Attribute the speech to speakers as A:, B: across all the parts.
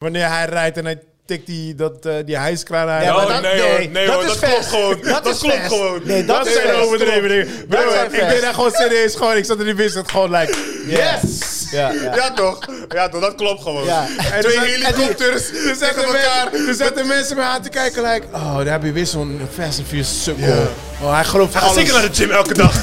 A: Wanneer hij rijdt en hij tikt die, dat, eh die hijskraan aan.
B: Ja,
A: Ja,
B: maar
A: dat-
B: dat-
C: nee, hoor. Nee,
B: dat
C: hoor.
B: is
C: Dat klopt
B: vers.
C: gewoon.
B: Dat
C: Dat
B: is
C: klopt
B: vers.
C: gewoon.
B: Nee, dat,
A: dat
B: is
A: zijn
B: vers.
A: overdreven dingen.
B: Dat
A: Bro,
B: zijn
A: ik
B: vers.
A: deed daar gewoon serieus gewoon. Ik zat in die wist gewoon like, yes!
B: Ja,
C: Ja.
B: ja.
C: toch? Ja toch, dat klopt gewoon. dus-
B: Ja.
A: En dus
C: Twee
A: er zaten-
C: helikopters
A: Er
C: tegen
A: zaten,
C: elkaar.
A: mensen, er zaten mensen me aan te kijken, like, oh, daar heb je weer zo'n Fast and Furious sukkel. Oh, hij gelooft
C: Ga zeker
A: alles.
C: naar de gym elke dag.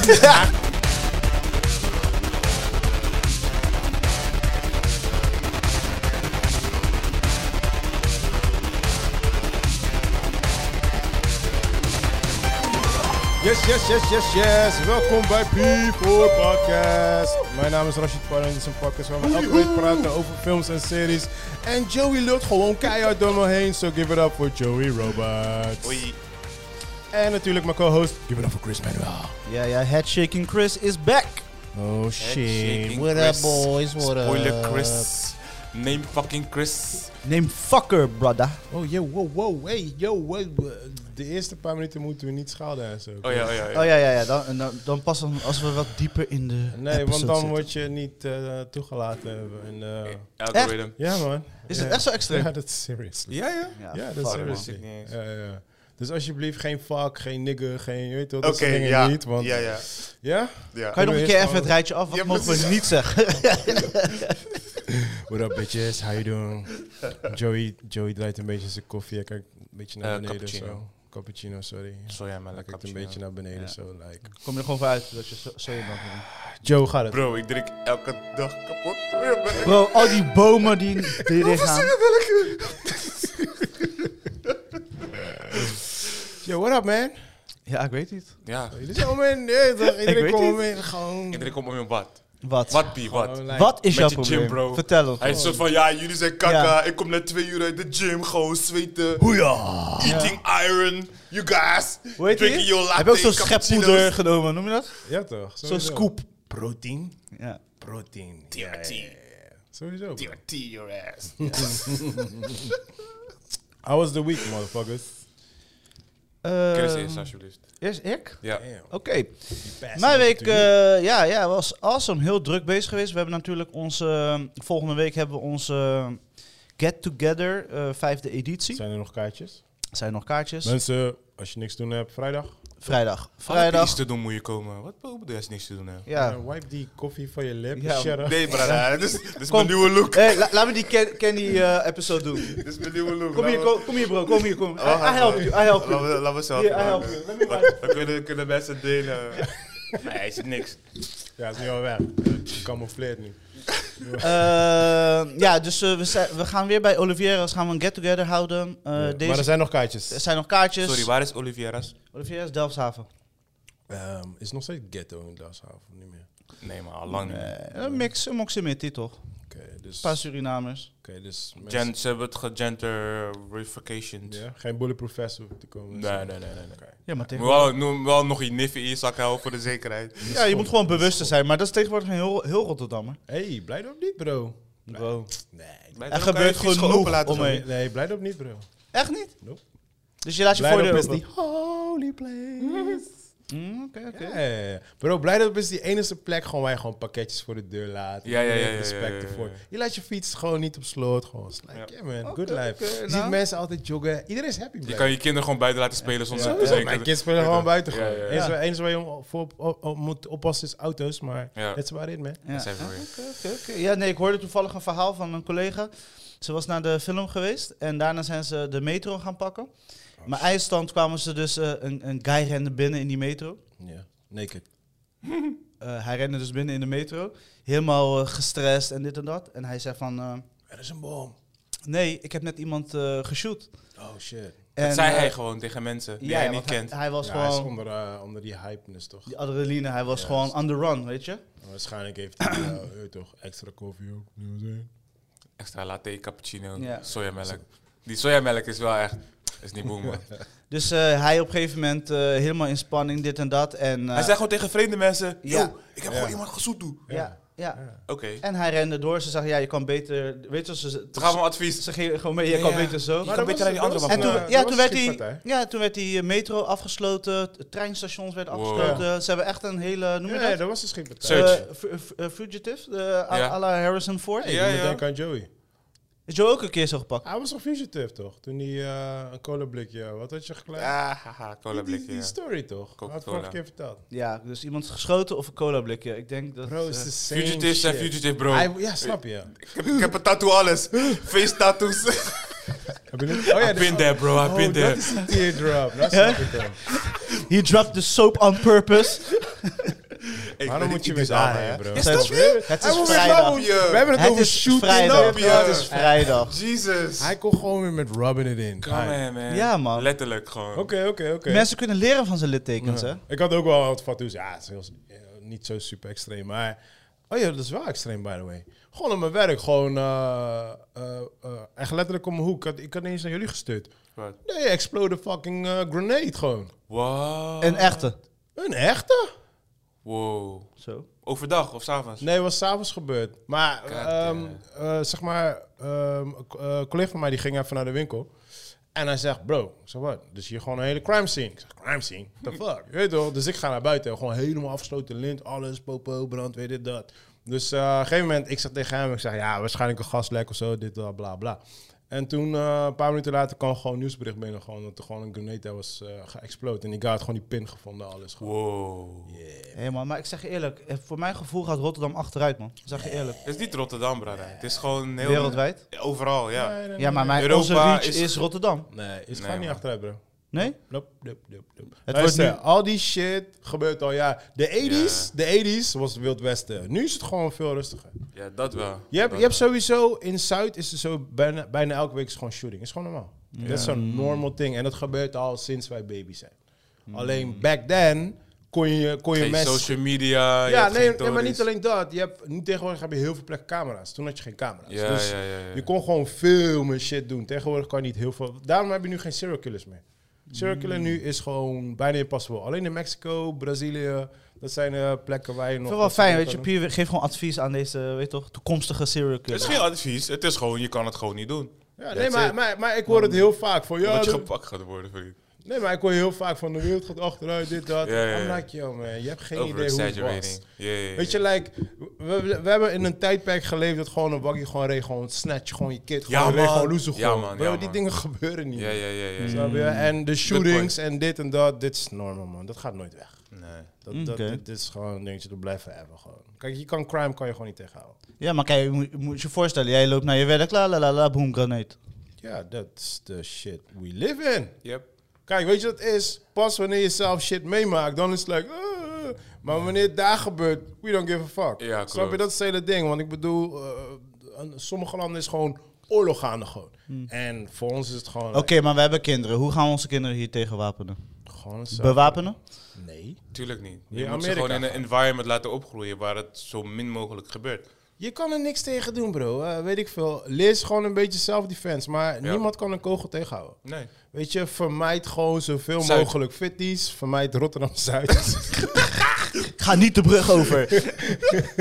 A: Yes, yes, yes, yes, yes. Welkom bij People Podcast. Mijn naam is Rashid Parra en dit is een podcast waar we elke week praten over films en series. En Joey lult gewoon keihard door me heen, so give it up for Joey Robots.
C: Oei.
A: En natuurlijk mijn co-host, give it up for Chris Manuel.
B: Ja, ja, Headshaking Chris is back.
A: Oh shit,
C: Shaking
B: what up,
C: Chris.
B: boys, what up?
C: Spoiler Chris. Name fucking Chris.
B: Name fucker, brother.
A: Oh yo, wow, wow, hey, yo, wow. De eerste paar minuten moeten we niet schelden en zo.
C: Oh ja, oh ja.
B: Oh ja, ja, ja. Dan, dan, dan pas dan als we wat dieper in de
A: Nee, want
B: episode
A: dan
B: zitten.
A: word je niet eh, toegelaten. En, eh,
C: Algorithm.
A: ja man.
B: Is
A: Ja.
B: het echt zo extreem?
A: Ja, dat is seriously.
C: Ja, ja.
A: Ja, dat is
B: eh? fuck, man.
A: seriously.
C: man. Wist ik niet
A: Ja, ja. Dus alsjeblieft geen fuck, geen nigger, geen, je weet wel, dat
C: Oké,
A: soort dingen
C: ja.
A: niet. Want,
C: Ja, ja.
A: Ja?
C: ja.
B: Kan je nog een keer
A: Eerst
B: even het rijtje af? Wat
C: Ja,
B: mogen we
C: precies.
B: niet zeggen?
A: What up bitches, how you doing? Joey, Joey draait een beetje zijn koffie, hij kijkt een beetje naar
C: Eh,
A: beneden
C: cappuccino.
A: zo. Cappuccino, sorry.
C: Sorry, ja, maar
A: Hij kijkt een beetje naar beneden zo, like.
B: Kom je er gewoon voor uit dat je zo, zo je bent. man.
A: Joe, gaat het?
C: Bro, ik drink elke dag kapot.
B: Bro, al die bomen die die erin gaan.
A: Yo, what up man?
B: Ja, ik weet niet.
C: Ja.
A: Jullie zijn om in, nee, toch? iedereen
B: weet
A: komt
B: niet.
A: om in, gewoon.
C: Iedereen komt om in wat?
B: Wat?
C: Wat, Pi, wat?
A: gewoon, like,
B: Wat is
C: Met
B: jouw
C: je gym,
B: probleem?
C: bro.
B: Vertel het.
C: Hij is een soort van, ja, jullie zijn kakka. Ik kom net twee uur uit de gym, gewoon zweten.
B: Hoeja!
C: Eating iron, you guys.
B: Hoe heet
C: drinking
B: die?
C: your latte,
B: Heb je ook zo'n
C: cappuccino's.
B: scheppoeder genomen, noem je dat?
A: Ja toch?
B: Zo'n
A: sowieso.
B: scoop.
A: Protein?
B: Ja.
A: Protein. Ja, ja,
C: TRT.
A: ja. Sowieso. bro.
C: TRT your ass.
A: How was the week, motherfuckers?
C: Chris eerst, alsjeblieft.
B: Eh, Eerst ik?
C: Ja.
B: Oké.
A: Best
B: Mijn week
A: natuurlijk.
B: eh, ja, ja, was awesome. Heel druk bezig geweest. We hebben natuurlijk onze... eh, volgende week hebben we onze eh, Get Together eh, vijfde editie.
A: Zijn er nog kaartjes?
B: Zijn er nog kaartjes?
A: Mensen, als je niks te doen hebt, vrijdag.
B: Vrijdag.
C: Als je iets
B: Vrijdag.
C: te doen moet je komen. Wat bedoel je als je niks te doen hebt?
B: Ja.
A: Eh, wipe die koffie van je lip.
B: Ja.
A: shut up.
C: Nee, brada. Dit is, dit is
B: Kom.
C: dus mijn nieuwe look.
B: Hey, la- laat me die Ken- Kenny eh, episode doen.
C: Dit is mijn nieuwe look. Nou,
B: Kom hier,
C: Laten
B: kom, kom hier bro. Kom hier, kom. I,
C: Oh,
B: I help you, I help
C: we- Laten
B: you.
C: we- laten we zelf
B: Hier, I help
C: maken.
B: you. Let me
C: Dan-
B: wipe.
C: Dan kunnen, kunnen mensen delen. Nee, is het niks.
A: Ja, is nu al weg. Camoufleerd nu.
B: Eh, ja, dus eh, we, zijn- we gaan weer bij Olivieras gaan we een get-together houden. Eh,
A: Ja.
B: deze,
A: Maar er zijn nog
B: er
A: kaartjes.
B: zijn nog kaartjes.
A: Dus-
C: Sorry, waar is Olivieras?
B: Olivieras, Delfshaven.
A: Ehm, is nog steeds ghetto in Dashaven, niet meer.
C: Nee, maar al lang niet.
B: Eh, een mix, een proximity toch? Een
A: Oké, dus...
B: paar Surinamers.
A: Oké, dus... mensen-
C: Gen, ze hebben het gegenterificationed.
A: Ja, geen bulletproof vest hoeft te komen.
C: Nee, nee, nee, nee, nee.
A: Oké.
B: Ja, maar
C: Moet wel, noem wel nog je niffen in je zak houden voor de zekerheid.
B: Ja, je moet gewoon bewust zijn, maar dat is tegenwoordig een heel, heel Rotterdammer.
A: Hey, blijf op niet, bro. Bro. Nee.
C: Bij
B: Er
C: elkaar
B: gebeurt
C: je fiets
B: genoeg
C: open laten
B: om
C: gaan.
B: mee.
A: Nee, blijf op niet, bro.
B: Echt niet?
A: Nope.
B: Dus je laat je
A: Blijdorp
B: voordeur
A: is die
B: open.
A: holy place.
B: Mm, Oké, oké.
A: Ja, ja, ja. Bro, Blijdorp is die enige plek gewoon waar je gewoon pakketjes voor de deur laat.
C: Ja, ja, ja, ja, ja,
A: Respect
C: ja, ja, ja.
A: ervoor. Je laat je fiets gewoon niet op slot. Gewoon. It's Like,
C: Ja.
A: yeah, man,
B: Oké,
A: good life.
B: oké,
A: je ziet
B: nou.
A: mensen altijd joggen. Iedereen is happy,
C: Je
A: bro.
C: kan je kinderen gewoon buiten laten spelen zonder ze te
A: Sowieso,
C: denken.
A: mijn kids spelen gewoon buiten.
C: Ja,
A: Gewoon.
C: ja, ja.
A: Eens, waar- eens waar je om- voor op- op- op moet oppassen is auto's, maar
C: Ja.
A: that's about it, man.
B: Ja. Ah,
C: Dat is even weer.
B: Oké, oké, oké. Ja, nee, ik hoorde toevallig een verhaal van een collega. Ze was naar de film geweest en daarna zijn ze de metro gaan pakken. Maar eindstand kwamen ze dus, eh, een, een guy rende binnen in die metro.
A: Ja, naked.
B: Eh, hij rende dus binnen in de metro, helemaal eh, gestrest en dit en dat. En hij zei van, eh,
A: Er is een bom.
B: nee, ik heb net iemand eh geshoot.
A: Oh, shit.
B: En,
C: Dat zei
B: eh,
C: hij gewoon tegen mensen die
B: ja,
C: hij
B: want
C: niet kent.
B: Hij, was
A: Ja, hij is
B: gewoon,
A: onder, eh, onder die hypeness, toch?
B: die adrenaline, hij was
A: Ja,
B: gewoon on the run, weet je.
A: Waarschijnlijk heeft hij eh, je weet toch extra koffie ook. you know what I'm saying?
C: Extra latte, cappuccino,
B: Ja.
C: sojamelk. Die sojamelk is wel echt... is niet boem, man.
B: Dus eh, hij op een gegeven moment eh, helemaal in spanning, dit en dat. En, eh,
C: Hij zei gewoon tegen vreemde mensen...
B: Ja.
C: Yo, ik heb gewoon iemand gezoet toe.
B: ja, ja.
C: Oké,
B: En hij rende door. Ze zeggen, ja, je kan beter... Weet je, ze, ze,
C: we gaan om advies.
B: ze geven gewoon mee, je
C: Ja,
B: kan
C: ja.
B: beter zo.
C: Maar kan beter naar die andere
B: En
C: wacht,
B: toen,
C: eh,
B: ja, toen werd die, ja, toen werd die eh, metro afgesloten, t- treinstations werden
C: Wow.
B: afgesloten. Ze hebben echt een hele, noem je
A: Nee,
B: dat?
A: dat was dus een schippartij.
C: Search.
B: Eh, fu- fu- eh, fugitive, de à
C: Ja.
B: à la Harrison Ford.
C: Ja,
A: Ja,
C: ja.
A: Denk aan Joey.
B: Is Joe ook een keer zo gepakt?
A: Hij was toch fugitive, toch? Toen hij eh, een cola-blikje, wat had je gelijk?
C: Ja, haha, cola
A: die, die, die
C: blikje.
A: story, toch? Ik had het
C: Coca-Cola.
A: vorige keer verteld.
B: Ja, dus iemand is geschoten of een cola blikje. Ik denk dat...
A: Bro,
B: eh,
A: is the same
C: Fugitives zijn
A: shit.
C: fugitive, bro.
A: Hij- ja, snap je.
C: Ik heb, ik heb een tattoo alles. Face tattoos.
A: Heb je niet- Oh ja,
C: I've
A: dus-
C: been there, bro. I've
A: Oh,
C: been
A: dat
C: there.
A: is een teardrop. Dat snap ik wel.
B: He dropped the soap on purpose.
C: Hey,
A: Waarom
C: ben
A: moet je
C: Idris
A: weer
C: Alba,
A: aan,
C: hè?
A: bro?
C: Is
B: Het
C: dat
B: is-
C: weer?
B: het
C: Hij
B: is
C: moet weer
B: vrijdag.
C: rubben, joh.
A: We hebben het,
B: Het
A: over
B: is
A: shooting
B: vrijdag.
A: up, ja.
B: Het is vrijdag.
C: Jesus.
A: Hij kon gewoon weer met rubbing it in.
C: Come
A: Hij-
C: here, man.
B: Ja, man.
C: Letterlijk gewoon.
A: Oké, oké, oké.
B: Mensen kunnen leren van zijn littekens, hè?
A: Ik had ook wel wat tattoos. Ja, het is heel, eh, niet zo super extreem, maar... Oh ja, dat is wel extreem, by the way. Gewoon op mijn werk, gewoon... eh, eh, eh, echt letterlijk om mijn hoek. Ik had, ik had niet eens naar jullie gestuurd.
C: Wat?
A: Nee, explode fucking eh, grenade gewoon.
C: Wow.
B: Een echte.
A: Een echte?
C: Wow.
B: Zo.
C: Overdag of s'avonds?
A: Nee, het was s'avonds gebeurd. Maar ehm, eh, zeg maar, ehm, een co- eh, collega van mij die ging even naar de winkel. En hij zegt, bro, ik zeg wat? Dus hier gewoon een hele crime scene. Ik zeg, crime scene? The fuck? Je weet toch? Dus ik ga naar buiten. Gewoon helemaal afgesloten lint, alles, popo, brandweer, dit, dat. Dus eh, op een gegeven moment, ik zeg tegen hem, ik zeg, ja, waarschijnlijk een gaslek of zo, dit, dat, bla, bla. En toen, eh, een paar minuten later, kwam gewoon een nieuwsbericht binnen. Gewoon, dat er gewoon een grenade daar was eh geëxplodeerd. En die guy had gewoon die pin gevonden, alles. Gewoon.
C: Wow.
B: Hé man, maar ik zeg je eerlijk, eh, voor mijn gevoel gaat Rotterdam achteruit, man. Ik Zeg je eerlijk.
C: Het is niet Rotterdam, brada. Het is gewoon heel...
B: Wereldwijd.
C: Overal, ja.
A: Nee, nee,
B: Ja, maar mijn,
C: Europa
B: onze reach
C: is-
B: is... Rotterdam.
A: Nee, het gaat
C: Nee,
A: niet
C: man.
A: achteruit, bro.
B: Nee?
A: Nope, nope, nope, nope.
B: Het
A: Luister,
B: wordt nu-
A: al die shit gebeurt al ja. De 80s, de 80s was het Wild Westen. Nu is het gewoon veel rustiger.
C: Ja, dat wel.
A: Je hebt,
C: Dat
A: je hebt sowieso in Zuid is er zo bijna, bijna elke week is gewoon shooting. Is gewoon normaal. Dat is
B: Mm.
A: zo'n normal thing. En dat gebeurt al sinds wij baby zijn. Alleen back then kon je, kon je
C: Mm. Geen
A: mensen.
C: social media. je
A: ja,
C: hebt
A: nee,
C: geen
A: nee, maar
C: tories.
A: niet alleen dat. Je hebt, nu tegenwoordig heb je heel veel plekken camera's. Toen had je geen camera's.
C: Ja,
A: dus
C: ja, ja, ja.
A: je kon gewoon veel meer shit doen. Tegenwoordig kan je niet heel veel. Daarom heb je nu geen serial killers meer. Serial
C: Mm.
A: killer nu is gewoon bijna impossible. Alleen in Mexico, Brazilië, dat zijn eh, plekken waar je nog.
B: Ik vind
A: wat
B: het wel fijn,
A: kan
B: weet je.
A: doen.
B: Puur geef gewoon advies aan deze, weet je toch, toekomstige serial
C: Het is
B: killer.
C: geen advies. Het is gewoon, je kan het gewoon niet doen.
A: Ja, nee,
C: That's
A: maar,
C: it.
A: maar, maar ik hoor het heel vaak van. Ja,
C: Dat je
A: dat-
C: gepakt gaat worden, vriend.
A: nee, maar ik hoor heel vaak van de wereld gaat achteruit, dit, dat.
C: Ja, ja, ja.
A: I'm like, yo, man, je hebt geen
C: Over
A: idee hoe het was.
C: exaggerating. Ja, ja, ja.
A: Weet je, like, we, we- we hebben in een tijdperk geleefd dat gewoon een waggie gewoon reed, gewoon snatch, gewoon je kid,
C: Ja,
A: gewoon reed,
C: man.
A: gewoon loezen,
C: Ja,
A: gewoon.
C: man,
A: Bro,
C: ja,
A: die
C: man.
A: dingen gebeuren niet.
C: Ja, ja, ja, ja.
A: Snap je? En de shootings
C: Mm. point.
A: en dit en dat, dit is normaal, man. Dat gaat nooit weg.
C: Nee.
A: Dat, dat,
B: Oké.
A: dit, dit is gewoon een dingetje, dat blijft even gewoon. Kijk, je kan crime kan je gewoon niet tegenhouden.
B: Ja, maar kijk, je moet, je moet je voorstellen, jij loopt naar je werk, la la la la, boom, granate.
A: Ja, dat is de shit we live in.
C: Yep.
A: Kijk, weet je wat het is? Pas wanneer je zelf shit meemaakt, dan is het like... "Ah." maar wanneer het daar gebeurt, we don't give a fuck.
C: Ja, klopt.
A: Snap je? Dat is het hele ding. Want ik bedoel, eh, aan sommige landen is gewoon oorlog gaande gewoon. En voor ons is het gewoon...
B: Hmm. Oké, maar we hebben kinderen. Hoe gaan we onze kinderen hier tegen wapenen?
A: gewoon zo.
B: Bewapenen?
A: nee.
C: Tuurlijk niet. Je
A: Ja,
C: moet ze
A: Amerika.
C: gewoon in een environment laten opgroeien waar het zo min mogelijk gebeurt.
A: Je kan er niks tegen doen, bro. Eh, weet ik veel. Lees gewoon een beetje self-defense. Maar niemand kan een kogel tegenhouden.
C: Nee.
A: Weet je, vermijd gewoon zoveel
C: Zuid.
A: mogelijk fitties. Vermijd Rotterdam-Zuid.
B: Ga niet de brug over.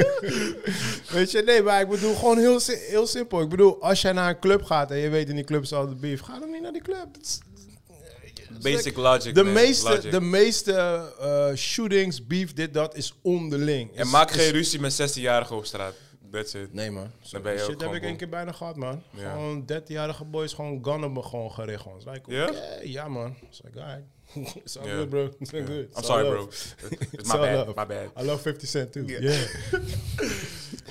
A: Weet je, nee, maar ik bedoel gewoon heel, si- heel simpel. Ik bedoel, als jij naar een club gaat en je weet in die club is altijd beef, ga dan niet naar die club. Dat is-
C: Basic logic.
A: De
C: man.
A: meeste,
C: Logic.
A: de meeste eh, shootings, beef, dit, dat, is onderling.
C: En
A: Is-
C: maak
A: is-
C: geen ruzie met 16-jarigen op straat. That's it.
A: Nee, man.
C: Dan ben je ook
A: Shit heb
C: gewoon
A: ik
C: bom.
A: één keer bijna gehad, man.
C: Ja.
A: Gewoon 13-jarige boys gewoon gunnen me gewoon gericht. Gewoon. It's like,
C: Ja?
A: oké, ja, man. It's like, alright. It's all
C: Ja.
A: good, bro. It's all good.
C: I'm
A: It's
C: sorry,
A: all
C: bro.
A: love.
C: It's
A: It's
C: my
A: all
C: bad.
A: love.
C: My bad.
A: I love 50 Cent, too.
C: Ja.
A: Yeah.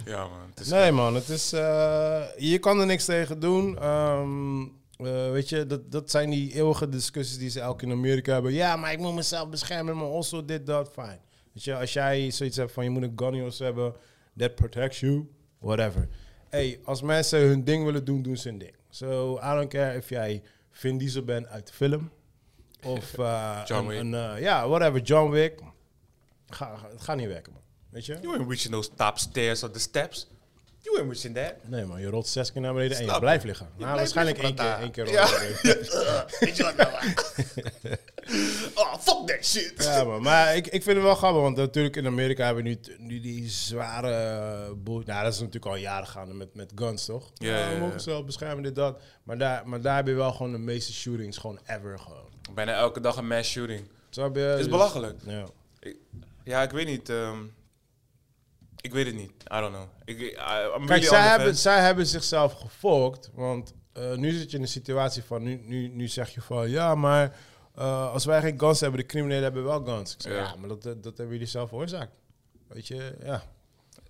C: Ja, man. Het is
A: Nee, man, het is. eh, je kan er niks tegen doen. Ehm, eh, weet je, dat, dat zijn die eeuwige discussies die ze elke in Amerika hebben. Ja, maar ik moet mezelf beschermen, maar also dit, dat, fijn. Weet je, als jij zoiets hebt van je moet een gun in je hebben, that protects you, whatever. Hey, als mensen hun ding willen doen, doen ze hun ding. So, I don't care if jij Vin Diesel bent uit de film. Of eh,
C: John
A: een-
C: Wick.
A: een, eh, Ja, whatever, John Wick. Ga, ga- het gaat niet werken, man. Weet je?
C: You ain't reaching those top stairs or the steps. You ain't reaching that.
A: Nee man, je rolt zes keer naar beneden en
C: Snap
A: je
C: je.
A: blijft liggen. nou,
C: blijft
A: waarschijnlijk
C: liggen,
A: één keer,
C: brata.
A: één keer
C: Ja.
A: rollen. Ja.
C: Weet je wat nou? Oh, fuck that shit.
A: ja man, maar ik, ik vind het wel grappig, want natuurlijk in Amerika hebben we nu, t- nu die zware boel. Nou, dat is natuurlijk al jaren gaande met, met guns, toch?
C: Ja, ja,
A: we
C: ja.
A: mogen zelf beschermen, dit, dat. Maar daar, maar daar heb je wel gewoon de meeste shootings, gewoon ever gewoon.
C: Bijna elke dag een mass shooting.
A: Snap je?
C: is
A: Dus-
C: belachelijk.
A: Ja.
C: Ik- ja, ik weet niet. ehm, Ik weet het niet. I don't know. Ik, I- I'm
A: Kijk,
C: really on the
A: zij hebben,
C: fence.
A: zij hebben zichzelf gefokt. Want eh, nu zit je in een situatie van... Nu, nu, nu zeg je van... Ja, maar eh, als wij geen guns hebben... De criminelen hebben wel guns. Ik zeg, ja.
C: Ja.
A: maar dat, dat, dat hebben jullie zelf veroorzaakt. Weet je, ja.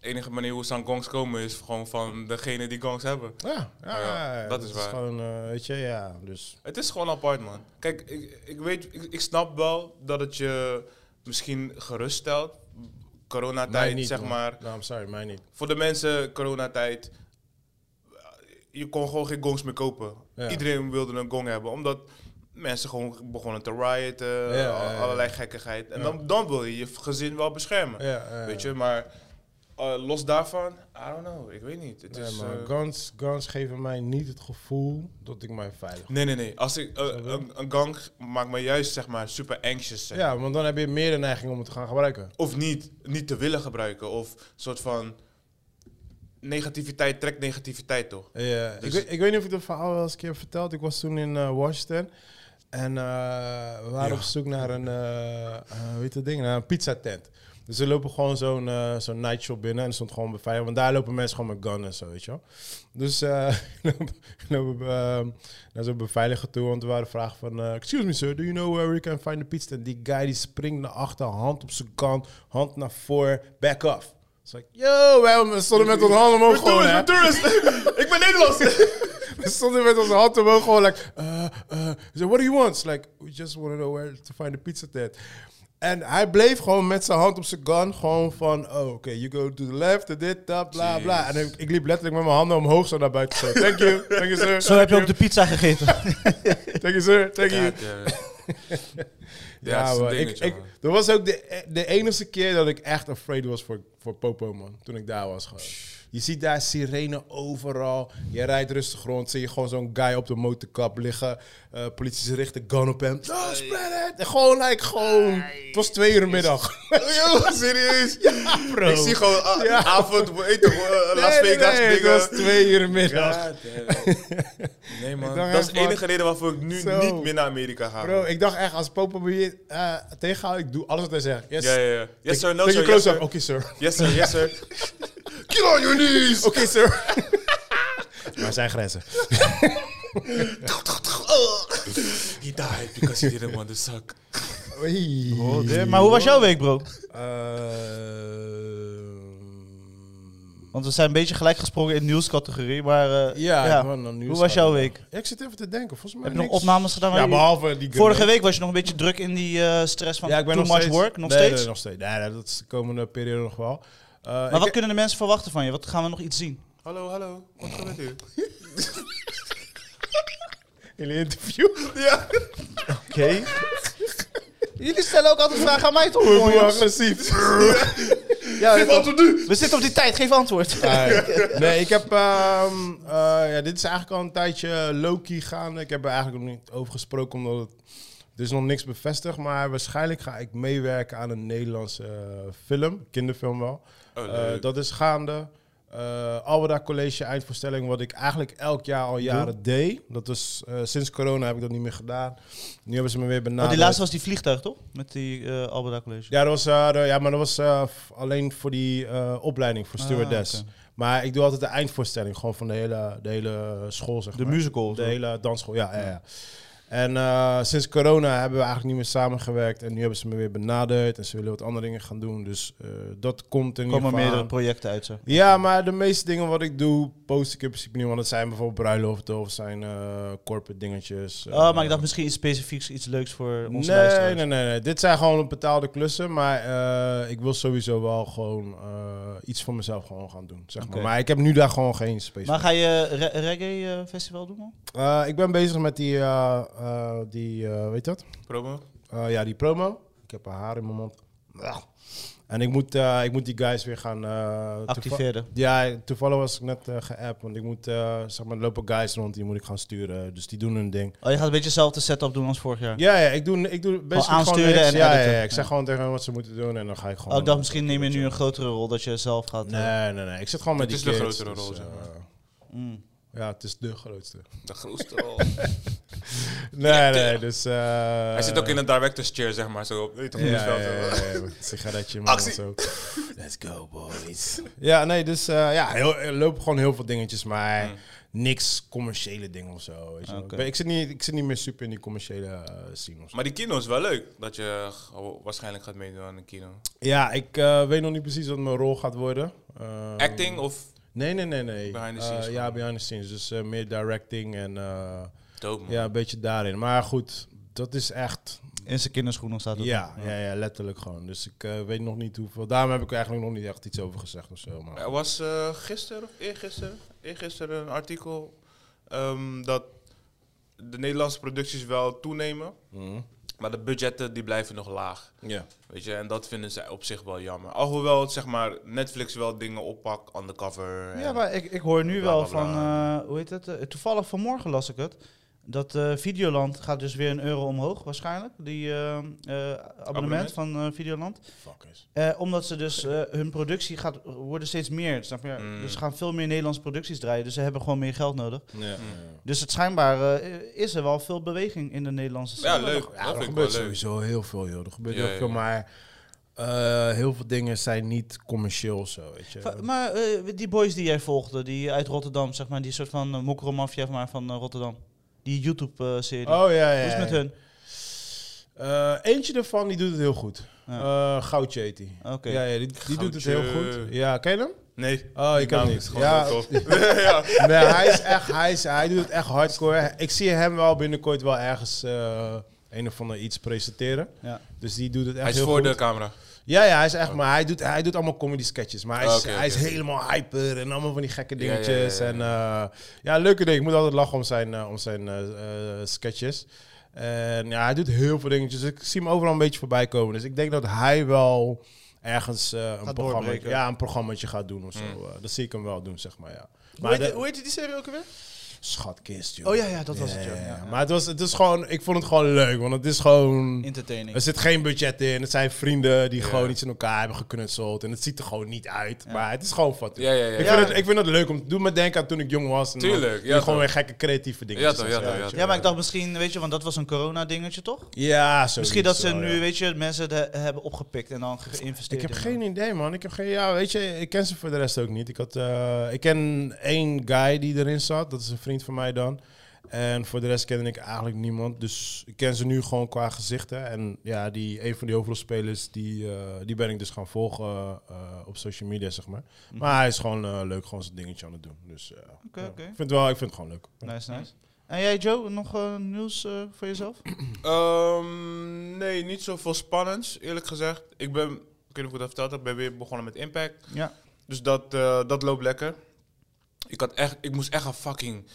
C: De enige manier hoe ze aan gongs komen is gewoon van degene die gongs hebben.
A: Ja, ja,
C: Ja,
A: ja,
C: dat is
A: Het
C: waar.
A: gewoon, eh, weet je, ja. Dus
C: Het is gewoon apart, man. Kijk, ik, ik weet, ik, ik snap wel dat het je misschien geruststelt.
A: mij
C: Coronatijd,
A: niet,
C: zeg
A: man.
C: maar.
A: Nou, I'm sorry, mij niet.
C: Voor de mensen, coronatijd. Je kon gewoon geen gongs meer kopen.
A: Ja.
C: Iedereen wilde een gong hebben, omdat mensen gewoon begonnen te rioten.
A: ja, ja.
C: Allerlei gekkigheid. En
A: Ja.
C: dan, dan wil je je gezin wel beschermen.
A: Ja, eh,
C: Weet je, maar eh, los daarvan, I don't know, ik weet niet. Het
A: nee,
C: is,
A: maar
C: eh,
A: guns, guns geven mij niet het gevoel dat ik mij veilig
C: nee, nee, nee. Als ik, eh, een, een gang maakt me juist zeg maar super anxious. zeg.
A: Ja, want dan heb je meer de neiging om het te gaan gebruiken.
C: Of niet, niet te willen gebruiken. Of een soort van negativiteit trekt negativiteit toch?
A: Ja, ik,
C: Dus-
A: weet, ik weet niet of ik dat verhaal wel eens een keer heb verteld. Ik was toen in eh, Washington. En eh, we waren
C: Ja.
A: op zoek naar een, eh, eh, hoe heet dat ding? Naar een pizza tent. Dus we lopen gewoon zo'n eh zo'n nightshop binnen en er stond gewoon beveiligd. Want daar lopen mensen gewoon met gun en zo, weet je wel. Dus eh lopen lopen we eh, naar zo'n beveiliger toe. Want er waren vragen van, eh, excuse me sir, do you know where we can find the pizza tent? Die guy die springt naar achter, hand op zijn kant, hand naar voor, back off. Dus ik, yo, wij stonden met onze handen omhoog gewoon, hè.
C: tourist, ik ben Nederlands.
A: We stonden met onze hand omhoog gewoon like, uh, uh, He said, what do you want? It's like, we just want to know where to find the pizza tent. En hij bleef gewoon met zijn hand op zijn gun, gewoon van, oh, oké, you go to the left, dit, dat, bla, bla. En ik, ik liep letterlijk met mijn handen omhoog zo naar buiten. Zo, thank you, thank you, sir.
B: Zo heb je ook de pizza gegeten.
A: Thank you, sir, thank
C: ja,
A: you.
C: het, eh, ja, het
A: Ja,
C: is een
A: man, ik,
C: dingetje,
A: ik,
C: man.
A: dat was ook de, eh, de enige keer dat ik echt afraid was voor, voor Popo, man. Toen ik daar was gewoon. Je ziet daar sirene overal. Je rijdt rustig rond. Zie je gewoon zo'n guy op de motorkap liggen. Eh, politie ze richten gun op hem. Oh, spread it! En gewoon, like, gewoon. Het was twee uur middag.
C: Yo, serieus?
A: Bro.
C: Ik zie gewoon a-
A: Ja.
C: avond, we eten gewoon eh,
A: Nee,
C: Las
A: nee,
C: Vegas
A: nee, het
C: dingen.
A: was twee uur middag.
C: Nee
A: Ik
C: man,
A: dacht
C: dat
A: echt,
C: is de enige
A: man.
C: reden waarvoor ik nu
A: Zo.
C: niet meer naar Amerika ga.
A: Bro, ik dacht echt, als Popo me hier eh, tegenhoudt, ik doe alles wat hij zegt. Yes.
C: ja, ja, ja. Yes sir, no
A: Take
C: sir,
A: your
C: yes
A: clothes off.
C: sir.
A: Oké, sir.
C: Yes sir, yes sir. Get on your knees!
A: Oké, sir. maar zijn grenzen.
C: He died because he didn't want to suck.
A: Oei. Eh,
B: maar hoe was jouw week, bro? Want we zijn een beetje gelijk gesprongen in nieuwscategorie, maar eh,
A: ja,
B: ja.
A: ik wou naar nieuws
B: hoe was jouw
A: gaan.
B: week?
A: Ja, ik zit even te denken. Volgens mij
B: Heb je nog
A: niks.
B: opnames gedaan? waar
A: Ja,
B: je-
A: behalve die
B: Vorige
A: grenade.
B: week was je nog een beetje druk in die eh, stress van
A: Ja, ik ben
B: too
A: nog
B: much
A: steeds,
B: work, nog
A: Nee,
B: steeds.
A: Nee, nog steeds. Nee, nee, dat is de komende periode nog wel. Eh,
B: Maar wat
A: ik-
B: kunnen de mensen verwachten van je? Wat gaan we nog iets
A: Nou,
B: zien?
C: Hallo, hallo. Wat gebeurt hier?
A: Jullie interview.
C: Ja.
B: Oké. Jullie stellen ook altijd vragen aan mij toch?
A: Hoe
B: gewoon,
A: hoe
B: jongens?
A: agressief.
B: Ja,
C: Geef antwoord nu!
B: we zitten op die tijd, geef antwoord.
A: Ah, nee, ik heb... ehm, eh, ja, dit is eigenlijk al een tijdje low-key gaande. Ik heb er eigenlijk nog niet over gesproken, omdat het... Er is nog niks bevestigd, maar waarschijnlijk ga ik meewerken aan een Nederlandse eh, film. Kinderfilm wel.
C: Oh,
A: Eh,
C: leuk.
A: dat is gaande. eh Alberda College eindvoorstelling, wat ik eigenlijk elk jaar al jaren deed. Dat is, eh, sinds corona heb ik dat niet meer gedaan. Nu hebben ze me weer benaderd.
B: Want die laatste was die vliegtuig, toch? Met die eh Alberta College.
A: Ja, dat was, eh, de- ja, maar dat was eh, f- alleen voor die eh, opleiding voor
B: Ah,
A: stewardess.
B: oké.
A: Maar ik doe altijd de eindvoorstelling, gewoon van de hele, de hele school, zeg
B: De
A: maar.
B: musical.
A: De
B: zo.
A: hele dansschool, ja. ja. ja. En eh, sinds corona hebben we eigenlijk niet meer samengewerkt. En nu hebben ze me weer benaderd en ze willen wat andere dingen gaan doen. Dus eh, dat komt in ieder
B: Er komen
A: geval aan.
B: meerdere projecten uit, zo.
A: Ja, maar de meeste dingen wat ik doe, post ik in principe niet. Want het zijn bijvoorbeeld bruiloften of zijn eh, corporate dingetjes. eh,
B: Oh, maar ik dacht misschien iets specifieks, iets leuks voor onze
A: Nee,
B: luisteraars.
A: nee, nee, nee. Dit zijn gewoon betaalde klussen. Maar eh, ik wil sowieso wel gewoon eh, iets voor mezelf gewoon gaan doen. Zeg maar.
B: Oké.
A: maar ik heb nu daar gewoon geen space
B: Maar ga je re- reggae eh, festival doen, man?
A: voor. Eh, ik ben bezig met die, eh, eh, die eh, weet je dat?
C: Promo?
A: Eh, ja, die promo. Ik heb een haar in mijn mond. Ah. En ik moet, eh, ik moet die guys weer gaan... eh, toeval-
B: Activeren.
A: Ja, toevallig was ik net eh, geappt, want ik moet, eh, zeg maar, er lopen guys rond, die moet ik gaan sturen. Dus die doen hun ding.
B: Oh, je gaat een beetje dezelfde setup doen als vorig jaar.
A: Ja, ja ik doe, ik doe best
B: aansturen
A: gewoon niks.
B: en
A: ja, ja,
B: editen.
A: ja, ik zeg
B: Ja.
A: gewoon tegen hen wat ze moeten doen en dan ga ik gewoon...
B: Oh, ik dacht, misschien neem je nu een grotere rol dat je zelf gaat... eh,
A: Nee, nee, nee. Ik zit gewoon met
C: Het
A: die
C: is de
A: kids,
C: grotere
A: dus,
C: rol,
A: eh,
C: zeg maar.
B: mm.
A: Ja, het is de grootste.
C: De grootste. oh.
A: Nee, nee, dus... eh,
C: Hij zit ook in een director's chair, zeg maar. Zo, weet je toch,
A: Ja,
C: hoe
A: ja,
C: het
A: ja,
C: veld,
A: ja,
C: hè?
A: ja, met een sigaretje in mijn hand
C: Actie.
A: zo. Let's go, boys. Ja, nee, dus eh, ja, heel, er lopen gewoon heel veel dingetjes, maar
C: Mm.
A: niks commerciële dingen of zo. Weet je wel.
B: Oké.
A: Ik, zit niet, ik zit niet meer super in die commerciële eh, scene of zo.
C: Maar die kino is wel leuk. Dat je gewoon waarschijnlijk gaat meedoen aan een kino.
A: Ja, ik eh, weet nog niet precies wat mijn rol gaat worden. Ehm,
C: Acting of...
A: Nee, nee, nee, nee.
C: Behind the
A: Eh,
C: scenes
A: ja,
C: gewoon. Hmm.
A: behind the scenes. Dus eh, meer directing en eh,
C: Dope, man.
A: ja, een beetje daarin. Maar goed, dat is echt
B: In zijn kinderschoenen staat het.
A: Ja, ja, ja, letterlijk gewoon. Dus ik eh, weet nog niet hoeveel. Daarom heb ik er eigenlijk nog niet echt iets over gezegd of zo. Maar
C: Er was eh, gisteren of eergisteren, eergisteren een artikel ehm, dat de Nederlandse producties wel toenemen,
A: Mhm.
C: maar de budgetten die blijven nog laag.
A: ja.
C: Weet je, en dat vinden zij op zich wel jammer. Alhoewel het, zeg maar, Netflix wel dingen oppakt, undercover. en-
B: Ja, maar ik, ik hoor nu
C: Bla,
B: wel
C: bla,
B: van,
C: bla.
B: eh, hoe heet het? eh, toevallig vanmorgen las ik het. Dat eh, Videoland gaat dus weer een euro omhoog waarschijnlijk. Die eh, eh, abonnement,
C: Abonnement?
B: van eh, Videoland.
A: Fuckers.
B: Eh, omdat ze dus eh, hun productie gaat worden steeds meer. Snap je?
C: Mm.
B: Dus ze gaan veel meer Nederlandse producties draaien. Dus ze hebben gewoon meer geld nodig.
A: Ja.
C: Hmm.
B: Dus het schijnbaar eh, is er wel veel beweging in de Nederlandse
C: Ja,
B: scene.
C: leuk.
A: Ja, er
C: dat vind ik wel
A: gebeurt
C: leuk.
A: sowieso heel veel, joh. Er gebeurt
C: Ja,
A: heel veel,
C: ja.
A: maar eh, heel veel dingen zijn niet commercieel of zo, weet je.
B: Va- Maar eh, die boys die jij volgde, die uit Rotterdam, zeg maar, die soort van uh, mokromafia maar van eh, Rotterdam. Die eh, YouTube-serie.
A: oh ja, ja.
B: Hoe is het met hun?
A: Eh, eentje daarvan die doet het heel goed. Eh Goudje heet die.
B: Oké.
A: Ja, ja, die, die doet het heel
C: Goudje.
A: goed. Ja, ken je hem?
C: Nee.
A: Oh, ik
C: die
A: kan
C: naam
A: niet.
C: is gewoon
A: Ja,
C: zo tof. ja.
A: Nee, hij is echt, hij, is, hij doet het echt hardcore. Ik zie hem wel binnenkort wel ergens eh, een of ander iets presenteren.
B: Ja.
A: Dus die doet het echt
C: Hij is
A: heel
C: voor
A: goed.
C: de camera.
A: Ja, ja, hij is echt, maar hij doet, hij doet allemaal comedy sketches. Maar hij is,
C: Oh, oké,
A: hij is
C: oké.
A: helemaal hyper en allemaal van die gekke
C: Ja, ja, ja,
A: dingetjes.
C: ja, ja.
A: En eh, ja, leuke dingen. Ik moet altijd lachen om zijn, eh, om zijn eh, eh, sketches. En ja, hij doet heel veel dingetjes. Dus Ik zie hem overal een beetje voorbij komen. Dus ik denk dat hij wel ergens eh, een, programma,
B: doorbreken.
A: ja, een programmaatje gaat doen of zo.
C: Hmm.
A: Eh, dat zie ik hem wel doen, zeg maar, ja. Maar
C: hoe, heet,
A: de-
C: hoe heet die serie ook weer?
A: Schatkist, joh.
B: Oh ja, ja, dat was het, ja. Ja, ja.
A: Maar het was, het is gewoon, ik vond het gewoon leuk, want het is gewoon...
B: Entertaining.
A: Er zit geen budget in, het zijn vrienden die
C: Ja.
A: gewoon iets in elkaar hebben geknutseld. En het ziet er gewoon niet uit, maar het is gewoon wat.
C: Ja, ja, ja.
A: Ik,
C: ja.
A: Vind het, ik vind het leuk om te doen, me denken aan toen ik jong was. En dan
C: Tuurlijk,
A: doe
C: ja,
A: je gewoon
C: toch.
A: weer gekke creatieve dingen.
C: Ja, toch, ja, toch, ja, toch.
B: Ja, maar ik dacht misschien, weet je, want dat was een corona-dingetje toch?
A: Ja,
B: Misschien dat ze
A: zoiets wel,
B: nu,
A: ja.
B: weet je, mensen het he- hebben opgepikt en dan geïnvesteerd.
A: Ik heb
B: in.
A: geen idee, man. Ik heb geen... Ja, weet je, ik ken ze voor de rest ook niet. Ik, had, eh, ik ken één guy die erin zat. Dat is een vriend van mij dan. En voor de rest kende ik eigenlijk niemand. Dus ik ken ze nu gewoon qua gezichten. En ja, die, een van die hoofdrolspelers, die, eh, die ben ik dus gaan volgen eh, op social media, zeg maar. Maar hij is gewoon eh, leuk, gewoon zijn dingetje aan het doen. Dus eh,
B: Mhm. Oké,
A: ja.
B: oké.
A: ik, vind het wel, ik vind het gewoon leuk.
B: Nice, nice. En jij, Joe, nog eh, nieuws eh, voor jezelf?
C: Ehm, nee, niet zoveel spannends, eerlijk gezegd. Ik ben, ik weet niet of ik het al verteld heb, ben weer begonnen met Impact.
B: Ja.
C: Dus dat, eh, dat loopt lekker. Ik, had echt, ik moest echt een fucking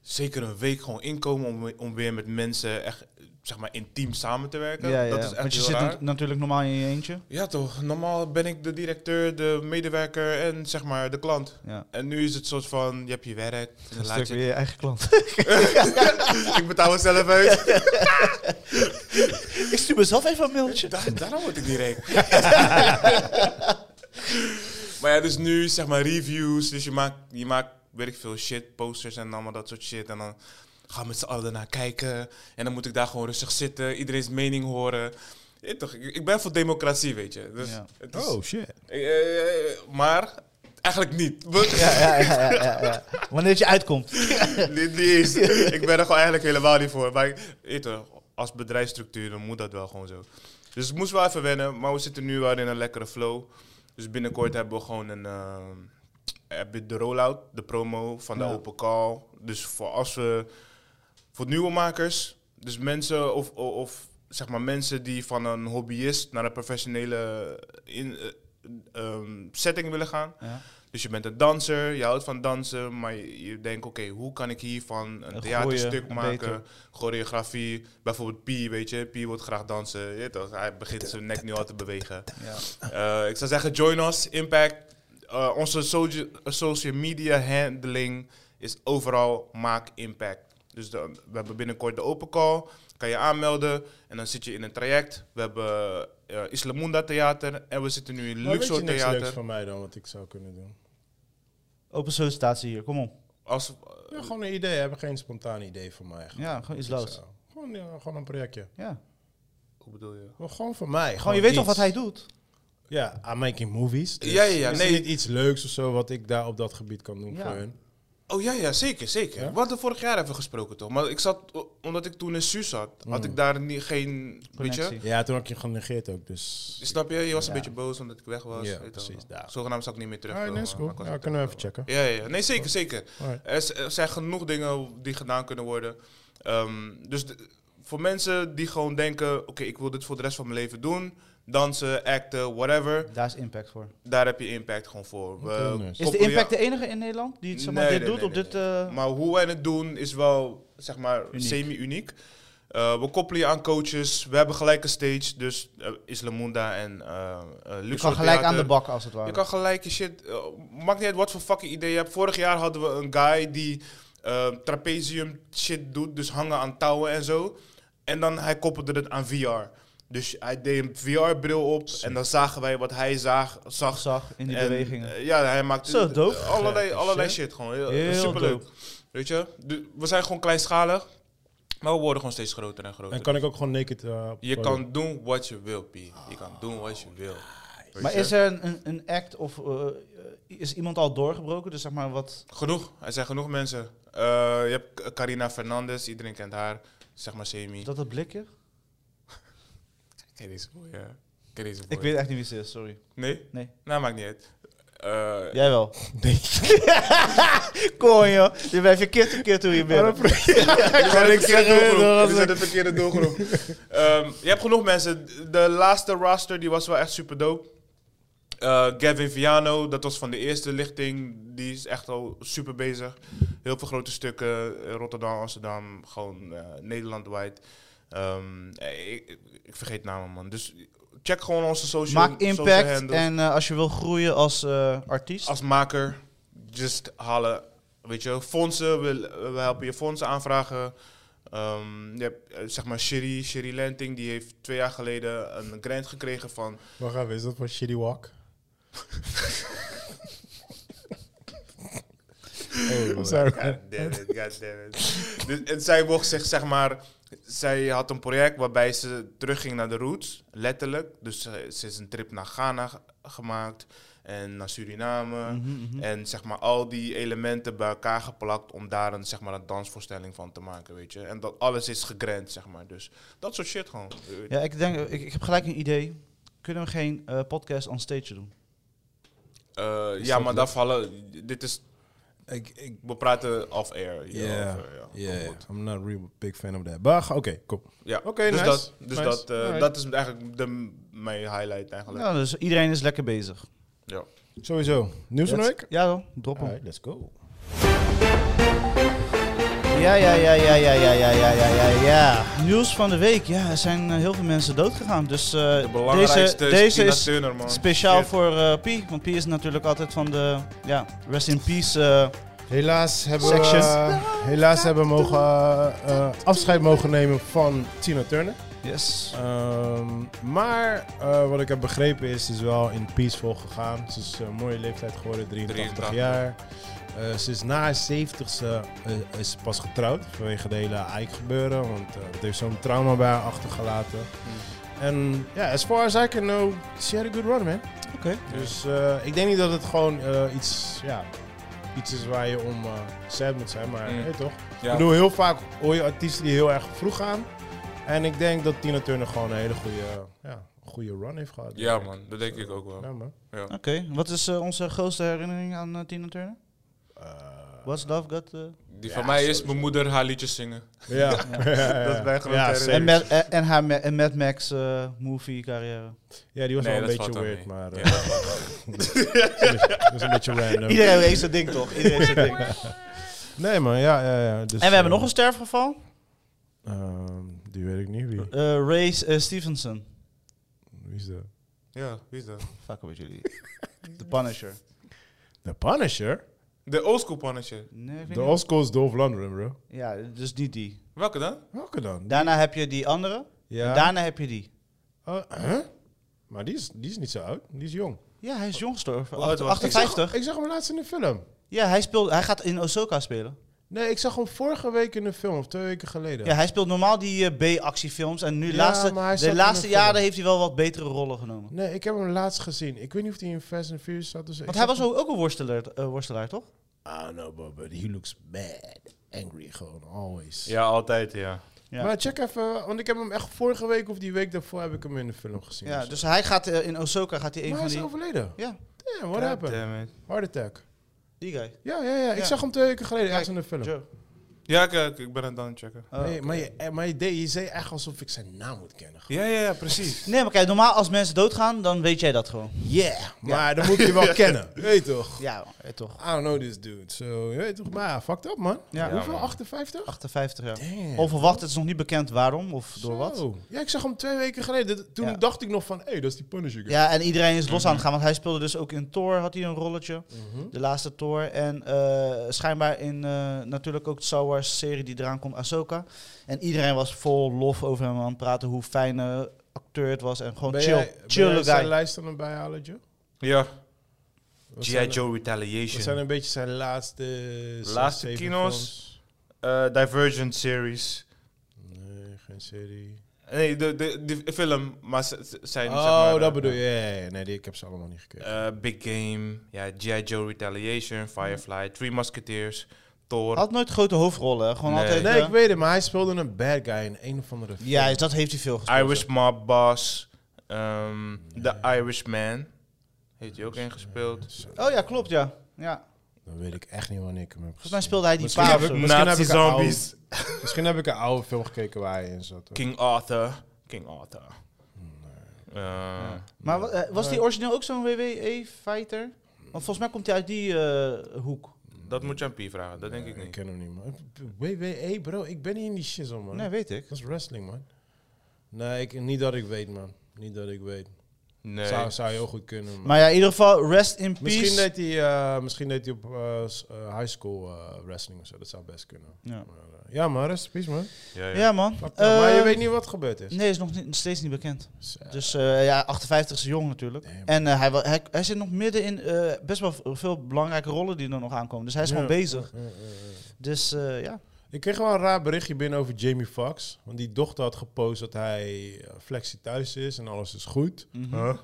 C: zeker een week gewoon inkomen om, om weer met mensen echt zeg maar intiem samen te werken. Dat is echt
B: Want je
C: heel
B: zit
C: raar.
B: nat- natuurlijk normaal in je eentje.
C: Ja toch, normaal ben ik de directeur, de medewerker en zeg maar de klant.
B: Ja.
C: En nu is het soort van, je hebt je werk, en dan
B: Een
C: laat
B: stuk
C: je-
B: weer je eigen klant.
C: ik betaal het zelf uit.
B: ik stuur mezelf even een mailtje.
C: Daar, daarom word ik niet rijk. maar ja, dus nu zeg maar reviews. Dus je maakt, je maakt, weet ik veel, shit, posters en allemaal dat soort shit. En dan gaan we met z'n allen ernaar kijken. En dan moet ik daar gewoon rustig zitten, iedereen's mening horen. Ja, toch, ik, ik ben voor democratie, weet je. Dus
B: Ja.
C: het is-
A: Oh, shit.
C: eh, eh, maar eigenlijk niet.
B: Ja, ja, ja, ja, ja, ja. Wanneer het je uitkomt.
C: niet, niet eens. ik ben er gewoon eigenlijk helemaal niet voor. Maar ik- weet je, als bedrijfsstructuur dan moet dat wel gewoon zo. Dus het moest wel even wennen, maar we zitten nu wel in een lekkere flow. Dus binnenkort hebben we gewoon een, ehm, heb je de rollout, de promo van de
B: Ja.
C: open call. Dus voor als we voor nieuwe makers, dus mensen of, of, of zeg maar mensen die van een hobbyist naar een professionele in, eh, ehm, setting willen gaan.
B: Ja.
C: Dus je bent een danser, je houdt van dansen, maar je, je denkt, oké, hoe kan ik hiervan een
B: Een
C: theaterstuk
B: goeie, een
C: maken,
B: beter.
C: choreografie, bijvoorbeeld Pi, weet je, Pi wil graag dansen, je weet toch, hij begint zijn nek nu al te bewegen.
B: Ja.
C: Eh, ik zou zeggen, join us, Impact, Eh, onze socia- social media handling is overal maak impact. Dus dan, we hebben binnenkort de open call, kan je aanmelden en dan zit je in een traject. We hebben eh Islamunda Theater en we zitten nu in
A: Maar weet je
C: Luxor
A: niks leuks
C: Theater.
A: van mij dan, wat ik zou kunnen doen?
B: Open sollicitatie hier, kom op.
D: Als,
A: Ja, gewoon een idee. Hebben geen spontaan idee van mij.
B: Ja, gewoon iets loods.
A: Zo. Gewoon, ja, gewoon een projectje.
B: Ja.
D: hoe bedoel je?
A: Maar Gewoon voor mij.
B: Gewoon, je weet toch
A: iets.
B: wat hij doet?
A: Ja, I'm making movies. Dus
D: Ja, ja, ja,
A: is
D: nee.
A: er niet iets leuks of zo wat ik daar op dat gebied kan doen
B: Ja.
A: voor hun?
D: Oh ja, ja, zeker, zeker.
A: Ja?
D: We hadden vorig jaar even gesproken, toch? Maar ik zat, o- omdat ik toen in Suus zat,
A: Mm.
D: had ik daar niet, geen, weet
B: Connectie.
D: je...
A: Ja, toen had ik je genegeerd ook, dus...
D: Snap je? Je was
A: Ja.
D: een beetje boos omdat ik weg was.
A: Ja,
D: weet je wel.
A: precies, daar.
D: Zogenaamd zou ik niet meer terug.
A: Ah, nee, is cool. Ja, kunnen we even checken.
D: Ja, ja, ja. nee, zeker, zeker.
A: Alright.
D: Er, z- er zijn genoeg dingen die gedaan kunnen worden. Ehm, dus de- voor mensen die gewoon denken, oké, ik wil dit voor de rest van mijn leven doen. Dansen, acten, whatever.
B: Daar is impact voor.
D: Daar heb je impact gewoon voor. We
A: Oké, nice. Is
B: Is de
D: koppelen-
B: impact de enige in Nederland die het, zeg maar,
D: Nee,
B: dit
D: nee,
B: doet
D: nee,
B: op
D: nee,
B: dit...
D: nee.
B: eh,
D: Maar hoe wij het doen is wel, zeg maar,
B: Uniek.
D: semi-uniek. Eh, we koppelen je aan coaches. We hebben gelijk een stage. Dus eh, Islamunda en eh eh
B: je
D: Luxor
B: kan gelijk aan
D: Theater.
B: de bak, als het ware.
D: Je kan gelijk je shit. eh, maakt niet uit wat voor fucking idee je hebt. Vorig jaar hadden we een guy die eh, trapezium shit doet. Dus hangen aan touwen en zo. En dan hij koppelde het aan VR. Dus hij deed een VR-bril op. En dan zagen wij wat hij zaag, zag.
B: zag in die
D: En,
B: bewegingen.
D: eh, ja, hij maakt
B: Zo, dope.
D: allerlei,
A: Gek,
D: allerlei
A: shit.
D: shit gewoon. Heel, eh,
B: Heel
D: superleuk.
B: dope.
D: Weet je? Du- we zijn gewoon kleinschalig. Maar we worden gewoon steeds groter en groter.
A: En kan ik ook gewoon naked... eh, op
D: je
A: podium?
D: kan doen wat je wil, P. Je kan doen wat je wil. Weet
B: Maar
D: je?
B: is er een, een, een act of eh, eh, is iemand al doorgebroken? Dus zeg maar wat.
D: Genoeg. Er zijn genoeg mensen. Eh, je hebt K- Carina Fernandez, iedereen kent haar. Zeg maar semi.
B: Is dat het blikje?
D: Ken deze boy, ja. Ken deze boy.
B: Ik weet echt niet wie ze is, sorry.
D: Nee?
B: Nee.
D: Nou, maakt niet uit. Eh,
B: Jij wel.
A: Nee.
B: Kom joh, je bent verkeerd verkeerd hoe je bent.
D: Jullie zijn de verkeerde
A: zeggen,
D: doelgroep.
A: dat was
D: Jullie zijn de verkeerde doelgroep. Ehm, je hebt genoeg mensen. De laatste roster die was wel echt super dope. Eh, Gavin Viano, dat was van de eerste lichting. Die is echt al super bezig. Heel veel grote stukken. eh, Rotterdam, Amsterdam, gewoon eh, Nederlandwijd. Ehm, eh, ik, ik vergeet namen, man. Dus check gewoon onze social
B: Maak
D: social
B: impact
D: handles.
B: en eh, als je wil groeien als eh, artiest.
D: Als maker, just halen. Weet je, fondsen, we, we helpen je fondsen aanvragen. Ehm, je hebt eh, zeg maar Sherry, Sherry Lenting, die heeft twee jaar geleden een grant gekregen van...
A: Wacht even, is dat van Shitty Walk? Oh, man.
D: God damn it, god damn it. Dus, en zij mocht zich, zeg maar... Zij had een project waarbij ze terugging naar de roots, letterlijk. Dus eh, ze is een trip naar Ghana ge- gemaakt en naar Suriname.
A: Mhm,
D: En zeg maar al die elementen bij elkaar geplakt om daar een, zeg maar, een dansvoorstelling van te maken, weet je. En dat alles is gegrand, zeg maar. Dus dat soort shit gewoon.
B: Ja, ik denk, ik, ik heb gelijk een idee. Kunnen we geen eh, podcast on stage doen?
D: Eh, ja, maar daar vallen... Dit is...
A: Ik, ik,
D: We praten off-air.
A: ja,
D: hier
A: ja,
D: over, ja. Goed.
A: I'm not a real big fan of that. Maar oké, kom.
D: Ja.
A: Oké,
D: dus
A: nice.
D: dat, dus
A: Nice.
D: dat, eh,
A: Alright.
D: dat is eigenlijk de, mijn highlight eigenlijk.
B: Ja, dus iedereen is lekker bezig.
D: Ja.
A: Sowieso. Nieuws van de week?
B: Ja hoor, drop hem.
A: Alright, let's go.
B: Ja, ja, ja, ja, ja, ja, ja, ja, ja, ja, ja. Nieuws van de week. Ja, er zijn eh, heel veel mensen doodgegaan. Dus eh,
D: De
B: deze,
D: belangrijkste is
B: deze
D: Tina
B: is
D: Turner, man.
B: speciaal
D: Shit.
B: voor eh Pi. Want Pi is natuurlijk altijd van de ja, rest in peace. eh,
A: Helaas hebben we,
B: Section.
A: eh, helaas hebben we mogen, eh, eh, afscheid mogen nemen van Tina Turner.
B: yes.
A: Ehm, maar eh, wat ik heb begrepen is, ze is wel in peaceful gegaan. Ze is een mooie leeftijd geworden, 83
D: 83.
A: jaar. Eh, ze is na haar 70ste eh, is ze pas getrouwd vanwege de hele Ike gebeuren. Want eh, het heeft zo'n trauma bij haar achtergelaten.
B: Hmm.
A: En ja, as far as I can know, she had a good run, man.
B: Oké.
A: Dus eh, ik denk niet dat het gewoon eh, iets, ja, iets is waar je om eh sad moet zijn, maar
B: Hmm.
D: Mm.
A: hey, toch?
D: Ja.
A: Ik bedoel, heel vaak hoor je artiesten die heel erg vroeg gaan. En ik denk dat Tina Turner gewoon een hele goede, eh, ja, goede run heeft gehad.
D: ja, man. Dat denk ik ook wel.
A: Ja, man.
B: Oké, wat is eh, onze grootste herinnering aan eh, Tina Turner?
A: Eh,
B: What's Love Got... eh,
D: Die
A: Ja,
D: van mij is
A: sowieso.
D: mijn moeder haar liedjes zingen.
A: ja. dat
D: is mijn grote
A: ja,
D: herinnering.
A: zeker.
B: en, met, en, en haar Ma- en Mad Max eh, movie carrière.
A: ja, die was
D: Nee,
A: wel
D: dat
A: een beetje
D: valt wel
A: weird,
D: mee.
A: maar...
D: Ja.
A: eh, dat is een beetje random.
B: Iedereen heeft zijn ding toch? Iedereen heeft zijn ding.
A: Nee, man, ja, ja, ja. Dus,
B: En we hebben
A: eh,
B: nog een sterfgeval.
A: ehm, die weet ik niet wie.
B: Eh Ray eh, Stevenson.
A: Wie is dat?
D: Ja, wie is dat?
B: Fuck met jullie. The Punisher.
A: The Punisher?
D: De oldschool pannetje.
B: Nee, ik weet
A: De
B: niet.
A: oldschool is Dolph Lundgren, bro.
B: Ja, dus niet die.
D: Welke dan?
A: Welke dan?
B: Daarna heb je die andere.
A: Ja.
B: En daarna heb je die.
A: Oh, huh? Maar die is, die is niet zo oud. Die is jong.
B: Ja, hij is jong gestorven.
D: Hoe oud was hij?
B: 58.
A: Ik zag hem laatst in de film.
B: Ja, hij, speelt, hij gaat in Osaka spelen.
A: Nee, ik zag hem vorige week in een film, of twee weken geleden.
B: Ja, hij speelt normaal die eh, B-actiefilms. En nu
A: Ja,
B: laatste,
A: maar hij zat
B: de
A: in
B: laatste
A: een film.
B: jaren heeft hij wel wat betere rollen genomen.
A: Nee, ik heb hem laatst gezien. Ik weet niet of hij in Fast and Furious zat. Dus
B: Want hij was ook ook een worstelaar, eh, worstelaar toch?
A: Ah, no, but, but he looks mad. Angry gewoon, always.
C: Ja, altijd, ja.
B: Ja.
A: Maar check even, want ik heb hem echt vorige week of die week daarvoor heb ik hem in de film gezien.
B: Ja,
A: of zo.
B: dus hij gaat eh, in Osaka gaat hij een
A: maar
B: van
A: hij is
B: die...
A: overleden.
B: Ja,
A: Damn, what
C: God
A: happened?
C: damn it.
A: Heart attack.
B: die guy.
A: Ja, ja, ja. Ik
B: Ja.
A: zag hem twee weken geleden ergens in de film.
B: Joe.
C: Ja, kijk, ik ben het aan het checken.
B: Oh.
A: Nee, maar, je, eh, maar je, deed, je zei echt alsof ik zijn naam moet kennen.
C: Ja, ja, ja, precies.
B: Nee, maar kijk, normaal als mensen doodgaan, dan weet jij dat gewoon.
A: Yeah, maar dan moet je wel kennen. Weet je toch?
B: Ja, eh, toch.
A: I don't know this dude. So, je weet toch? Maar ja, fucked up, man.
B: Ja.
C: Ja,
A: Hoeveel?
C: man.
A: 58?
B: 58 jaar.
A: Damn.
B: Onverwacht, het is nog niet bekend waarom of door wat.
A: Zo. Ja, ik zag hem twee weken geleden. Dit- Toen
B: Ja.
A: dacht ik nog van, hé, hey, dat is die Punisher. guy.
B: Ja, en iedereen is los aan het
A: Mhm.
B: gaan, want hij speelde dus ook in Thor, had hij een rolletje. De laatste Thor. En eh, schijnbaar in eh, natuurlijk ook de Star Wars serie die eraan komt, Ahsoka. En iedereen was vol lof over hem aan het praten, hoe fijne acteur het was. En gewoon
A: Ben
B: chill,
A: jij- ben jij
B: chille
A: zijn
B: guy.
A: lijst dan erbij halen, Joe?
C: Ja.
A: Wat
C: G.I.
A: zijn-
C: Joe
A: Wat zijn
C: Retaliation.
A: een beetje zijn laatste... zes,
C: Laatste
A: zeven
C: kino's?
A: films?
C: Eh, Divergent series.
A: Nee, geen serie.
C: Nee, de, de, de film, maar ze- ze zijn...
A: oh,
C: zeg maar,
A: dat
C: eh,
A: bedoel je. Ja, ja, ja. Nee, die, ik heb ze allemaal niet gekeken.
C: eh, Big Game, ja, G.I. Joe Retaliation, Firefly, Three Musketeers, Thor.
B: Had nooit grote hoofdrollen, hè. gewoon
C: Nee.
B: altijd...
A: nee,
B: eh,
A: ik weet het, maar hij speelde een bad guy in een of andere film.
B: ja, dat heeft hij veel gespeeld.
C: Irish Mob Boss, ehm The Irishman. Heeft hij ook ingespeeld.
A: Ah.
B: Oh ja, klopt, ja. ja.
A: Dan weet ik echt niet wanneer ik hem heb gezien.
B: Volgens mij speelde hij die
A: Misschien
B: paar of
A: heb
B: zo.
A: ik- misschien heb
C: Nazi
A: ik een oude-
C: Zombies,
A: Misschien heb ik een oude film gekeken waar hij in zat. hoor.
C: King Arthur. King Arthur. Eh,
B: Maar wa- eh, was die origineel ook zo'n WWE-fighter? Want volgens mij komt hij uit die eh, hoek.
C: Dat moet je aan P vragen, dat denk ik
A: Nee, Ik
C: niet.
A: ken hem niet, man. WWE, bro. Ik ben niet in die shizzle, man.
B: Nee, weet ik.
A: Dat is wrestling, man. Nee, ik, niet dat ik weet, man. Niet dat ik weet.
C: Nee.
A: Zou, zou heel goed kunnen, man.
B: Maar ja, in ieder geval, rest in peace.
A: Misschien deed, hij, eh, misschien deed hij op eh, s- eh, high school eh, wrestling of zo. Dat zou best kunnen.
B: ja.
A: Maar, eh, ja, man. Rest in peace, man.
C: Ja, ja.
B: ja, man.
A: Fuck dat. maar je
B: Eh,
A: weet niet wat gebeurd is.
B: Nee, is nog niet, steeds niet bekend.
A: Dus, eh,
B: Dus eh, ja, 58 is jong natuurlijk.
A: Damn.
B: En eh, hij, wa- hij, hij zit nog midden in eh, best wel v- veel belangrijke rollen die er nog aankomen. Dus hij is
A: Ja.
B: gewoon bezig.
A: eh, eh, eh.
B: Dus eh, ja.
A: Ik kreeg wel een raar berichtje binnen over Jamie Foxx. Want die dochter had gepost dat hij eh, flexie thuis is en alles is goed.
B: Mhm.
C: Huh?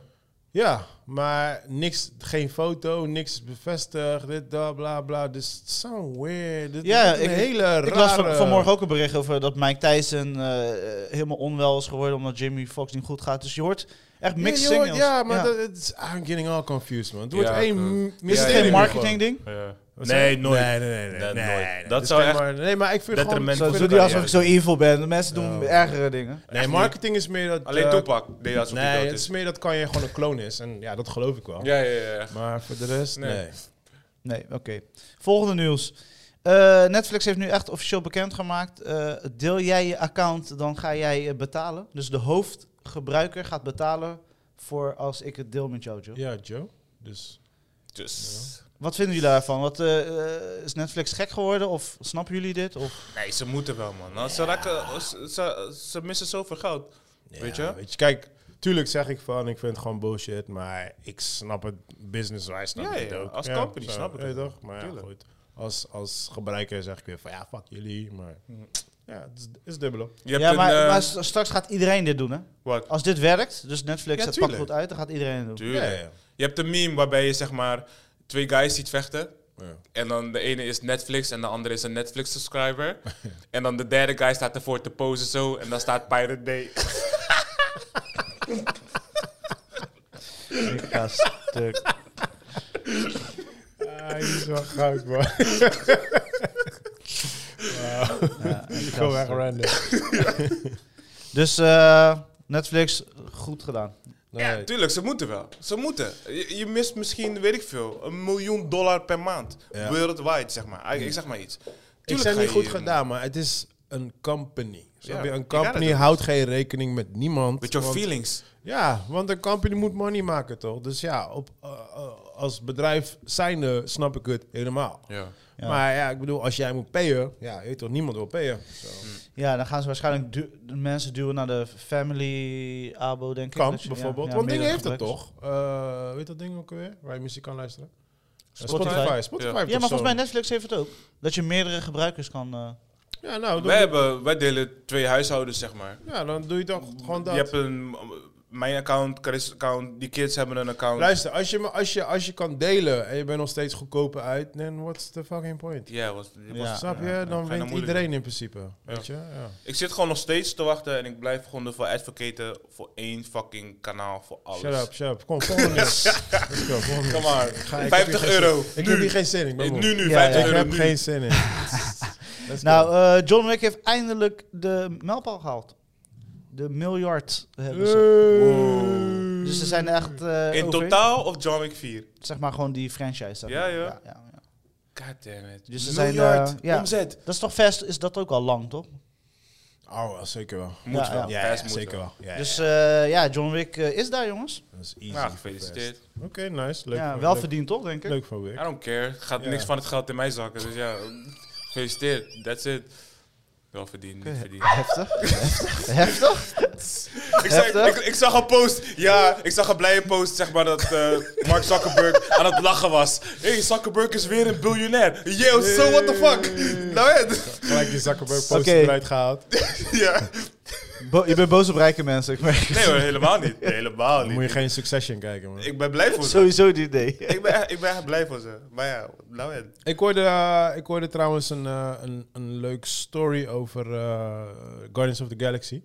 A: Ja, maar niks, geen foto, niks is bevestigd, dit, dat, bla, bla. Dus it's so weird. Dit,
B: Ja,
A: dit is een
B: ik-
A: hele rare...
B: Ik las van, vanmorgen ook een bericht over dat Mike Tyson eh, helemaal onwel is geworden omdat Jimmy Fox niet goed gaat. Dus je hoort echt
A: Ja,
B: mixed
A: je hoort-
B: signals.
A: Ja, maar Dat, het is- I'm getting all confused, man. Het wordt
C: Ja,
A: één
C: klopt.
A: m-
B: Is het
A: mysterie
B: geen
A: nu
B: marketing
A: gewoon.
B: ding?
C: Ja.
A: Wat
C: Nee,
A: zeg-
C: nooit.
A: Nee, nee, nee. nee,
C: Dat
A: nee,
C: nooit.
A: nee.
C: Dat
A: is
C: zou
A: geen
C: echt
A: mar- Nee, maar ik vind gewoon...
C: detriment
B: Zo,
C: voor de
B: doe niet alsof
C: carrière.
B: ik zo evil ben. Mensen doen
A: Oh.
B: ergere dingen.
A: Nee, marketing is meer dat...
C: Alleen
A: eh,
C: Toepak deed alsof hij
A: Nee,
C: dood
A: het is
C: is.
A: meer dat kan je gewoon een clone is. En ja, dat geloof ik wel.
C: Ja, ja, ja.
A: Maar voor de rest,
C: Nee.
A: nee.
B: Nee, oké. Volgende nieuws. Eh, Netflix heeft nu echt officieel bekendgemaakt. eh, deel jij je account, dan ga jij eh, betalen. Dus de hoofdgebruiker gaat betalen voor als ik het deel met jou, Joe.
A: Ja, Joe. Dus
C: Dus...
B: Wat vinden jullie daarvan? Wat, eh, eh, is Netflix gek geworden? Of snappen jullie dit? Of,
C: Nee, ze moeten wel, man. Nou, Ze, raken, ze, ze, ze missen zoveel geld. Weet je?
A: Weet je, kijk, tuurlijk zeg ik van, ik vind het gewoon bullshit, maar ik snap het business-wise. snap
C: Ja,
A: ik het
C: ja,
A: ook.
C: als company snap ik
A: weet je
C: het wel.
A: toch? Maar ja,
C: Tuurlijk.
A: goed. Als, als gebruiker zeg ik weer van, ja, fuck jullie, maar
C: Mm.
A: ja, het is, het is dubbel. op.
C: Je hebt
B: ja, maar,
C: een, eh,
B: maar s- straks gaat iedereen dit doen, hè?
C: wat?
B: Als dit werkt, dus Netflix,
A: Ja,
B: het pakt
A: tuurlijk.
B: goed uit, dan gaat iedereen het doen.
C: Tuurlijk.
A: Ja, ja.
C: Je hebt een meme waarbij je zeg maar twee guys ziet vechten.
A: Ja.
C: En dan de ene is Netflix en de andere is een Netflix-subscriber. en dan de derde guy staat ervoor te posen zo. En dan staat Pirate Bay.
B: Ik ga stuk.
A: Ah, die is wel goud, man.
B: Ja, ik ga
A: Gewoon echt
B: stuk.
A: random.
B: Dus eh, Netflix, goed gedaan.
C: Ja,
A: Nee,
C: tuurlijk, ze moeten wel. Ze moeten. Je, je mist misschien, weet ik veel, een miljoen dollar per maand.
A: Ja.
C: Wereldwijd, zeg maar. Ik, ik zeg maar iets.
A: ik
C: Tuurlijk
A: zeg
C: ga
A: niet
C: je
A: goed
C: hier-
A: gedaan, maar het is een company. Snap je?
C: je
A: Een
C: kan het
A: company
C: ook.
A: houdt geen rekening met niemand.
C: Met your
A: want-
C: feelings.
A: Ja, want een company moet money maken, toch? Dus ja, op, eh, eh, als bedrijf zijnde snap ik het helemaal.
C: Ja.
B: Ja.
A: Maar ja, ik bedoel, als jij moet payen, ja, je weet toch, niemand wil payen. Zo.
C: Hm.
B: Ja, dan gaan ze waarschijnlijk du- de mensen duwen naar de family abo, denk ik.
A: Kan
B: Dat je- ja,
A: bijvoorbeeld,
B: ja,
A: want Dingen
B: meerdere
A: heeft het
B: gebruikers.
A: toch? Eh, weet dat ding ook weer? Waar je muziek kan luisteren? Spotify. Spotify, Spotify
C: Ja.
A: heeft
B: Ja, maar
A: toch
B: volgens mij
A: zo'n-
B: Netflix heeft het ook. Dat je meerdere gebruikers kan... eh,
A: Ja, nou, doe,
C: Wij, hebben, wij delen twee huishoudens, zeg maar.
A: ja, dan doe je toch gewoon dat.
C: Hm, Je hebt een, mijn account, Chris' account, die kids hebben een account.
A: Luister, als je, me- als, je, als je kan delen en je bent nog steeds goedkoper uit, then what's the fucking point?
C: Ja, was, was-
B: Ja.
A: Snap je?
C: ja, ga je
A: dan
C: nou
A: wint
C: moeilijk
A: iedereen in principe. Weet je? Ja.
C: Ik zit gewoon nog steeds te wachten en ik blijf gewoon ervoor advocaten voor één fucking kanaal voor alles.
A: Shut up, shut up. Kom, volgende nieuws. Let's go, volgende
C: Kom
A: nieuws.
C: maar.
A: Ga- ik heb hier
C: 50
A: geen
C: euro.
A: zin- Ik
C: nu.
A: heb hier geen zin in. Ik ben moe.
C: Nee, nu, nu,
B: Ja,
C: 50
B: ja.
A: Ik
C: euro
A: heb
C: nu.
A: geen zin in. Let's go.
B: Nou, eh, John Wick heeft eindelijk de mijlpaal gehaald. De miljard hebben ze.
A: Wow.
B: Dus ze zijn echt... eh,
C: In
B: over-
C: totaal of John Wick 4?
B: Zeg maar gewoon die franchise. zeg
C: Ja,
B: maar.
C: ja.
B: ja, ja.
C: God damn it.
B: Dus ze zijn,
C: Miljard
B: eh, ja.
C: omzet.
B: Dat is toch vast, is dat ook al lang, toch?
A: Oh, zeker wel.
C: Moet
B: Ja,
C: wel.
B: ja.
A: Ja,
C: Prijs
A: ja,
C: moet
A: zeker
C: wel.
A: wel. Ja,
B: Dus eh, ja, John Wick eh, is daar, jongens.
A: ja. Dat is easy.
C: Nou, gefeliciteerd.
A: Oké, nice. Leuk.
B: ja,
A: voor-
B: wel
A: leuk-
B: verdiend, toch, denk ik?
A: Leuk voor
C: I
A: Wick.
C: don't care. Gaat
A: Ja.
C: niks van het geld in mijn zakken. Dus ja, gefeliciteerd. That's it. Wel verdiend, niet verdiend.
B: Heftig. Heftig?
C: Ik, zei, ik,
B: Heftig?
C: ik zag een post, ja, ik zag een blije post, zeg maar, dat eh, Mark Zuckerberg aan het lachen was. Hé, hey, Zuckerberg is weer een biljonair. Yo, so what the fuck? Nou ja, d-
A: Gelijk die Zuckerberg poster
B: Oké.
A: eruit gehaald.
C: ja.
B: Bo- je bent boos op rijke mensen, ik merk
C: Nee hoor, helemaal niet. Nee, helemaal
A: Dan moet je
C: niet.
A: geen Succession kijken, man.
C: Ik ben blij voor ze.
B: Sowieso die idee.
C: Ik ben, echt- ik ben echt blij voor ze. Maar ja, nou ja.
A: Ik hoorde, eh, ik hoorde trouwens een, eh, een, een leuk story over eh, Guardians of the Galaxy.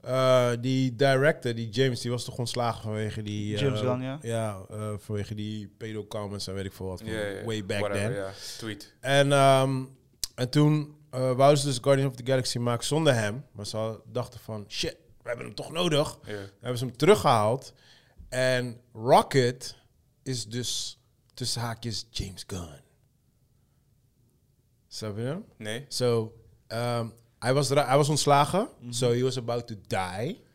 A: Eh, die director, die James, die was toch ontslagen vanwege die... eh,
B: James Gunn, ja.
A: eh, vanwege die pedo comments en weet ik veel wat. van
C: Ja, ja, ja.
A: Way back
C: Whatever,
A: then.
C: ja. Tweet.
A: En, ehm, en toen eh wouden ze dus Guardians of the Galaxy maken zonder hem. Maar ze hadden- dachten van, shit, we hebben hem toch nodig.
C: Ja.
A: hebben ze hem teruggehaald. En Rocket is dus tussen haakjes James Gunn. Snap je hem?
C: Nee.
A: So, um, hij, was, ra- hij was ontslagen.
C: Mhm.
A: So he was about to die.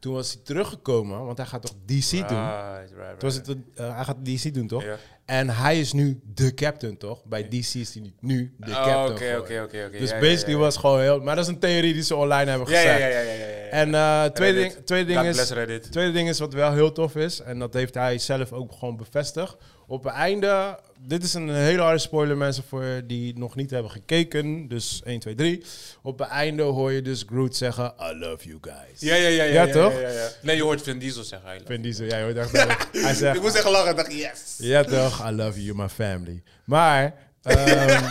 A: Toen was hij teruggekomen, want hij gaat toch DC doen?
C: Ah, right, right,
A: Toen was
C: right.
A: het, eh, hij gaat DC doen, toch?
C: Ja.
A: En hij is nu de captain, toch? Bij DC is hij nu, nu de
C: Oh,
A: captain.
C: oké,
A: geworden.
C: oké, oké, oké.
A: Dus
C: Ja, ja,
A: basically
C: ja, ja.
A: was gewoon heel... Maar dat is een theorie die ze online hebben
C: Ja,
A: gezet.
C: ja, ja, ja, ja, ja, ja.
A: En eh, tweede,
C: Reddit.
A: ding, tweede,
C: God
A: ding
C: bless
A: is,
C: Reddit.
A: tweede ding is wat wel heel tof is, en dat heeft hij zelf ook gewoon bevestigd. Op het einde, dit is een hele harde spoiler mensen voor die nog niet hebben gekeken, dus 1, 2, 3. Op het einde hoor je dus Groot zeggen, I love you guys.
C: Ja, ja, ja, ja.
A: Ja, toch?
C: ja, ja. Nee, je hoort Vin Diesel zeggen
A: Ik
C: eigenlijk.
A: vind die zo, jij hoort echt wel- Hij zegt,
C: Ik moest echt lachen, ik dacht yes.
A: ja toch, I love you, you're my family. Maar, ehm,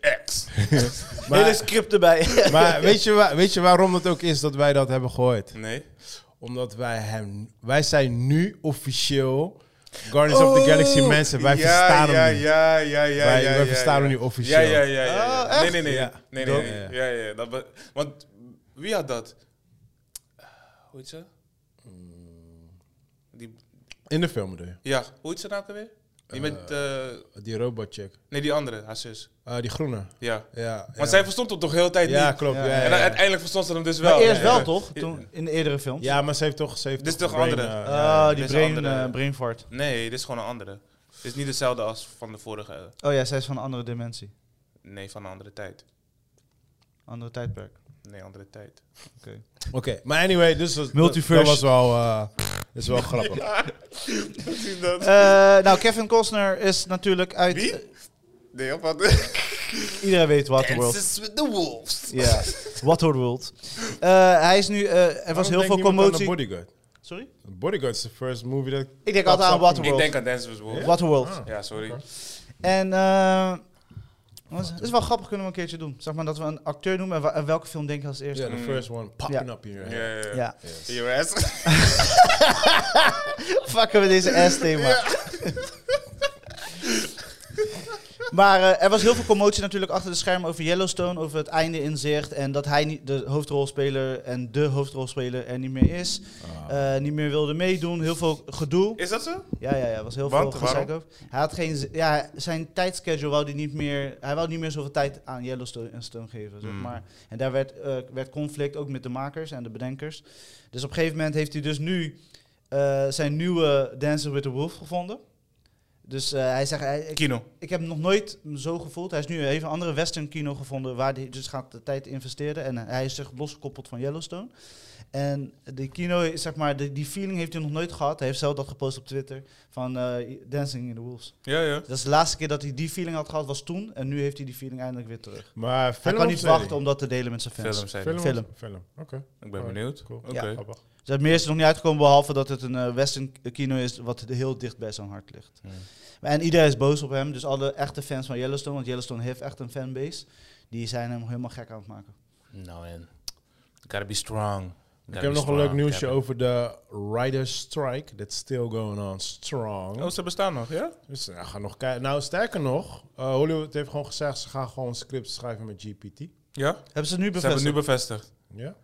C: Ex.
A: Maar-
B: Hele script erbij.
A: maar weet, je wa- weet je waarom dat ook is dat wij dat hebben gehoord?
C: Nee.
A: Omdat wij hem... Wij zijn nu officieel Guardians of the Galaxy mensen. Wij
C: Oh, ja,
A: verstaan
C: ja,
A: hem nu.
C: Ja, ja, ja,
A: Wij-
C: ja,
A: wij
C: ja,
A: verstaan hem
C: ja.
A: nu officieel. Ah,
C: Ja, ja, ja. ja,
B: Oh,
C: ja. nee, nee, nee.
A: Ja.
C: Nee, nee,
A: Dope.
C: nee. Ja, ja. Dat be- want wie had dat? Eh, Hoe heet ze? Die,
A: In de film bedoel je?
C: ja, hoe heet ze nou ook alweer? Die met, eh,
A: Die robotcheck.
C: nee, die andere, haar zus.
A: Eh die groene.
C: Ja.
A: Ja,
C: Want
A: ja.
C: zij verstond hem toch de hele tijd
A: Ja,
C: niet?
A: klopt. Ja,
B: Ja.
A: ja,
C: En
A: ja.
C: dan uiteindelijk verstond ze hem dus wel.
B: Maar eerst
C: Ja,
B: wel,
C: ja.
B: toch? Toen, in de eerdere films.
A: Ja, maar ze heeft toch... Ze heeft
C: Dit is toch
A: brain,
C: andere? Ah.
A: eh,
B: Oh,
A: ja.
B: die
C: deze
B: brain,
C: andere-
B: eh, brain fart.
C: Nee, dit is gewoon een andere. Dit is niet dezelfde als van de vorige. eh,
B: Oh ja, zij is van een andere dimensie.
C: Nee, van een andere tijd.
B: Andere tijdperk.
C: Nee, andere tijd.
B: Oké.
A: Oké, maar anyway. Dus dat,
B: Multiverse.
A: Dat was wel... eh dat is wel grappig.
C: dat?
B: Eh, nou, Kevin Costner is natuurlijk uit... Eh,
C: Wie? Nee, of wat?
B: Iedereen weet Waterworld.
C: Dances with the Wolves.
B: Ja, Waterworld. Eh hij is nu... eh, er was heel veel commotie...
A: Bodyguard.
B: Sorry?
A: Bodyguard is de first movie dat...
B: Ik denk altijd aan
C: Ik
B: Waterworld.
C: denk aan Dances with the Wolves.
B: Waterworld.
C: Ja, sorry.
B: En eh het is wel grappig, kunnen we een keertje doen. Zeg maar dat we een acteur noemen en, wa- en welke film denk je als
A: Ja,
B: eerste?
A: the
C: Mm.
A: first one popping up in your head.
C: Ja, ja, ja.
B: Ja.
C: In your ass.
B: Fucken we deze ass-thema. maar eh, er was heel veel commotie natuurlijk achter de schermen over Yellowstone, over het einde in zicht. En dat hij niet de hoofdrolspeler en de hoofdrolspeler er niet meer is.
A: Ah.
B: Eh, niet meer wilde meedoen. Heel veel gedoe.
C: Is dat zo?
B: Ja, ja, ja. Er was heel
C: Want,
B: veel gezeik
C: waarom?
B: over. Hij had geen... z- Ja, zijn tijdschedule wou hij niet meer... Hij wou niet meer zoveel tijd aan Yellowstone en Stone geven, zeg
C: Hmm.
B: maar. En daar werd, eh, werd conflict ook met de makers en de bedenkers. Dus op een gegeven moment heeft hij dus nu eh, zijn nieuwe Dancer with the Wolf gevonden. Dus eh, hij zegt, hij- ik,
C: Kino.
B: ik heb nog nooit me zo gevoeld. Hij is nu even een andere western kino gevonden waar hij dus gaat de tijd investeren. En hij is zich losgekoppeld van Yellowstone. En die kino, is, zeg maar, die, die feeling heeft hij nog nooit gehad. Hij heeft zelf dat gepost op Twitter van eh, Dancing in the Wolves.
C: Ja, ja.
B: Dat is de laatste keer dat hij die feeling had gehad, was toen. En nu heeft hij die feeling eindelijk weer terug.
A: Maar
B: Hij
A: film
B: kan
A: of
B: niet
A: serie?
B: wachten om dat te delen met zijn fans.
C: Film, zijn.
A: Film. of-
B: Film.
A: Film, oké.
C: Ik ben benieuwd.
A: Cool.
C: Oké.
B: Ja.
A: Grappig.
B: Dus het meer is er nog niet uitgekomen, behalve dat het een eh, western kino is wat heel dicht bij zijn hart ligt.
C: Ja.
B: En iedereen is boos op hem, dus alle echte fans van Yellowstone, want Yellowstone heeft echt een fanbase, die zijn hem helemaal gek aan het maken.
C: Nou en. Gotta be strong.
A: Ik heb nog een leuk nieuwsje over de Riders Strike. That's still going on strong.
C: Oh, ze bestaan nog, ja?
A: Dus nou, gaan nog kijken. Nou, sterker nog, eh, Hollywood heeft gewoon gezegd ze gaan gewoon scripts schrijven met GPT.
C: Ja?
B: Hebben ze het nu
C: Ze hebben
B: bevestigd?
C: het nu bevestigd.
A: Ja.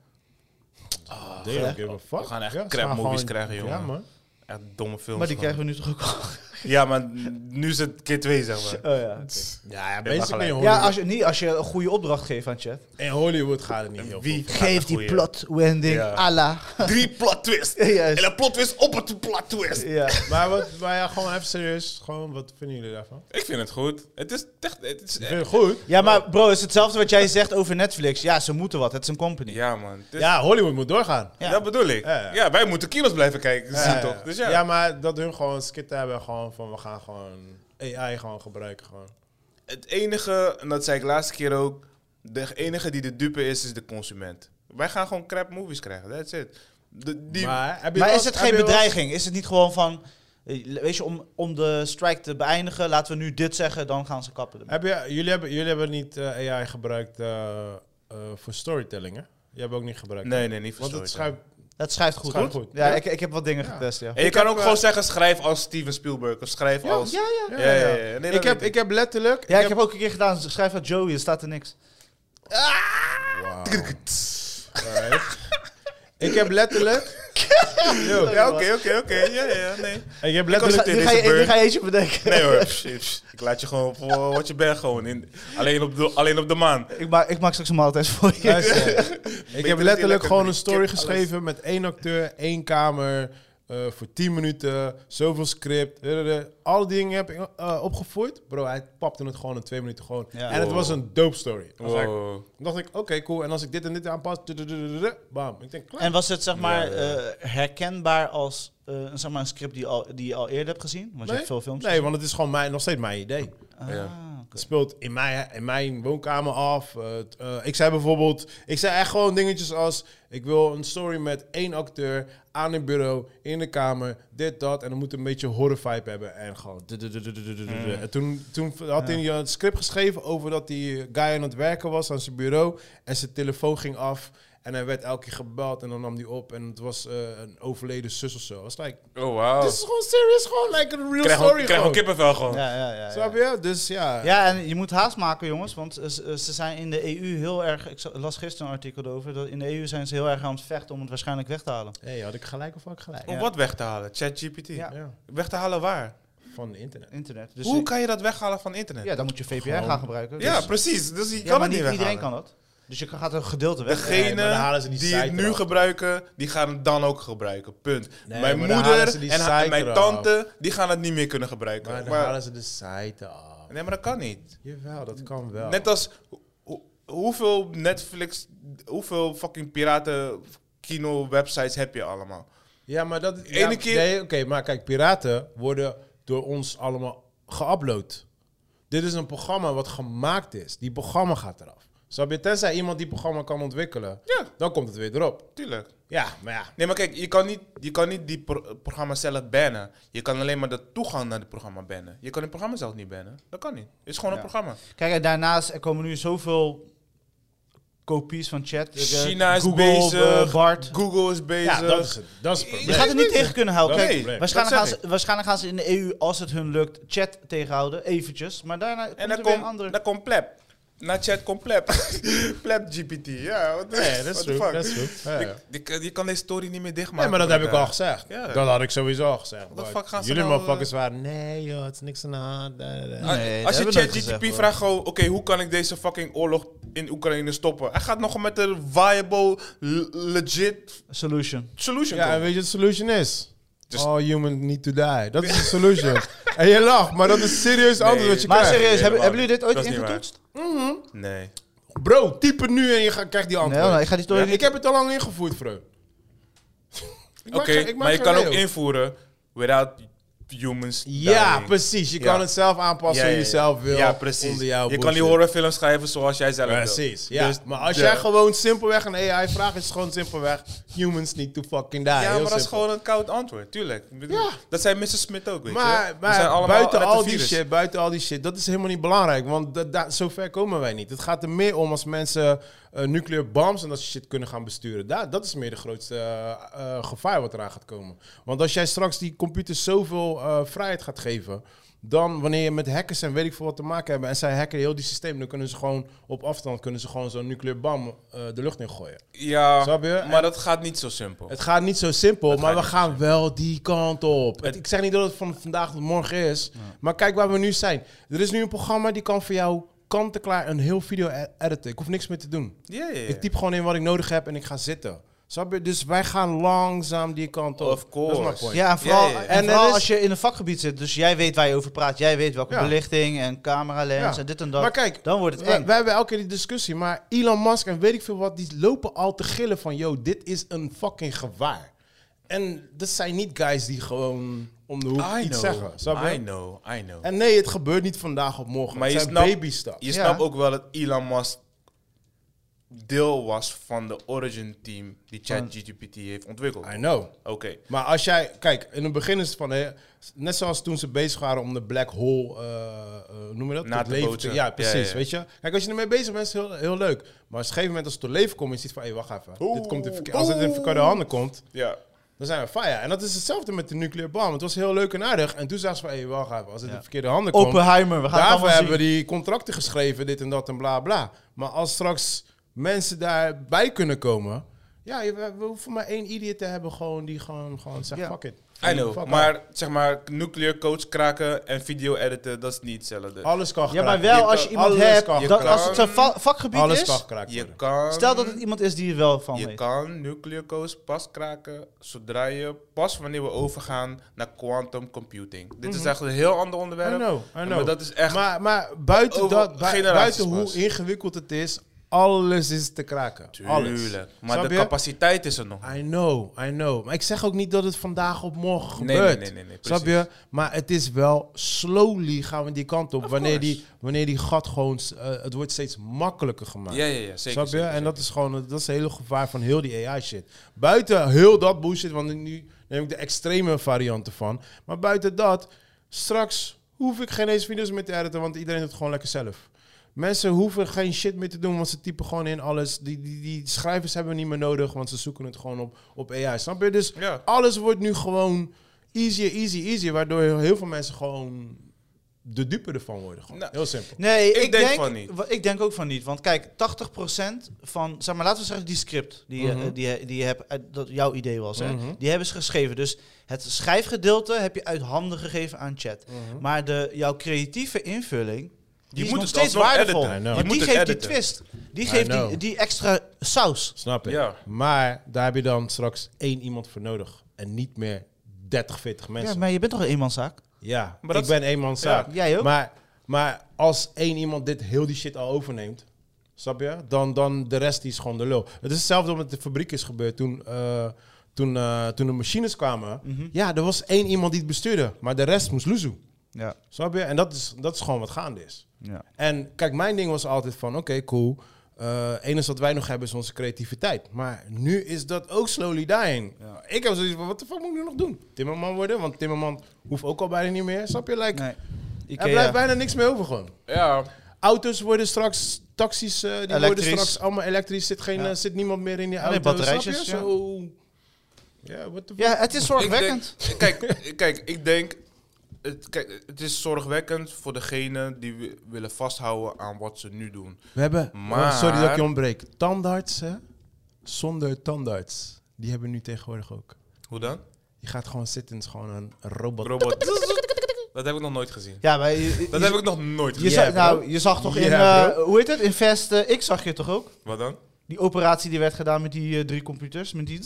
A: Oh,
B: echt?
A: give a fuck.
C: We gaan echt
A: Ja, ze
C: crap
A: gaan
C: movies
A: gewoon-
C: krijgen,
A: Ja,
C: jongen.
A: man.
C: Echt domme films.
B: maar die
C: man.
B: krijgen we nu toch ook al?
C: Ja, maar nu is het keer twee, zeg maar.
B: Oh ja, oké.
A: Ja, ja,
C: maar
A: basically
C: gelijk.
A: in
B: ja
A: Hollywood,
B: als je, niet als je een goede opdracht geeft aan chat.
A: in Hollywood gaat het niet heel
C: Wie
A: veel.
B: Geef die
C: Goeie.
B: plot wending
C: Ja.
B: à la.
C: Drie plot twists.
B: Juist.
C: En een plot twist op een plot twist.
B: ja.
A: maar, wat, maar ja, gewoon even serieus. Gewoon, wat vinden jullie daarvan?
C: Ik vind het goed. Het is echt... Het is
A: Ik
C: echt
A: vind het goed.
B: ja, maar bro, het is hetzelfde wat jij zegt over Netflix. Ja, ze moeten wat, het is een company.
C: ja, man. Het is-
A: Ja, Hollywood moet doorgaan.
B: Ja.
C: Dat bedoel ik.
A: Ja,
C: Ja,
A: ja.
C: wij moeten kinos blijven kijken,
A: Ja,
C: zie
A: ja,
C: je toch? Dus ja.
A: ja, maar dat hun gewoon skit hebben gewoon van we gaan gewoon AI gewoon gebruiken gewoon.
C: Het enige, en dat zei ik laatste keer ook, de enige die de dupe is, is de consument. Wij gaan gewoon crap movies krijgen, that's it. De, die,
A: maar heb je
B: Maar
A: wel-
B: is het
A: heb
B: geen
A: je wel-
B: bedreiging? Is het niet gewoon van, eh, weet je, om, om de strike te beëindigen, laten we nu dit zeggen, dan gaan ze kappen. ermee.
A: Heb je, jullie, hebben, jullie hebben niet eh, AI gebruikt eh, eh, voor storytelling, hè? Je hebt ook niet gebruikt.
C: nee, nee, niet
A: Want het
C: verstoord.
A: schuift...
B: Dat schrijft goed.
A: Schrijft
B: hoor.
A: goed.
B: Ja,
A: Ja.
B: Ik, ik heb wat dingen getest, ja.
C: En je kan
A: heb,
C: ook
A: eh,
C: gewoon zeggen, schrijf als Steven Spielberg, of schrijf
A: Ja,
C: als...
B: Ja, ja.
C: Ja, ja, ja. Nee, dat
A: ik, heb,
C: weet
A: ik
C: ik.
A: heb letterlijk...
B: Ja, ik heb ook een keer gedaan, schrijf uit Joey, er staat er niks.
A: Wauw. Alright. ik heb letterlijk... Yo,
C: Ja, oké, oké, oké. Ja, ja, ja, nee.
A: ik heb
B: Nu
A: letterlijk...
B: ga,
C: Dit is
B: je,
C: een
B: nu
C: bird.
B: ga je eentje bedenken.
C: Nee hoor, psh, psh. ik laat je gewoon voor wat je bent gewoon. In, alleen, op de, alleen op de maan.
B: Ik, maak, ik maak straks een maaltijd voor je.
A: Luister, ik heb letterlijk gewoon een
C: Ik
A: story
C: heb alles.
A: geschreven met één acteur, één kamer, eh, voor 10 minuten, zoveel script. eh, eh, Alle dingen heb ik eh, opgevoerd. Bro, hij papte het gewoon in twee minuten gewoon.
B: Ja.
A: En het
C: Wow.
A: was een dope story. Dan was ik-
C: Wow.
A: dan dacht ik, oké, cool. En als ik dit en dit aanpas, dududududu, bam. Ik denk, klaar.
B: En was het zeg maar
C: Ja, ja.
B: eh, herkenbaar als eh, een- zeg maar een script die, je al, die je al eerder hebt gezien? Want je hebt veel films.
A: Nee, want het is gewoon mijn, nog steeds mijn idee.
B: Ah,
C: Ja.
B: oké.
A: Het speelt in mijn, in mijn woonkamer af. Eh, t- eh, ik zei bijvoorbeeld, ik zei echt gewoon dingetjes als: ik wil een story met één acteur aan een bureau, in de kamer, dit, dat. En dan moet een beetje horror vibe hebben. En gewoon. dudududududududu.
C: Hmm.
A: En toen, toen had hij een script geschreven over dat die guy aan het werken was aan zijn bureau. En zijn telefoon ging af. En hij werd elke keer gebeld en dan nam hij op. En het was eh, een overleden zus of zo. Het was like,
C: Oh, wauw.
A: dit is gewoon serious, gewoon like a real
C: Ik krijg gewoon-
A: story.
C: ik krijg
A: gewoon.
C: gewoon kippenvel gewoon.
B: Ja, ja, ja, ja.
A: Snap je? Dus ja.
B: Ja, en je moet haast maken, jongens, want eh, ze ze zijn in de EU heel erg. Ik za- las gisteren een artikel over dat in de EU zijn ze heel erg aan het vechten om het waarschijnlijk weg te halen.
A: Hé, had ik gelijk of had ik gelijk?
C: Om
B: Ja.
C: wat weg te halen? ChatGPT?
B: Ja.
A: Ja,
C: Weg te halen waar?
A: van de internet.
B: Internet. Dus
C: Hoe
B: je-
C: kan je dat weghalen van internet?
B: ja, dan moet je VPN
A: Gewoon-
B: gaan gebruiken.
C: Ja,
B: dus-
C: precies. Dus je
B: Ja,
C: kan
B: maar
C: het niet
B: niet iedereen
C: weghalen.
B: kan dat. Dus je kan- gaat een gedeelte weg.
A: Nee, maar dan halen ze
C: Degene
A: die
C: die
A: site
C: het nu
A: eraf.
C: gebruiken, die gaan het dan ook gebruiken. Punt.
A: Nee,
C: mijn
A: maar dan halen
C: moeder
A: ze die
C: en, ha- en
A: site
C: mijn
A: eraf.
C: tante, die gaan het niet meer kunnen gebruiken.
A: Maar dan
C: Maar-
A: halen ze de site af.
C: nee, maar dat kan niet.
A: Jawel, dat kan wel.
C: Net als ho- ho- hoeveel Netflix, hoeveel fucking piraten kino websites heb je allemaal?
A: ja, maar dat...
C: Ene
A: ja,
C: keer-
A: Nee, oké, maar kijk, piraten worden door ons allemaal geüpload. Dit is een programma wat gemaakt is. Die programma gaat eraf. Snap je? Tenzij iemand die programma kan ontwikkelen,
C: Ja.
A: dan komt het weer erop.
C: Tuurlijk.
A: Ja, maar ja.
C: Nee, maar kijk, je kan niet, je kan niet die pro- programma zelf bannen. Je kan alleen maar de toegang naar het programma bannen. Je kan het programma zelf niet bannen. Dat kan niet. Het is gewoon
B: Ja.
C: een programma.
B: Kijk, en daarnaast, er komen nu zoveel kopies van chat. Ik, eh,
C: China is
B: Google,
C: bezig.
B: eh, Bart.
C: Google is eh, bezig.
A: Ja, dat is het. Dat is het probleem.
B: Je gaat het niet tegen kunnen houden.
A: Dat is
B: Kijk,
A: het probleem.
B: waarschijnlijk,
C: Dat
B: gaan
C: zeg
B: ze, waarschijnlijk gaan ze in de EU, als het hun lukt, chat tegenhouden. Eventjes. Maar daarna komt
C: en
B: er
C: dan
B: weer een
C: komt
B: andere.
C: dan komt plep. Na chat komt plep. plep GPT. Ja, wat
A: Nee, dat is
C: what the
A: true.
C: fuck?
A: Dat is true. Ja, ja.
C: Je, je- je kan deze story niet meer dichtmaken.
A: Nee, maar dat heb ik al
C: inderdaad.
A: gezegd.
C: Ja.
A: Dat had ik sowieso al gezegd.
C: de fuck gaan ze
A: Jullie
C: nou, eh, Ah,
A: motherfuckers waren... Nee joh, het is niks aan de hand. da, da, da."
B: Nee, dat
C: Als je
B: hebben we nooit
C: ChatGPT
B: gezegd,
C: vraagt gewoon, oké, hoe kan ik deze fucking oorlog in Oekraïne stoppen? Hij gaat nog met een viable, le- legit
B: Solution.
C: solution
A: Ja, en
C: komen.
A: weet je wat de solution is?
C: Dus-
A: All human need to die. Dat is de solution. en je lacht, maar dat is serieus antwoord
C: Nee.
A: wat je
B: Maar
A: krijgt.
B: serieus, Dus hebben,
C: helemaal
B: hebben jullie dit ooit
C: Dat is niet waar. Mm-hmm.
B: ingetoetst?
C: Nee.
A: Bro, type nu en je ga- krijgt die
B: Nee,
A: antwoord.
B: nou, ik ga die story
C: Ja,
A: ik,
B: niet...
A: heb het al lang ingevoerd, bro. Ik
C: Oké,
A: maak geen- ik maak
C: maar je
A: geen
C: kan
A: reden.
C: ook invoeren without humans.
A: Ja,
C: dying.
A: precies. Je
C: Ja.
A: kan het zelf aanpassen
C: Ja,
A: hoe
C: ja,
A: je
C: ja.
A: zelf wil.
C: Ja, precies.
A: Onder jouw
C: je kan die
A: bullshit.
C: horrorfilms schrijven zoals jij zelf wil.
A: Precies, ja.
C: Dus
A: maar als
C: de-
A: jij gewoon simpelweg een AI vraagt, is het gewoon simpelweg... Humans need to fucking die.
C: Ja, maar
A: Heel
C: dat is
A: simpel.
C: gewoon een koud antwoord, tuurlijk. Ik bedoel,
A: Ja.
C: Dat zijn Mrs. Smith ook, weet je.
A: Maar,
C: We
A: maar
C: zijn allemaal
A: buiten
C: net een
A: al die
C: virus.
A: shit, buiten al die shit, dat is helemaal niet belangrijk. Want da, da- zover komen wij niet. Het gaat er meer om als mensen eh nuclear bombs en dat soort shit kunnen gaan besturen. Daar, dat is meer de grootste eh, eh, gevaar wat eraan gaat komen. Want als jij straks die computers zoveel eh, vrijheid gaat geven, dan wanneer je met hackers en weet ik veel wat te maken hebben en zij hacken heel die systeem, dan kunnen ze gewoon op afstand kunnen ze gewoon zo'n nuclear bom eh, de lucht in gooien.
C: Ja,
A: Snap je?
C: maar dat gaat niet zo simpel.
A: Het gaat niet zo simpel, maar
C: gaat
A: we gaan wel die kant op. Het- ik zeg niet dat het van vandaag tot morgen is, maar kijk waar we nu zijn. Er is nu een programma die kan voor jou kant-en-klaar een heel video e- editen. Ik hoef niks meer te doen.
C: Ja, ja, ja.
A: Ik typ gewoon in wat ik nodig heb en ik ga zitten. Snap je? Dus wij gaan langzaam die kant op.
C: Of course.
A: Dat is mijn point.
B: Ja, en vooral,
C: Ja, ja, ja.
B: En
A: En er
B: vooral
A: is-
B: als je in een vakgebied zit, dus jij weet waar je over praat. Jij weet welke
A: Ja.
B: belichting en cameralens
A: Ja.
B: en dit en dat.
A: Maar kijk,
B: dan wordt het
A: We,
B: eng.
A: we hebben elke keer die discussie, maar Elon Musk en weet ik veel wat, die lopen al te gillen van, yo, dit is een fucking gewaar. En dat zijn niet guys die gewoon om de hoek
C: I
A: iets
C: know,
A: zeggen. Snap je?
C: I know, I know.
A: En nee, het gebeurt niet vandaag op morgen.
C: Maar
A: het
C: je
A: zijn
C: snapt-
A: baby stuff.
C: Je
B: Ja.
C: snapt ook wel dat Elon Musk deel was van de origin team die ChatGPT heeft ontwikkeld.
A: I
C: Oké.
A: know. Maar als jij, kijk, in het begin is het van, hè, net zoals toen ze bezig waren om de black hole, eh, eh, hoe noem je dat?
C: Na te bootsen.
A: Ja, precies,
C: Ja, ja, ja.
A: weet je. Kijk, als je ermee bezig bent, is het heel, heel leuk. Maar op een gegeven moment als het tot leven komt, is het van, hé, wacht even. Dit komt in verkeer- als het in verkeerde handen komt,
C: Ja.
A: dan zijn we fire. En dat is hetzelfde met de nucleaire bom. Het was heel leuk en aardig. En toen zagen ze van, hé, wacht even. Als het in verkeerde handen komt,
B: Oppenheimer, we gaan het
A: Daarvoor
B: allemaal
A: hebben we
B: zien.
A: die contracten geschreven, dit en dat en bla bla. Maar als straks mensen daarbij kunnen komen. Ja, je- we we hoeven maar één idiot te hebben gewoon die gewoon, gewoon zegt:
B: Ja.
A: fuck it.
C: I know,
A: Fuck
C: maar zeg maar, nuclear codes kraken en video editen, dat is niet hetzelfde.
A: it. Alles kan
B: Ja,
A: geraakt
B: maar
A: worden.
B: wel
C: Je
B: als je
C: kan-
B: iemand
A: alles
B: hebt,
A: kan
B: dat
A: geraakt
B: als het zijn va- vakgebied
A: Alles
B: is...
A: kan geraakt
C: je
A: worden.
C: kan,
B: Stel dat het iemand is die er wel van
C: je
B: weet.
C: kan nuclear codes pas kraken zodra je, pas wanneer we overgaan naar quantum computing. Dit
B: Mhm.
C: is echt een heel ander onderwerp.
A: I know, I know.
C: Maar dat is echt,
A: Maar, maar buiten
C: Over
A: dat, bui-
C: generaties
A: buiten hoe
C: pas.
A: ingewikkeld het is, alles is te kraken. Alles.
C: tuurlijk. Maar
A: Snap
C: de
A: je?
C: capaciteit is er nog.
A: I know, I know. Maar ik zeg ook niet dat het vandaag op morgen
C: Nee,
A: gebeurt.
C: nee, nee, nee, nee,
A: Snap je? Maar het is wel slowly gaan we die kant op. wanneer, die, wanneer die gat gewoon... s- eh, het wordt steeds makkelijker gemaakt.
C: Ja, ja, ja, zeker.
A: Snap je?
C: zeker,
A: en dat is gewoon dat is het hele gevaar van heel die AI shit. Buiten heel dat bullshit, want nu neem ik de extreme varianten van. Maar buiten dat, straks hoef ik geen eens video's meer te editen, want iedereen doet het gewoon lekker zelf. Mensen hoeven geen shit meer te doen, want ze typen gewoon in alles. Die, die, die schrijvers hebben we niet meer nodig, want ze zoeken het gewoon op, op AI. Snap je? Dus
C: Ja.
A: alles wordt nu gewoon easier, easy, easy. Waardoor heel veel mensen gewoon de dupe ervan worden. Gewoon.
C: Nou,
A: heel simpel.
B: Nee, ik,
C: Ik
B: denk,
C: denk van niet.
B: wa- Ik denk ook van niet. Want kijk, 80% van, zeg maar, laten we zeggen, die script die, je-
C: Mhm.
B: die, je- die je hebt, uit- dat jouw idee was, hè, die hebben ze geschreven. Dus het schrijfgedeelte heb je uit handen gegeven aan chat. Maar de, jouw creatieve invulling. Die
C: Mhm. moet
B: is nog
C: het
B: steeds
C: alsnog
B: waardevol.
C: editen.
A: I know.
B: Want
A: Je
B: die
C: moet het
B: geeft die
C: editen.
B: twist. Die
A: I
B: geeft die,
A: know.
B: die extra saus.
A: Snap ik.
C: Ja.
A: Maar daar heb je dan straks één iemand voor nodig. En niet meer 30, 40
B: Ja,
A: mensen. Ja,
B: maar je bent toch een eenmanszaak?
C: Maar
A: ik
C: dat is-
A: ben één man zaak.
B: Ja, jij ook?
A: Maar, maar als één iemand dit heel die shit al overneemt, snap je? Dan, dan de rest die is gewoon de lul. Het is hetzelfde wat met de fabriek is gebeurd toen, eh, toen, eh, toen de machines kwamen.
B: Mhm.
A: Ja, er was één iemand die het bestuurde, maar de rest moest loezoe.
B: Ja.
A: Snap je? En dat is, dat is gewoon wat gaande is.
B: ja.
A: En kijk, mijn ding was altijd van, oké, cool. Eh enige wat wij nog hebben is onze creativiteit. Maar nu is dat ook slowly dying. Ik heb zoiets van, wat de fuck moet ik nu nog doen? Timmerman worden? Want Timmerman hoeft ook al bijna niet meer. Snap je? Like,
B: Nee.
A: er
B: Ikea.
A: blijft bijna niks meer over gewoon.
C: Ja,
A: Auto's worden straks, taxis, eh, die worden
B: Elektrisch.
A: straks allemaal elektrisch. Zit, geen,
B: Ja.
A: eh, zit niemand meer in die
B: Alleen
A: auto.
B: batterijtjes,
A: snap
B: ja.
A: je? Zo... Ja, wat de fuck?
B: Ja, het is zorgwekkend.
C: Ik denk- kijk, kijk, ik denk. Het, kijk, het is zorgwekkend voor degenen die wi- willen vasthouden aan wat ze nu doen.
A: We hebben,
C: Maar-
A: oh, sorry dat ik je ontbreek, tandartsen zonder tandarts. Die hebben we nu tegenwoordig ook.
C: Hoe dan?
A: Je gaat gewoon zitten, het is gewoon een robot.
C: Robot. Dat heb ik nog nooit gezien.
B: Ja, maar je- je-
C: Dat heb ik nog nooit
B: Je,
C: gezien.
B: zag, nou, je zag toch in,
A: Ja,
B: eh, hoe heet het, in Vest, eh, ik zag je toch ook?
C: Wat dan?
B: Die operatie die werd gedaan met die eh, drie computers, met die...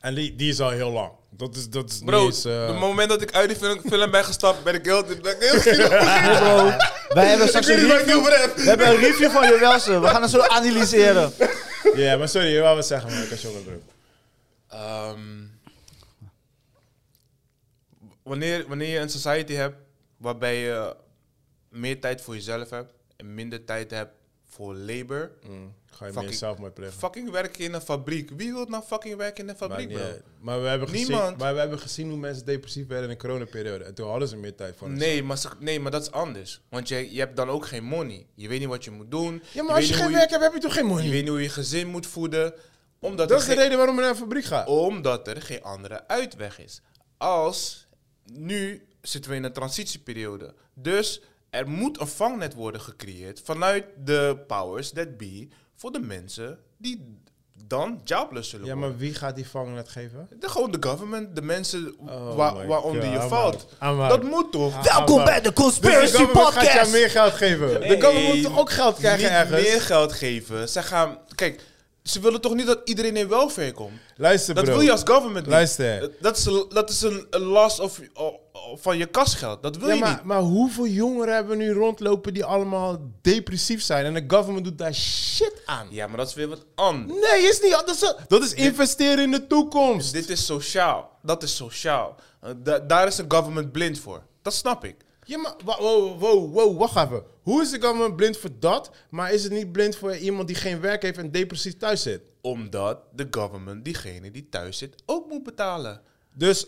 A: En die, die is al heel lang. Dat is, dat is
C: Bro,
A: niet eens... eh,
C: het moment dat ik uit die film, film ben gestapt, ben ik heel... Ben ik heel
B: Nee, bro. Wij hebben
C: ik
B: straks
C: weet
B: een
C: niet waar ik het
B: review.
C: over heb.
B: We hebben een review van Jowelse. We gaan het zo analyseren.
A: Ja, maar sorry, je wou wat zeggen, maar ik was je onderbroken.
C: Ehm, wanneer, wanneer je een society hebt waarbij je meer tijd voor jezelf hebt en minder tijd hebt voor labor.
A: Mm, Ga je
C: Fucking-
A: meer zelf mee plegen.
C: Fucking werken in een fabriek. Wie wil nou fucking werken in een fabriek, bro?
A: Maar we, hebben gezien,
C: Niemand.
A: maar we hebben gezien hoe mensen depressief werden in de coronaperiode. En toen hadden ze meer tijd voor
C: Nee maar, ze- nee, maar dat is anders. Want je, je hebt dan ook geen money. Je weet niet wat je moet doen.
A: Ja, maar als
C: weet
A: je
C: niet
A: geen
C: hoe
A: werk hebt, heb je toch geen
C: Je
A: money?
C: weet niet hoe je gezin moet voeden. Omdat
A: Dat
C: er
A: is de
C: geen-
A: reden waarom we naar een fabriek
D: Oh,
A: gaan.
C: Omdat er geen andere uitweg is. Als nu zitten we in een transitieperiode. Dus er moet een vangnet worden gecreëerd vanuit de powers that be voor de mensen die dan jobless zullen
A: Ja,
C: worden.
A: maar wie gaat die vangnet geven?
C: De, gewoon de government, de mensen
A: Oh
C: wa-
A: my
C: waaronder
A: God,
C: je
A: I'm
C: valt.
A: out. I'm out.
C: Dat moet toch?
A: Ah.
B: Welkom bij de
A: Dus de
B: Conspiracy
A: government gaat jou
B: Podcast.
A: meer geld geven.
C: Nee,
A: De government moet toch ook geld krijgen
C: niet
A: ergens?
C: meer geld geven. Ze gaan... Kijk, ze willen toch niet dat iedereen in welfare komt?
A: Luister bro.
C: Dat wil je als government niet.
A: Luister.
C: Dat is een, dat is een, een last of, o- o- van je kasgeld. Dat wil
A: Ja,
C: je
A: maar,
C: niet.
A: maar hoeveel jongeren hebben we nu rondlopen die allemaal depressief zijn? En de government doet daar shit aan.
C: Ja, maar dat is weer wat anders.
A: Nee, is niet anders. Dat is, dat is investeren in de toekomst.
C: Dit is sociaal. Dat is sociaal. Eh, da- daar is een government blind voor. Dat snap ik.
A: Ja, maar wa- wow, wow, wow, wacht even. Hoe is de government blind voor dat, maar is het niet blind voor iemand die geen werk heeft en depressief thuis zit?
C: Omdat de government diegene die thuis zit ook moet betalen.
A: Dus,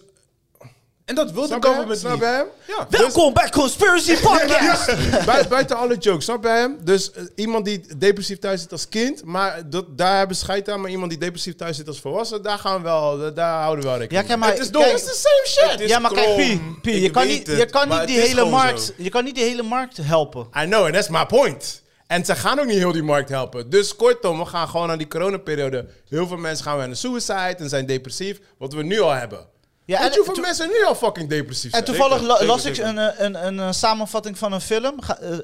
C: En dat wil
A: snap
C: de
A: je hem?
C: government
A: Snap
C: niet.
A: je hem?
C: Ja.
B: Welkom bij Conspiracy Podcast.
A: Bui- buiten alle jokes, snap je hem? Dus eh, iemand die depressief thuis zit als kind, maar dat, daar hebben scheid aan. Maar iemand die depressief thuis zit als volwassen, daar gaan we wel, da- daar houden we wel
B: Ja,
A: rekening
B: kijk
A: mee.
B: maar.
C: Het is dom.
B: kijk-
C: Het is the same shit.
B: Ja, maar kijk, Pie,
C: Krom.
B: Pie,
C: Ik
B: je kan
C: weet
B: niet,
C: het,
B: je kan
C: maar
B: niet die
C: het is
B: hele
C: gewoon
B: markt,
C: zo.
B: je kan niet die hele markt helpen.
A: I know, and that's my point. En ze gaan ook niet heel die markt helpen. Dus kortom, we gaan gewoon aan die coronaperiode. Heel veel mensen gaan weer aan de suicide en zijn depressief. Wat we nu al hebben.
B: Ja,
A: Ja,
B: en
A: Weet je hoeveel
B: to-
A: mensen nu al fucking depressief zijn?
B: En toevallig
C: zeker,
B: la-
C: zeker,
B: las ik
C: zeker.
B: een, eh, een, een, eh, samenvatting van een film. Ga- eh, eh,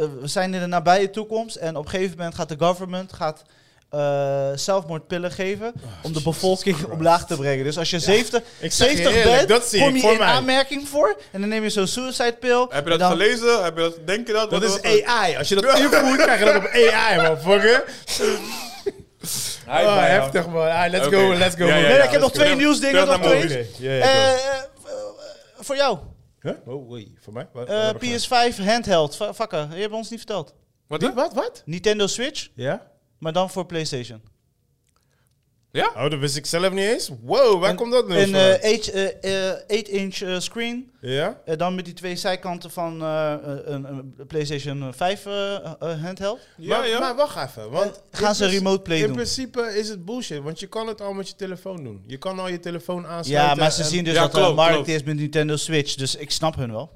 B: eh, we zijn in de nabije toekomst en op een gegeven moment gaat de government gaat, eh, zelfmoordpillen geven
A: Oh,
B: om de bevolking omlaag te brengen. Dus als je 70,
A: ik zeg je
B: 70
A: eerlijk,
B: bent,
A: dat zie
B: kom
A: ik
B: je
A: voor
B: in
A: mij.
B: aanmerking voor en dan neem je zo'n suicide pill.
C: Heb je dat
B: en dan-
C: gelezen? Heb je dat, denk je dat?
A: Dat
C: Wat-
A: is
C: wat-
A: AI. Als je dat invoert, krijg je dat op AI, man. Fucker.
C: Hij
A: Oh,
C: bij jou.
A: heftig, man. Ah, let's
C: Oké.
A: go, let's go.
C: Ja, ja,
A: man.
C: ja.
B: Nee, ik heb nog
C: Terug-
B: twee nieuwsdingen.
C: terug
B: Nog
C: naar
B: twee.
C: Moby.
A: Oké, ja, ja,
B: Eh,
A: go.
B: eh, eh, voor jou,
A: Huh? Oh, oei, voor mij? Wat,
B: Eh,
A: wat heb ik
B: PS5 handheld. Va- Vakken, je hebt ons niet verteld.
C: Wat?
A: gedaan? Die- Wat, wat?
B: Nintendo Switch,
A: Ja?
B: maar dan voor PlayStation.
C: Ja?
A: Oh, dat wist ik zelf niet eens. Wow, waar
B: En- eh,
A: komt dat nu
B: Een
A: vandaan?
B: eh, 8-inch screen.
A: Ja?
B: Eh, dan met die twee zijkanten van eh, een, een PlayStation 5 eh, eh, handheld.
C: Ja,
A: maar,
C: ja.
A: maar wacht even, want...
B: Eh, gaan
A: in
B: ze
A: prin-
B: remote play
A: in
B: doen?
A: principe is het bullshit, want je kan het al met je telefoon doen. Je kan al je telefoon aansluiten.
B: Ja, maar ze
A: en-
B: zien dus
C: Ja,
B: dat er een
C: klopt,
B: markt
C: klopt.
B: is met Nintendo Switch. Dus ik snap hun wel.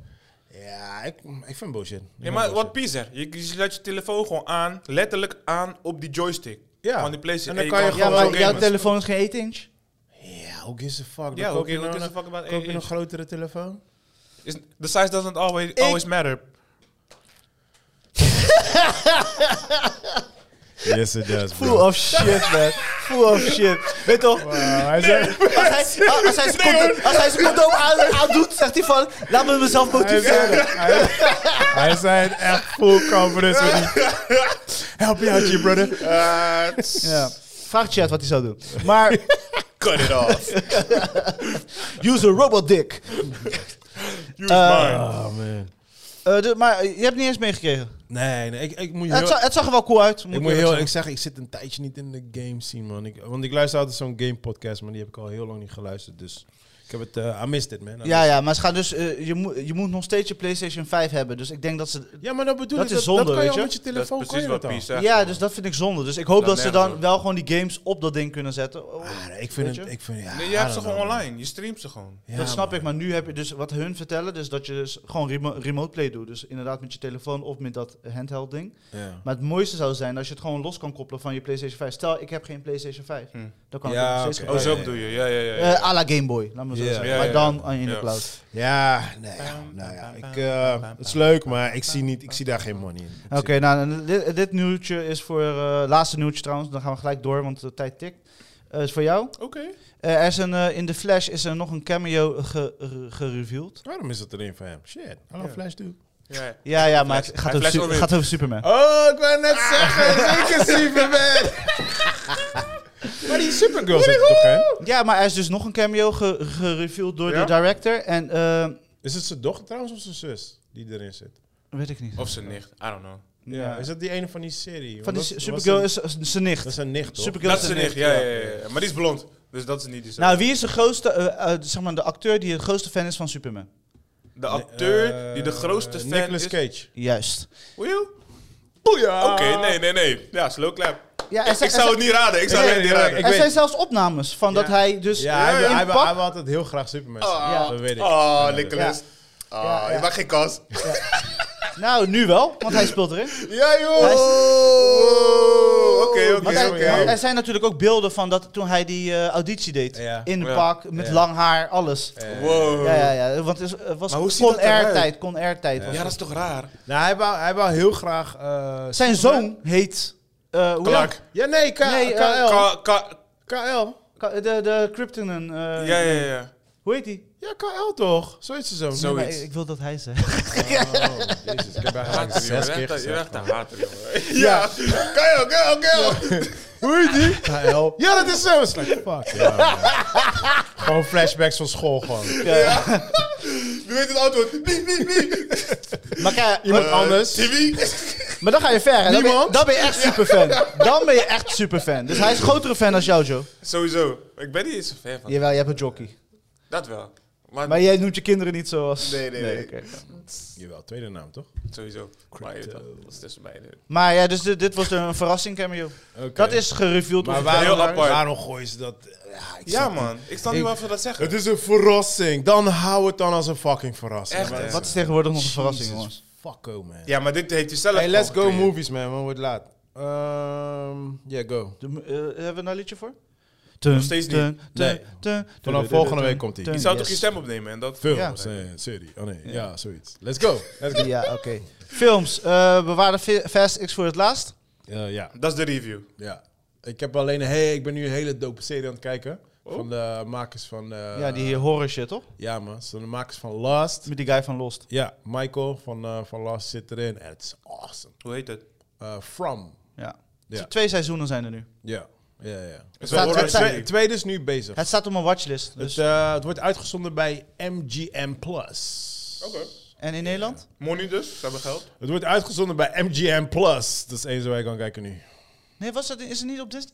A: Ja, ik, ik vind bullshit. Ik
C: Ja,
A: vind
C: maar
A: bullshit.
C: wat Pies zegt, je, je sluit je telefoon gewoon aan, letterlijk aan op die joystick
A: Ja.
C: van die PlayStation.
A: En dan kan je
B: Ja,
A: Ja,
B: maar
A: oké,
B: jouw
A: maar-
B: telefoon is geen 8-inch.
A: Ja, hoe gives a fuck?
C: Ja,
A: Ja,
C: who
A: koop je nou
C: gives- who gives a
A: een-
C: fuck about
A: koop je
C: AA?
A: een grotere telefoon?
C: Is- The size doesn't always, always matter.
A: Yes, it does,
B: Full of shit, man. Full of shit. Weet toch?
A: hij zei...
B: Als hij, als hij zijn condoom, als hij zijn condoom aan- aandoet, zegt hij van... Laat me mezelf
A: Hij zei,
B: motiveren.
A: hij, hij zei het echt full confidence. met die- Help me out, you brother.
C: Eh,
B: Ja. Vraag chat wat hij zou doen. Maar
C: Cut it off.
B: use a robot dick.
C: Use
B: Eh,
C: mine.
A: Oh, man.
B: Eh, dus- maar je hebt niet eens meegekregen.
A: Nee, nee, ik, ik moet
B: het,
A: heel...
B: zag, het zag er wel cool uit.
A: Ik moet heel eerlijk zeggen, ik zit een tijdje niet in de game scene, man. Ik, want ik luister altijd zo'n game podcast, maar die heb ik al heel lang niet geluisterd. Dus ik heb het... eh I missed it, man. I missed
B: Ja, ja, maar ze gaan dus, eh, je, moet, je moet nog steeds je PlayStation 5 hebben. Dus ik denk dat ze.
A: Ja, maar dat bedoel
B: Dat
A: ik. dat,
B: is zonde,
A: dat kan je
B: weet
A: al
B: je?
A: met je
C: Dat is
A: telefoon.
C: precies
A: kan je
C: wat
A: dat al.
C: Pies zegt.
B: ja,
C: man.
B: dus dat vind ik zonde. Dus ik hoop
C: Dat
B: dat ze
C: nergens
B: dan
C: op.
B: wel gewoon die games op dat ding kunnen zetten. Oh,
A: Ah, nee, ik vind
B: Weet
A: het...
B: je?
A: Ik vind, ja,
C: Nee,
A: I
C: je hebt
A: don't
C: ze
A: know,
C: gewoon
A: man.
C: online. Je streamt ze gewoon.
A: Ja,
B: dat snap
A: man.
B: ik, maar nu heb je dus wat hun vertellen, dus dat je dus gewoon remo- remote play doet. Dus inderdaad met je telefoon of met dat handheld ding.
A: Ja.
B: Maar het mooiste zou zijn als je het gewoon los kan koppelen van je PlayStation 5. Stel, ik heb geen PlayStation 5.
C: Hm.
B: Dan kan
A: Ja,
B: ik het nog steeds
A: oké.
C: Oh, zo
A: Ja,
B: gebruiken.
A: ja,
C: bedoel je. Ja, ja, ja. ja.
B: Eh, à la Game Boy, laat me zo
A: Ja.
B: zeggen.
C: Ja, ja,
B: maar dan
C: ja.
B: aan in de
C: Ja.
B: cloud.
A: Ja, nee, ja, nou ja, ik, eh, het is leuk, maar ik zie, niet, ik zie daar geen money in.
B: Oké, nou, en dit, dit nieuwtje is voor... eh laatste nieuwtje trouwens, dan gaan we gelijk door, want de tijd tikt. Eh, is voor jou.
C: Oké.
B: Eh, er is een, eh, in The Flash is er nog een cameo ge- ge- gereveeld.
A: Waarom is het alleen van hem? Shit, hallo
C: Ja.
A: Flash dude.
C: Ja.
B: Ja, ja, maar het
C: Hij
B: gaat over,
C: flasht
B: su-
C: alweer.
B: gaat over Superman.
A: Oh, ik wou net zeggen, zeker Superman. maar die Supergirl zit er toch in?
B: Ja, maar er is dus nog een cameo ge- gereveeld door
C: Oh. Ja?
B: de director. En eh,
A: Is het zijn dochter trouwens of zijn zus die erin zit?
B: weet ik niet.
C: Of zijn nicht, I don't know.
A: Ja. Is dat die ene van die serie?
B: Van die
A: Want dat-
B: Supergirl
A: was
B: is is zijn
A: een-
B: nicht.
A: Dat is een nicht, toch?
B: Supergirl
C: Dat
B: is
C: is
B: zijn
C: zijn nicht, ja, ja, ja, ja. Maar die is blond, dus dat is niet die
B: Nou, wie is de grootste, eh, eh, zeg maar, de acteur die de grootste fan is van Superman?
C: De
A: Nee,
C: acteur
A: eh,
C: die de grootste fan
A: Nicolas
C: is...
A: Cage.
B: Juist.
C: Oejoe.
A: Boeia!
C: Oké, nee, nee, nee. Ja, slow clap.
B: Ja,
C: ik, ik zou het niet raden, ik zou
A: Nee,
C: het niet
A: nee,
C: raden.
A: ik
B: er
A: weet-
B: zijn zelfs opnames van dat
C: Ja.
B: hij dus
A: Ja, hij, wil-
B: in
A: hij, wil-
B: pak-
A: hij wil altijd heel graag Superman zijn.
C: Ah.
B: Ja.
A: Dat weet ik.
C: Oh,
A: Ja,
C: Nicolas.
B: Ja.
C: Ah,
B: Ja, ja.
C: je mag geen kans.
B: Nou, nu wel, want hij speelt erin.
C: Ja, joh!
B: Hij is-
C: Wow, Oké,
B: Want
C: oké,
B: hij-
A: ja.
B: want
C: oké.
B: er zijn natuurlijk ook beelden van dat toen hij die eh, auditie deed.
A: Ja.
B: In
C: Ja.
B: pak, met
A: Ja.
B: lang haar, alles.
A: Eh,
C: Wow.
B: Ja, ja, ja. Want het is- het was
C: Maar hoe ziet dat
B: con-air
C: eruit?
B: tijd. Con-air tijd. was
C: Ja,
B: het.
C: dat is toch raar?
A: Nou, hij wou, hij wou heel graag... eh,
B: Zijn
A: Superman.
B: zoon heet... eh, hoe
C: Clark.
A: Ja, nee, K
B: Nee, eh,
A: KL.
C: Ka- ka-
A: KL.
B: heet- De, de Kryptonen. eh,
C: Ja, ja, ja.
B: Hoe heet die?
A: Ja, KL toch? Zoiets is zo'n.
C: Zo- Zoiets.
B: Nee, maar ik, ik wil dat hij zegt.
A: Oh, jezus. Ik heb eigenlijk
C: Hater,
A: zes
C: jongen.
A: keer
C: Je bent- Je
A: gezegd.
C: bent een hater, jongen. Ja. Kijk, kijk, kijk.
A: Hoe heet die? KL. Ja, dat is zo. It's like, fuck. ja, man. gewoon flashbacks van school gewoon.
C: Wie weet het antwoord? Wie, wie, wie?
B: Maar, kijk,
A: Iemand
C: Eh,
A: anders.
C: Timmy?
B: maar dan ga je ver. hè. Dan ben je,
A: Niemand?
B: dan ben je echt superfan. Dan ben je echt superfan. Dus hij is een grotere fan dan jou, Joe.
C: Sowieso. Ik ben niet eens zo fan van.
B: Jawel, je hebt een jockey.
C: Dat wel. Maar,
B: Maar jij noemt je kinderen niet zoals...
C: Nee, nee, nee.
B: oké.
A: Jawel, tweede naam toch?
C: sowieso. Maar je weet wel, dat is dus tussen beiden.
B: Maar ja, dus dit, dit was een verrassing cameo.
A: Oké.
B: Dat is gereveeld.
A: Maar
B: of-
A: waarom,
C: Heel apart.
A: waarom gooien ze dat? Ja, ik
C: Ja,
A: snap
C: man. Ik snap niet
A: Ik-
C: waarvoor dat zeggen.
A: Het is een verrassing. Dan hou het dan als een fucking verrassing.
C: Echt, hè?
B: Wat is tegenwoordig nog een verrassing, jongens?
A: jongens. Fuck oh, man.
C: Ja, maar dit heeft u zelf
A: Hey, let's go
C: opgecreëerd.
A: movies, man. want Het wordt laat. Ehm, yeah, go.
B: De, eh, hebben we een liedje voor? Nog
C: steeds niet.
B: Tun,
A: Nee.
B: tun, tun,
A: Vanaf
B: tun,
A: volgende
B: tun,
A: week
B: tun,
A: komt-ie.
B: tun.
C: Je zou toch
B: Yes.
C: je stem opnemen en dat...
A: Films, eh, serie. Oh nee, ja, zoiets. Let's go. Let's go.
B: Ja, oké. Films. eh we waren Fe- Fast X voor het laatst.
A: Eh, ja,
C: Dat is de review.
A: ja. Ik heb alleen, hey, ik ben nu een hele dope serie aan het kijken.
C: Oh.
A: Van de makers van... eh,
B: ja, die horror shit, toch?
A: Ja, man. Ze zijn de makers van Last.
B: Met die guy van Lost.
A: Ja, Michael van, eh, van Last zit erin. En het is awesome.
C: Hoe heet het?
A: Eh, From.
B: Ja.
A: Ja.
B: Dus twee seizoenen zijn er nu.
A: Ja, ja, ja.
C: is
A: Het
C: een
A: staat-
C: horror
A: het staat-
C: serie.
A: het tweede is nu bezig.
B: Het staat op mijn watchlist.
A: Het,
B: Dus.
A: eh, het wordt uitgezonden bij MGM+. Plus.
C: Oké.
B: en in Nederland?
C: Money dus, ze hebben geld.
A: Het wordt uitgezonden bij MGM+. Plus. Dat is eens waar je kan kijken nu.
B: Nee, was dat, is het niet op Disney?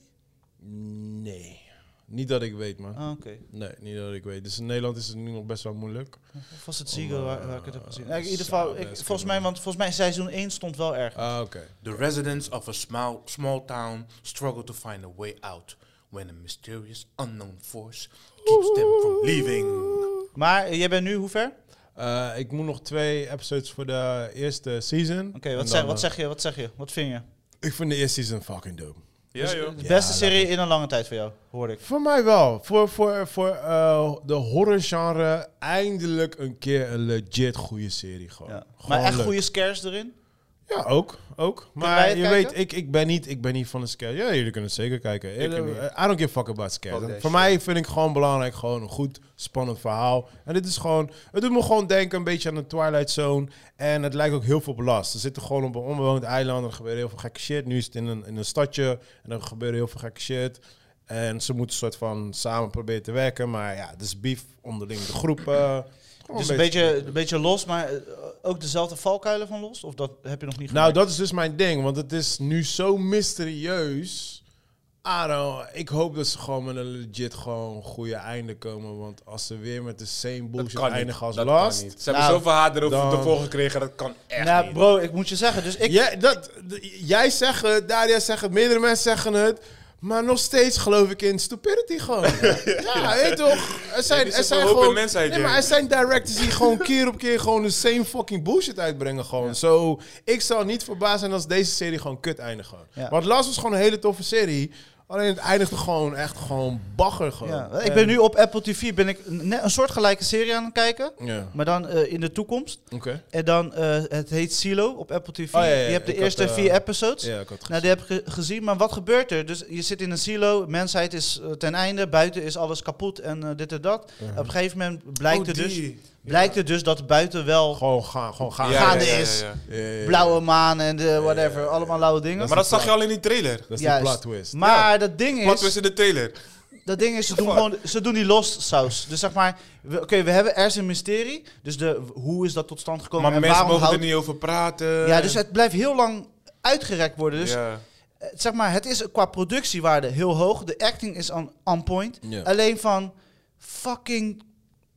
A: Nee. Niet dat ik weet, man.
B: Ah, oké.
A: Nee, niet dat ik weet. Dus in Nederland is het nu nog best wel moeilijk.
B: Of was
A: Oh,
B: het Ziggo waar, waar ik het
A: eh,
B: heb gezien? Nou, in ieder
A: zou
B: geval, ik,
A: best
B: volgens, mij, want, volgens mij seizoen 1 stond wel erg.
A: Ah, oké.
C: The residents of a small, small town struggle to find a way out when a mysterious unknown force keeps them from leaving.
B: Maar eh, jij bent nu hoe ver? Oké,
A: Eh, ik moet nog twee episodes voor de eerste season. En
B: wat,
A: dan,
B: zeg, wat
A: eh,
B: zeg je? Wat zeg je? Wat vind je?
A: Ik vind de eerste season fucking dope.
C: Ja, joh.
B: De beste
A: dat
B: serie in een lange tijd voor jou, hoorde ik.
A: Voor mij wel. Voor, voor, voor eh, de horrorgenre eindelijk een keer een legit goede serie. Gewoon.
B: Ja.
A: Oh, Gewoon
B: Maar echt
A: leuk.
B: goede scares erin.
A: Ja, ook. ook.
B: wij
A: Maar
B: het
A: je
B: kijken?
A: weet, ik, ik, ben niet, ik ben niet van de scare. Ja, jullie kunnen het zeker kijken.
C: Ik
A: Eh,
C: niet.
A: I don't give a fuck about scare.
C: Fuck that
A: Voor
C: shit.
A: mij vind ik gewoon belangrijk gewoon een goed, spannend verhaal. En dit is gewoon... Het doet me gewoon denken een beetje aan de Twilight Zone. En het lijkt ook heel veel belast. Ze zitten gewoon op een onbewoond eiland en er gebeurt heel veel gekke shit. Nu is het in een, in een stadje en er gebeurt heel veel gekke shit. En ze moeten soort van samen proberen te werken. Maar ja, het is beef onderling de groepen. Gewoon
B: Dus een beetje, een beetje los, maar eh, ook dezelfde valkuilen van los? Of dat heb je nog niet
A: Nou,
B: gemerkt?
A: dat is dus mijn ding, want het is nu zo mysterieus. I don't know. Ik hoop dat ze gewoon met een legit gewoon goede einde komen. Want als ze weer met de same bullshit eindigen als last.
C: Ze hebben
B: Nou,
C: zoveel haat erover
A: dan-
C: te volgen gekregen, dat kan echt
B: Nou,
C: niet.
B: bro, ik moet je zeggen, dus ik...
A: Jij, dat, d- jij zegt het, Daria zegt het, meerdere mensen zeggen het. Maar nog steeds geloof ik in stupidity gewoon. ja, weet toch? Er zijn,
C: die
A: er
C: zit
A: zijn
C: wel hoop in
A: gewoon...
C: mensheid,
A: nee, maar
C: Jerry.
A: er zijn directors die gewoon keer op keer gewoon de same fucking bullshit uitbrengen gewoon. Zo, ik zou niet verbaasd zijn als deze serie gewoon kut eindigt gewoon.
B: Ja.
A: Want Last was gewoon een hele toffe serie. Alleen het eindigde gewoon echt gewoon bagger. Gewoon.
B: Ja, ik ben nu op Apple TV ben ik net een soortgelijke serie aan het kijken,
A: Ja, oké.
B: maar dan eh, in de toekomst. En dan, eh, het heet Silo op Apple TV.
A: Oh, ja, ja,
B: Je hebt de
A: ik had,
B: eerste
A: eh,
B: vier episodes.
A: Ja, ik had het
B: Nou, die heb ik ge- gezien, maar wat gebeurt er? Dus je zit in een silo, mensheid is eh, ten einde, buiten is alles kapot en eh, dit en dat. Op een gegeven moment blijkt,
C: Oh,
B: er, dus,
C: die.
B: blijkt er dus dat buiten wel
A: gewoon gaan, gewoon Nou, gaan.
B: Ja, gaande is.
C: ja.
A: Ja, ja, ja.
B: blauwe maan en de whatever, allemaal lauwe dingen.
C: Maar dat zag je al in die trailer.
A: Dat is de
B: Juist.
A: plot twist.
B: Maar dat ding
C: Wat
B: is,
C: was in de trailer?
B: dat ding is ze, doen
C: Fuck.
B: gewoon, ze doen die lost saus. Dus zeg maar, we- oké, we hebben er is een mysterie. Dus de, hoe is dat tot stand gekomen
C: Maar
B: en
C: mensen
B: waarom
C: mogen
B: houdt...
C: er niet over praten.
B: Ja, dus het blijft heel lang uitgerekt worden. Dus
C: Ja.
B: eh, zeg maar, het is qua productiewaarde heel hoog. De acting is on, on point.
A: Ja.
B: Alleen van, fucking,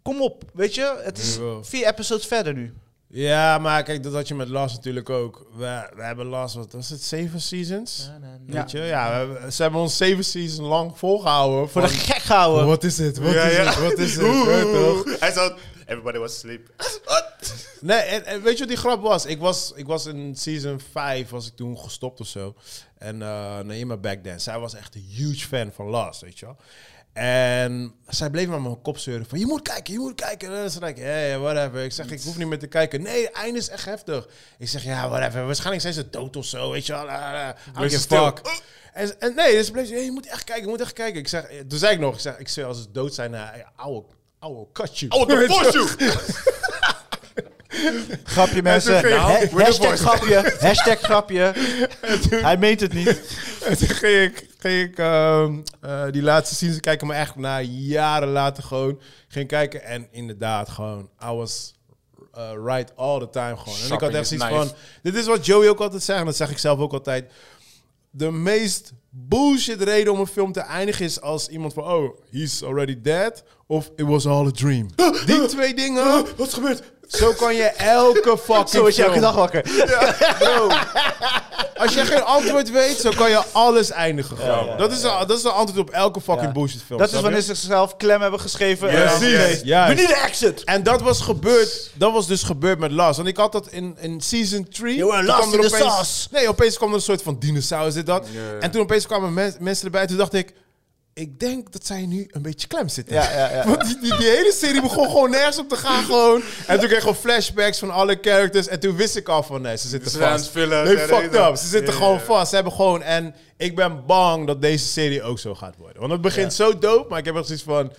B: kom op. Weet je, het is
A: Jawel.
B: vier episodes verder nu.
A: Ja, maar kijk, dat had je met Last natuurlijk ook. We, we hebben Last, wat was het, zeven seasons? Weet je? Ja, we hebben- ze hebben ons zeven seasons lang volgehouden.
B: Voor de
A: van,
B: gek gehouden.
A: Wat is het? Wat
C: Ja,
A: is
C: ja.
A: het? Wat is het?
C: Oeh,
A: Ja, toch?
C: Hij zat... Everybody was asleep.
A: Nee, en, en weet je wat die grap was? Ik was, ik was in season 5, was ik toen gestopt of zo. En eh Naima back then, zij was echt een huge fan van Last, weet je wel. En zij bleef maar mijn kop zeuren van, je moet kijken, je moet kijken. En dan zei ik, hey, whatever. Ik zeg, ik hoef niet meer te kijken. Nee, het einde is echt heftig. Ik zeg, ja, whatever. Waarschijnlijk zijn ze dood of zo, weet je wel. Ah, ah, I don't
C: Wees
A: give
C: stil.
A: a fuck. En, en nee, dus bleef ze, hey, je moet echt kijken, je moet echt kijken. Ik zeg, eh, toen zei ik nog, ik zeg, ik zweer, als ze dood zijn, eh, ouwe, ouwe, cut you.
C: Oh, the force you!
B: Grapje mensen.
C: toen ging-
B: Ha-
C: Nou, we're the
B: hashtag
C: boys.
B: grapje. Hashtag grapje. Hij meent het niet.
A: En toen ging ik, ging ik ehm, eh, die laatste scenes kijken, maar echt na jaren later gewoon ging kijken. En inderdaad, gewoon, I was eh, right all the time gewoon. en ik had
C: Sharpening
A: echt
C: his
A: zoiets
C: knife.
A: van, dit is wat Joey ook altijd zegt, en dat zeg ik zelf ook altijd. De meest bullshit reden om een film te eindigen is als iemand van, oh, he's already dead, of it was all a dream. Die twee dingen,
C: Wat is gebeurd?
A: zo kan je elke fucking
B: Zo is je elke
A: film-
B: dag wakker.
A: Bro, als je geen antwoord weet, zo kan je alles eindigen. gewoon. dat, is een, dat is een antwoord op elke fucking
B: Ja.
A: bullshit film.
B: Dat is
A: snap
B: wanneer
A: je?
B: ze zichzelf klem hebben geschreven.
C: Yes.
B: en dan-
C: Precies.
B: Nee,
A: Juist.
B: We need an exit.
A: En dat was gebeurd, dat was dus gebeurd met Lars. Want ik had dat in, in season 3.
B: You were
A: Toen
B: lost
A: kwam er
B: in the
A: opeens-
B: sauce.
A: Nee, opeens kwam er een soort van dinosaurus dit dat.
C: Ja, ja.
A: En toen opeens kwamen men- mensen erbij. Toen dacht ik, ik denk dat zij nu een beetje klem zitten.
B: Ja, ja, ja.
A: Want die, die, die hele serie begon gewoon nergens op te gaan gewoon. En toen kreeg ik gewoon flashbacks van alle characters. En toen wist ik al van, nee, ze zitten
C: Ze zijn aan
A: vast.
C: het vullen.
A: Nee,
C: Ja,
A: fucked
C: ja.
A: up. Ze zitten
C: Ja,
A: gewoon
C: ja.
A: vast. Ze hebben gewoon... En ik ben bang dat deze serie ook zo gaat worden. Want het begint zo dope, maar ik heb echt zoiets van...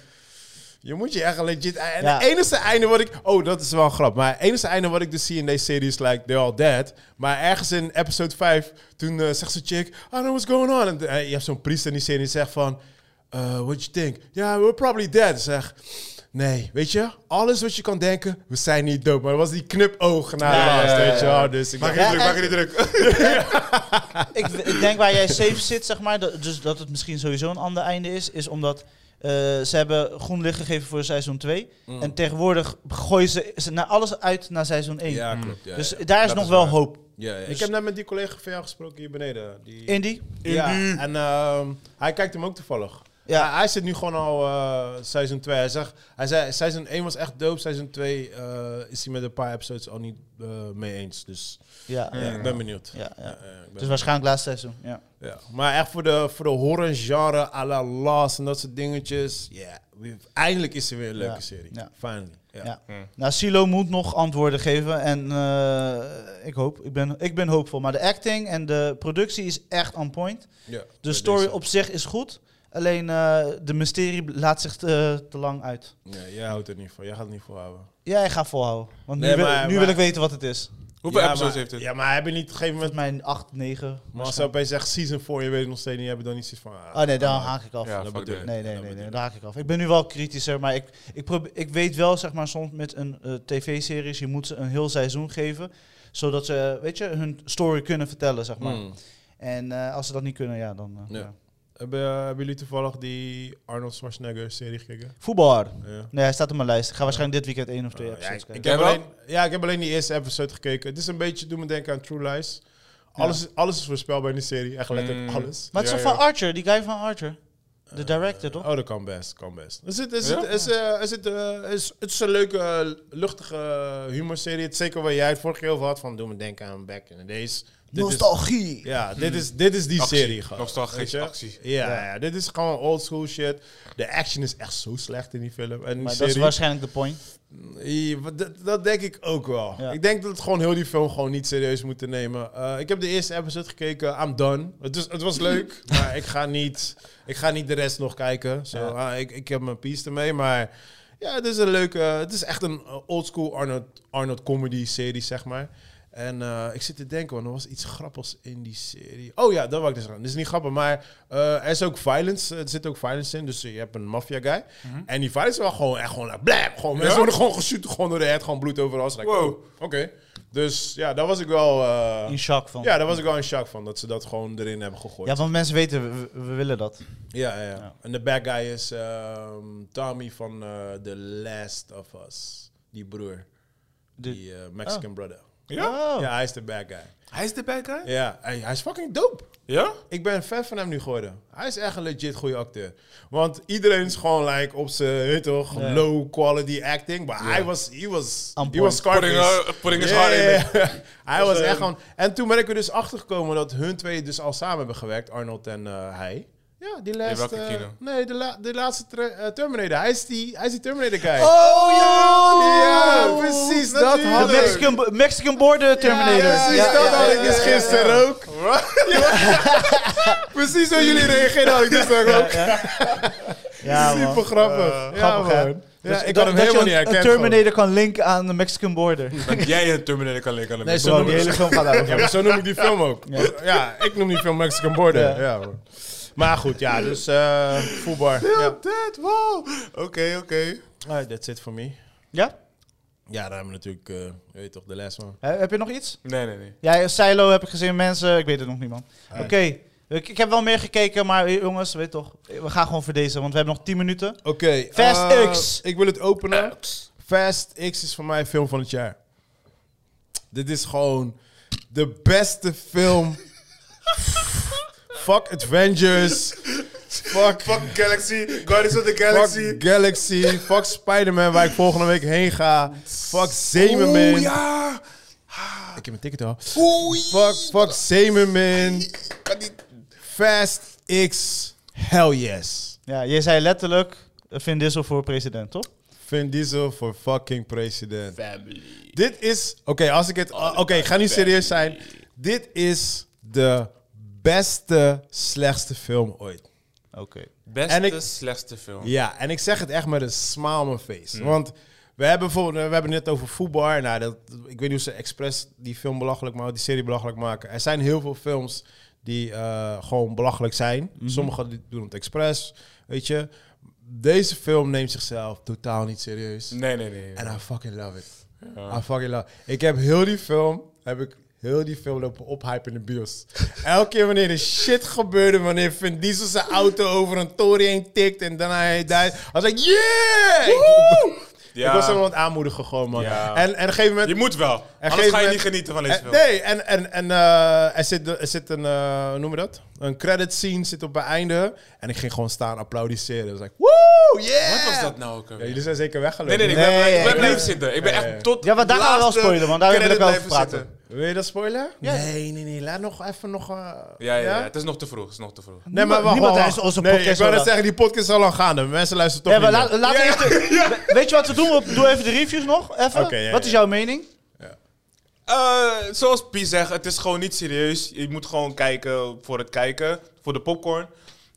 A: Je moet je echt een legit... En
B: Ja.
A: het enige einde wat ik... Oh, dat is wel een grap. Maar het enige einde wat ik dus zie in deze serie is like, they're all dead. Maar ergens in episode 5, toen eh, zegt zo'n chick... I don't know what's going on. En eh, je hebt zo'n priester in die serie die zegt van... eh, what you think? Yeah, we're probably dead. Zeg... Nee, weet je, alles wat je kan denken, we zijn niet dood. Maar dat was die knipoog naar
B: Ja,
A: de laatste,
B: ja, ja,
A: weet je
B: ja.
A: wel. Dus ik
C: Maak
A: dacht,
C: je niet
B: Ja,
C: druk, maak je niet druk.
B: ik, ik denk waar jij safe zit, zeg maar, dat, dus dat het misschien sowieso een ander einde is, is omdat eh, ze hebben groen licht gegeven voor seizoen 2.
A: Mm.
B: En tegenwoordig gooien ze, ze naar alles uit naar seizoen 1.
A: Ja, klopt. Ja,
B: dus
A: ja.
B: daar is
A: Dat
B: nog
A: is
B: wel
A: waar.
B: hoop.
A: Ja, ja.
B: Dus-
A: Ik heb net met die collega van jou gesproken hier beneden. Die...
B: Indy?
A: ja, en ehm, hij kijkt hem ook toevallig.
B: Ja.
A: Hij, hij zit nu gewoon al eh seizoen 2. Hij, zegt, hij zei, seizoen 1 was echt dope. Seizoen 2 eh, is hij met een paar episodes al niet eh, mee eens. Dus
B: Ja,
A: ja,
B: ja.
A: ik ben benieuwd.
B: ja, ja.
A: Eh, ik ben-
B: Dus waarschijnlijk laatste seizoen. Ja.
A: ja. Maar echt voor de, voor de horror genre, à la Last en dat soort dingetjes. Ja, we- eindelijk is er weer een leuke
B: Ja.
A: serie.
B: Ja.
A: Finally. Ja.
B: Ja. Nou, Silo moet nog antwoorden geven. En eh, ik hoop, ik ben, ik ben hoopvol. Maar de acting en de productie is echt on point.
A: Ja.
B: De
A: Bij
B: story
A: deze.
B: op zich is goed. Alleen eh, de mysterie laat zich eh, te, te lang uit.
A: Ja, jij houdt er niet van. Jij gaat het niet volhouden.
B: Jij gaat volhouden. Want nu,
A: Nee,
B: wil,
A: maar-
B: nu
A: maar-
B: wil ik weten wat het is.
C: Hoeveel
A: Ja,
C: episodes
A: maar-
C: heeft het?
A: Ja, maar hebben niet op een gegeven moment
B: Met mijn 8, 9.
A: Maar als ze opeens zegt season 4, je weet het nog steeds niet, hebben dan niet zoiets van... ah,
B: Oh nee, daar haak ik af.
C: Ja,
A: dat
C: fuck
A: bedoel
C: that.
B: Nee, nee,
A: dat
B: nee, nee,
A: bedoel
B: daar haak ik af. Ik ben nu wel kritischer, maar ik, ik, probeer, ik weet wel, zeg maar, soms met een eh, tv-series, je moet ze een heel seizoen geven, zodat ze, weet je, hun story kunnen vertellen, zeg maar.
C: Hmm.
B: En eh, als ze dat niet kunnen, ja, dan... eh,
A: Hmm. Ja.
B: ja.
A: Hebben, eh, hebben jullie toevallig die Arnold Schwarzenegger serie gekeken?
B: Voetballer.
A: Ja.
B: Nee, hij staat op mijn lijst. Ik ga waarschijnlijk dit weekend één of twee
A: Oh, ja,
B: episodes
A: ik, ik
B: kijken.
C: Jij
A: heb
C: wel?
A: alleen, ja, ik heb alleen die eerste episode gekeken. Het is een beetje, doe me denken aan True Lies. Alles, is, alles is voorspelbaar in die serie, echt letterlijk
C: Mm.
A: alles.
B: Maar het is
C: Ja,
B: toch
C: ja.
B: van Archer, die guy van Archer. De director, toch?
A: Oh, dat kan best, kan best. Is het, is
C: Ja?
A: het, is, eh, is het, eh, is, het is een leuke, eh, luchtige humorserie. Het is zeker waar jij het vorige keer over had, van doe me denken aan Back in the Days. dit is-
B: Nostalgie.
A: Ja, dit is, dit is die
C: Actie.
A: serie. gewoon,
C: Nostalgische
A: weet je?
C: actie.
A: Ja, ja. dit is gewoon old school shit. De action is echt zo slecht in die film. En die
B: Maar dat is
A: serie,
B: waarschijnlijk de point.
A: Ja, wat- dat, dat denk ik ook wel.
B: Ja.
A: Ik denk dat het gewoon heel die film gewoon niet serieus moeten nemen. Eh, ik heb de eerste episode gekeken. I'm done. Het, is, het was leuk, maar ik ga, niet, ik ga niet de rest nog kijken. Zo, ah, ik, ik heb mijn piece ermee, maar... Ja, het is een leuke... Het is echt een eh, oldschool Arnold, Arnold comedy serie, zeg maar. En eh, ik zit te denken, want er was iets grappigs in die serie. Oh ja, dat wou ik dus aan. Dit is niet grappig, maar eh, er is ook violence. Er zit ook violence in, dus je hebt een maffia guy.
B: Mhm.
A: En die violence was gewoon echt gewoon... eh, Blam, gewoon mensen
C: Ja?
A: worden gewoon geshoot, gewoon door de head, gewoon bloed overal. Like,
C: Wow.
A: oh, Oké. Dus ja, daar was ik wel... eh,
B: In shock van.
A: ja, daar was ik wel in shock van, dat ze dat gewoon erin hebben gegooid.
B: Ja, want mensen weten, we, we willen dat.
A: Ja, ja, ja.
B: Ja.
A: En de bad guy is ehm, Tommy van eh, The Last of Us. Die broer.
B: De- Ah.
A: die eh, Mexican brother.
C: Ja?
B: Oh.
A: Ja, hij is de bad guy.
C: Hij is de bad guy?
A: Ja, hij, hij is fucking dope.
C: Ja?
A: Ik ben een fan van hem nu geworden. Hij is echt een legit goede acteur. Want iedereen is gewoon like op zijn, weet je toch,
B: Ja.
A: low quality acting. Maar hij was, he was,
B: On
A: he
B: point.
A: was Scarface.
C: Putting, uh, putting his
A: Ja,
C: heart in
A: ja, ja. hij was
C: eh,
B: ehm,
A: echt gewoon... En toen ben ik er dus achter gekomen dat hun twee dus al samen hebben gewerkt. Arnold en eh, hij. Ja, die laatste...
C: welke
A: eh,
C: kino?
A: nee, de, la- de laatste tra- eh, Terminator. Hij is die, hij is die Terminator guy.
B: Oh
A: Ja, precies, dat
C: Natuurlijk.
A: had ik.
B: Mexican, bo- Mexican Border Terminator.
A: Ja, precies,
B: Ja,
A: dat
B: ja,
A: had
B: ja,
A: ik dus
B: ja,
A: gisteren ook. precies hoe jullie reageerden had ik dus ook.
B: Ja, man.
A: Super grappig. ja,
B: Grappig, hè?
A: man. Ja,
B: Eh, Dus
A: ik
B: dat-
A: had hem
B: dat je
A: helemaal
B: een-
A: niet herkend.
B: Een Terminator kan linken aan de Mexican Border.
C: Dat jij een Terminator kan linken aan de
A: Nee,
C: mensen.
A: zo
B: Zo,
A: noem
B: die
A: ik-
B: hele film gaat
A: gewoon. Ja,
B: over.
A: maar zo noem ik die film ook.
B: Ja.
A: Ja, ik noem die film Mexican Border.
B: Ja.
A: Ja. hoor. maar goed, ja, dus eh voetbar. Ja.
C: That wall. Oké, oké.
A: Alright, that's it for me.
B: Ja?
A: Ja, daar hebben we natuurlijk, eh, je weet toch, de les man.
B: He- Heb je nog iets?
C: Nee, nee, nee.
B: Ja, Silo heb ik gezien, mensen. Ik weet het nog niet, man. Oké. Ik, ik heb wel meer gekeken, maar eh, jongens, weet toch. We gaan gewoon voor deze, want we hebben nog 10 minuten.
A: Oké.
B: Fast
A: eh,
B: X.
A: Ik wil het openen. Fast X is voor mij film van het jaar. Dit is gewoon de beste film. Fuck Avengers. Fuck
C: Fuck Galaxy. Guardians of the Galaxy.
A: Fuck Galaxy. Fuck Spider-Man, waar ik volgende week heen ga. Fuck Zemerman.
C: Oeh, Oh, ja.
A: Ik heb mijn ticket al.
C: Oei.
A: Fuck, fuck Zemerman.
C: Kan niet.
A: Fast X. Hell yes.
B: Ja, jij zei letterlijk, eh, Vin Diesel voor president, toch?
A: Vin Diesel voor fucking president.
C: Family.
A: Dit is... Oké, als ik het... Oké, ik ga nu serieus zijn. Dit is de beste, slechtste film ooit.
B: Oké.
C: Beste,
A: En ik-
C: slechtste film.
A: Ja, en ik zeg het echt met een smile on mijn face. Want we hebben, bijvoorbeeld, we hebben het net over voetbal. Nou, dat, ik weet niet hoe ze expres die film belachelijk maken, die serie belachelijk maken. Er zijn heel veel films die eh, gewoon belachelijk zijn. Sommigen die doen het expres, weet je. Deze film neemt zichzelf totaal niet serieus.
C: Nee, nee, nee.
A: En I fucking love it.
C: Ja.
A: I fucking love Ik heb heel die film, heb ik heel die film lopen ophypen in de bios. Elke keer wanneer er shit gebeurde, wanneer Vin Diesel zijn auto over een toren heen tikt en daarna hij daar, was ik yeah! Ik-
C: Ja.
A: Ik was hem aan het aanmoedigen gewoon, man.
C: Ja.
A: En, en op een gegeven moment...
C: Je moet wel.
A: En
C: Anders
A: geef
C: ga je
A: me-
C: niet genieten van deze
A: Eh,
C: film.
A: nee, en, en, en eh, er, zit, er zit een, eh, hoe noem je dat? Een credit scene zit op het einde. En ik ging gewoon staan applaudisseren. Dus ik, woe, yeah!
C: Wat was dat nou ook?
A: Ja,
C: alweer?
A: jullie zijn zeker weggelopen.
C: Nee, nee, nee. Ik ben,
B: Nee,
C: blij- ik
B: ik
C: ben
B: ben-
C: blijven zitten. Ik ben
A: ja, ja.
C: echt tot
B: Ja, want daar
C: de
B: gaan we wel
C: laatste
B: spoilen, want daar wil ik
C: credit
B: wel over
C: blijven
B: praten.
C: zitten.
A: Wil je dat spoilen? Nee, nee, nee. Laat nog even nog... eh,
C: Ja, ja, ja, het is nog te vroeg. Het is nog te vroeg.
A: Nee, maar wacht,
B: Niemand
A: wacht,
B: is
A: wacht.
B: onze
A: Nee,
B: podcast
A: ik wil
B: al
A: net
B: lang.
A: zeggen, die podcast is al lang gaande. Mensen luisteren
B: Ja,
A: toch
B: maar
A: niet
B: laat, laat eerst de- we- Weet je wat we doen? We- Doe even de reviews nog. Even.
A: Oké, ja,
B: wat
A: ja.
B: is jouw mening?
C: Eh, zoals Pi zegt, het is gewoon niet serieus. Je moet gewoon kijken voor het kijken, voor de popcorn.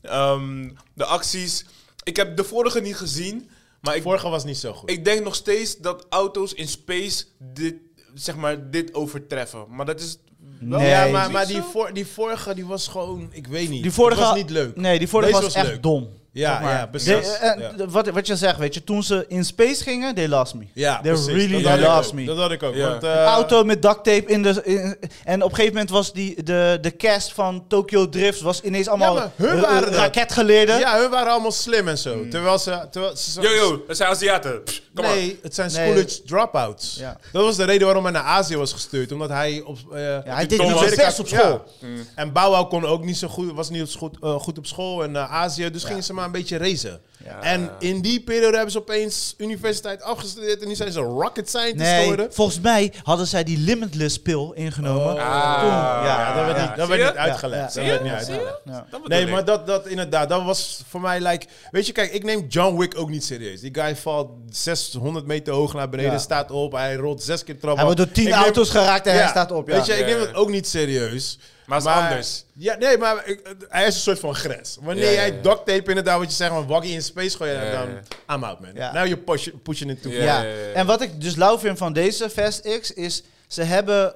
C: Ehm, de acties. Ik heb de vorige niet gezien, maar
A: meer.
C: ik,
A: Vorige was niet zo goed.
C: ik denk nog steeds dat auto's in space dit, zeg maar, dit overtreffen. Maar dat is wel...
B: Nee.
A: ja, maar, maar
C: Is het
A: die,
C: zo?
A: voor, die vorige, die was gewoon... Ik weet niet.
B: Die vorige
A: was niet leuk.
B: Nee, die vorige
A: Deze
B: was,
A: was
B: echt
A: leuk.
B: dom.
A: Ja,
B: Zeg maar.
A: ja, precies.
B: De- eh,
A: Ja.
B: de- wat, wat je zegt, weet je, toen ze in space gingen, they lost me.
A: Ja,
B: they
A: precies.
B: really
A: dat had ik
B: lost
A: ook.
B: me.
A: Dat had ik ook.
C: Ja.
A: Want, eh,
B: auto met duct tape in de. in- en op een gegeven moment was die, de, de cast van Tokyo Drift was ineens allemaal
A: maar hun
B: ra-
A: waren dat.
B: raketgeleerden.
A: Ja, hun waren allemaal slim en
B: Hmm.
A: zo. Terwijl ze... Terwijl ze
C: Yo, yo, dat zijn Aziaten. Pff, Kom maar.
A: nee, het zijn
B: Nee.
A: schoolage dropouts.
B: Ja.
A: Dat was de reden waarom hij naar Azië was gestuurd. Omdat hij op. eh,
B: Ja, hij
A: op de
B: deed niet
A: Amerika-
B: zo best op school.
A: Ja.
C: Mm.
A: En Bauwau kon ook niet zo goed, was niet op school- eh, goed op school en naar Azië. Dus gingen ze maar een beetje racen. En in die periode hebben ze opeens universiteit afgestudeerd en nu zijn ze rocket scientists
B: Nee,
A: geworden.
B: volgens mij hadden zij die limitless pil ingenomen.
A: Oh.
C: Ah.
B: Toen,
A: Ja, dat werd
B: ja.
A: niet, dat
C: Zie
A: werd
C: je?
A: niet uitgelegd.
B: Ja,
A: Dat
B: ja.
A: werd niet
C: Zie je?
A: uitgelegd.
B: Ja.
C: Dat bedoel
A: Nee,
C: ik.
A: maar dat, dat inderdaad, dat was voor mij like... Weet je, kijk, ik neem John Wick ook niet serieus. Die guy valt 600 meter hoog naar beneden,
B: Ja.
A: staat op, hij rolt zes keer trap
B: Hij
A: af.
B: wordt door tien
A: Ik neem-
B: auto's geraakt en
A: Ja,
B: hij staat op. Ja.
A: Weet je, ik neem
C: Ja.
A: het ook niet serieus.
C: Maar het is anders.
A: Ja, nee, maar ik- hij is een soort van grens. Wanneer
C: Ja, ja,
A: jij
C: ja.
A: duct tape inderdaad, wat je zegt, van waggy in space gooien,
C: Ja,
A: dan
C: ja,
A: I'm out, man.
B: Ja.
A: Now you're push, pushing it too
C: Ja.
A: far.
B: Ja.
C: ja, ja, ja.
B: En wat ik dus lauw vind van deze Fast X is, ze hebben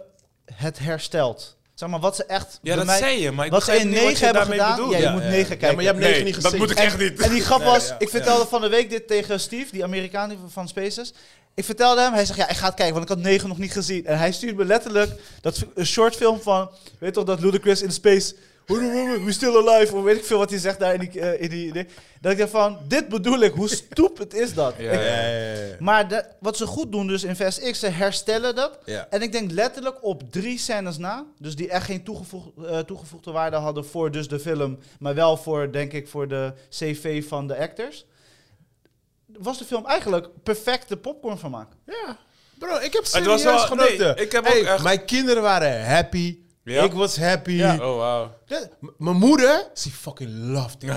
B: het hersteld. Zeg maar, wat ze echt...
C: Ja,
B: bij
C: dat
B: mij-
C: zei je, maar ik
B: Wat ze
C: begrijp
B: in
C: niet wat
B: 9
C: je
B: hebben
C: daarmee
B: gedaan,
C: bedoelt.
B: ja, je
A: Ja.
B: moet
A: Ja.
B: 9
A: Ja,
B: kijken.
A: maar je hebt
C: Nee,
A: negen niet
C: dat
A: gezien.
C: moet ik
B: En-
C: echt niet.
B: En die grap was,
A: ja,
B: ik vertelde van de week dit tegen Steve, die Amerikaan die van Spaces. Ik vertelde hem, hij zegt, ja, ik ga het kijken, want ik had 9 nog niet gezien. En hij stuurde me letterlijk dat een short film van, weet toch, dat Ludacris in space... We still alive, of weet ik veel wat hij zegt daar in die... eh, in die, die- dat ik dacht van, dit bedoel ik, hoe stupid is dat?
C: Ja,
B: Ik-
A: Ja, ja, ja, ja.
B: Maar de- wat ze goed doen dus in Fast X, ze herstellen dat.
A: Ja.
B: En ik denk letterlijk op drie scènes na, dus die echt geen toegevoeg- eh, toegevoegde waarde hadden voor dus de film, maar wel voor, denk ik, voor de cv van de actors, was de film eigenlijk perfect de popcorn van maken.
A: Ja. Bro, ik heb
C: Het
A: serieus
C: was wel-
A: genoten.
C: nee, ik heb ook echt-
A: Mijn kinderen waren happy.
C: Ja.
A: Ik was happy.
B: Ja.
C: Oh, wauw.
A: Dat- m- Mijn moeder, she fucking loved it.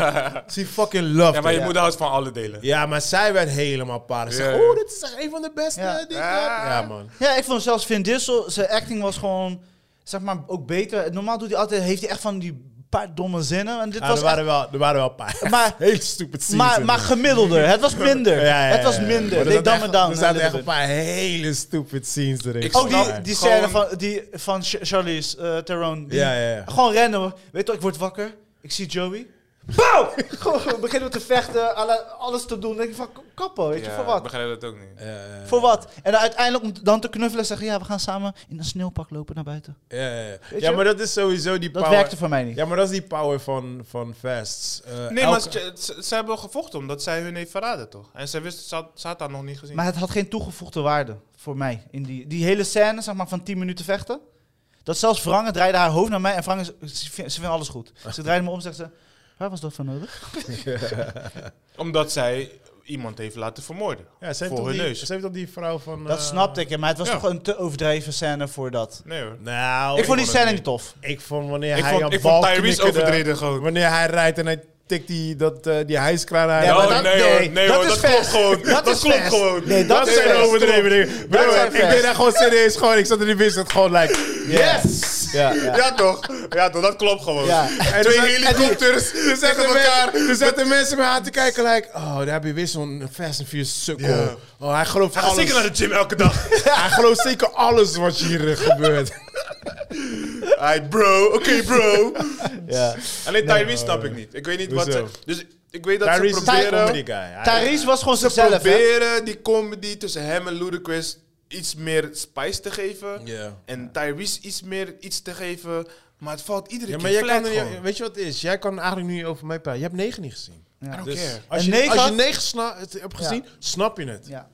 A: she fucking loved
C: Ja, maar je
A: it.
C: moeder houdt van alle delen.
A: Ja, maar zij werd helemaal paard. Ze
C: Ja.
A: zei, oh, dit is echt een van de beste
B: Ja.
A: dingen.
C: Ah.
A: Ja, man.
B: Ja, ik vond zelfs Vin Diesel, zijn acting was gewoon, zeg maar, ook beter. Normaal doet hij altijd, heeft hij echt van die paar domme zinnen. En dit
A: Ja,
B: was
A: Nou, er, waren wel, er waren wel een paar.
B: Maar-
A: Hele stupid
B: echt-
A: scenes.
B: maar,
A: in
B: maar
A: het.
B: gemiddelder. Het was minder.
A: Ja, ja, ja,
B: Het was
A: ja.
B: minder.
A: Maar
B: They
A: er zaten
B: dumb it
A: echt-
B: down.
A: Er
B: a
A: zaten
B: little
A: echt
B: bit.
A: een paar hele stupid scenes erin.
C: Ik
B: Ook Oh, die,
C: snap
B: die
C: het.
B: scène
C: Gewoon-
B: van, die, van Sh- Charlize eh Theron. Die
A: Ja, ja, ja.
B: Gewoon rennen. hoor. Weet je, ik word wakker. Ik zie Joey. Bow! Gewoon beginnen we te vechten. alle- Alles te doen. Dan denk ik van kappen. Weet je,
C: Ja,
B: voor
C: Ik
B: wat?
C: begrijp dat ook niet.
A: Ja,
B: Voor wat? En dan uiteindelijk om dan te knuffelen en zeggen... ja, we gaan samen in een sneeuwpak lopen naar buiten.
A: ja, ja.
B: Weet
A: ja,
B: je?
A: maar dat is sowieso die
B: Dat
A: power.
B: werkte voor mij niet.
A: Ja, maar dat is die power van, van Fasts. Eh,
C: Nee, maar
A: elke-
C: ze, ze- ze hebben gevochten omdat zij hun heeft verraden, toch? En ze wist, ze had, ze had dat nog niet gezien.
B: Maar het had geen toegevoegde waarde voor mij. In die, die hele scène zeg maar, van 10 minuten vechten. Dat zelfs Wrange draaide haar hoofd naar mij en Wrange, ze vindt- ze vindt alles goed. Ze draaide me om en zegt ze, waar was dat voor nodig?
C: Omdat zij iemand heeft laten vermoorden.
A: Ja, ze heeft,
C: voor
A: toch
C: hun
A: die,
C: neus.
A: ze heeft toch die vrouw van...
B: Dat
A: eh,
B: snapte ik, maar het was
C: ja. Oh,
B: toch een te overdreven scène voor dat.
C: Nee hoor.
A: Nou,
B: ik vond die
C: vond het
B: scène
C: niet.
B: niet tof.
A: Ik vond wanneer
C: Ik
A: hij
C: vond-
A: aan
C: ik
A: bal
C: vond Tyrese
A: knikkerde,
C: overdreven gewoon.
A: Wanneer hij rijdt en hij tikt die, dat, eh die hijskraan aan.
B: Ja,
C: Oh,
A: dat,
B: maar dat-
C: nee,
B: nee,
C: hoor, nee
B: dat
C: hoor,
B: is
C: dat klopt
B: vers.
C: gewoon.
B: Dat
C: Dat,
B: is
C: klopt
B: vers.
C: gewoon.
B: Nee, dat is
C: zijn
B: vers.
C: overdreven dingen.
A: Bro,
B: zijn
A: ik
B: vers.
A: deed daar gewoon serieus gewoon. Ik zat in die business gewoon like, yes!
B: Ja,
C: Ja. toch? Ja toch, dat klopt gewoon.
B: Ja.
A: En
C: Twee
A: toen-
C: helikopters
A: Er zaten,
C: tegen elkaar.
A: mensen, er zaten mensen me aan te kijken like, oh, daar heb je weer zo'n Fast and Furious sukkel.
C: Ja.
A: Oh, hij gelooft
C: Hij gaat
A: alles.
C: "Ah, zeker naar de gym elke dag.
A: hij gelooft zeker alles wat hier eh, gebeurt.
C: Alright, bro. Oké, bro.
B: Ja.
C: Alleen Tyrese snap ik niet. Ik weet niet wat
A: Hoezo?
C: ze... Dus ik weet dat
A: Tyrese
C: ze
A: is een
C: proberen...
A: comedy guy. Hij-
B: Therese was gewoon zichzelf, hè?
C: proberen die comedy tussen hem en Ludacris iets meer spice te geven.
A: Ja.
C: En Tyrese iets meer iets te geven. Maar het valt iedere
A: Ja, maar
C: keer
A: jij
C: flat
A: kan er,
C: gewoon.
A: niet- weet je wat het is? Jij kan eigenlijk nu niet over mij praten. Je hebt negen niet gezien.
B: Ja.
C: I don't
A: Dus
C: care.
A: als,
B: En
A: je,
B: negen
A: als je
B: had-
A: negen sna- het hebt gezien, snap je het.
B: Ja.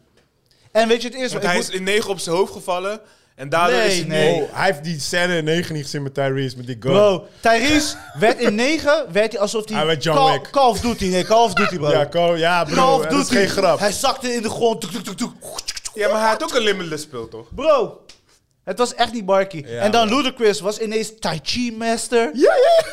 B: En weet je het eerste?
C: Want
B: ik
C: hij
B: moet-
C: is in negen op zijn hoofd gevallen. En daardoor is
B: Nee,
C: hij
B: nee.
C: nee.
A: Oh, hij heeft die scène in negen niet gezien met Tyrese, met die gun.
B: Bro, Tyrese werd in 9, werd hij alsof hij...
A: Hij werd John
B: Call,
A: Wick.
B: Call of Duty, nee, Call of Duty, bro.
A: Ja, ko- ja
B: Call
A: bro,
B: of
A: dat is
B: Duty.
A: geen grap.
B: Hij zakte in de grond. Toek, toek, toek, toek.
C: Ja, maar hij had ook een limitless speel, toch?
B: Bro, het was echt niet barkie.
A: Ja,
B: en dan
A: man.
B: Ludacris was ineens Tai Chi Master.
A: Ja, ja.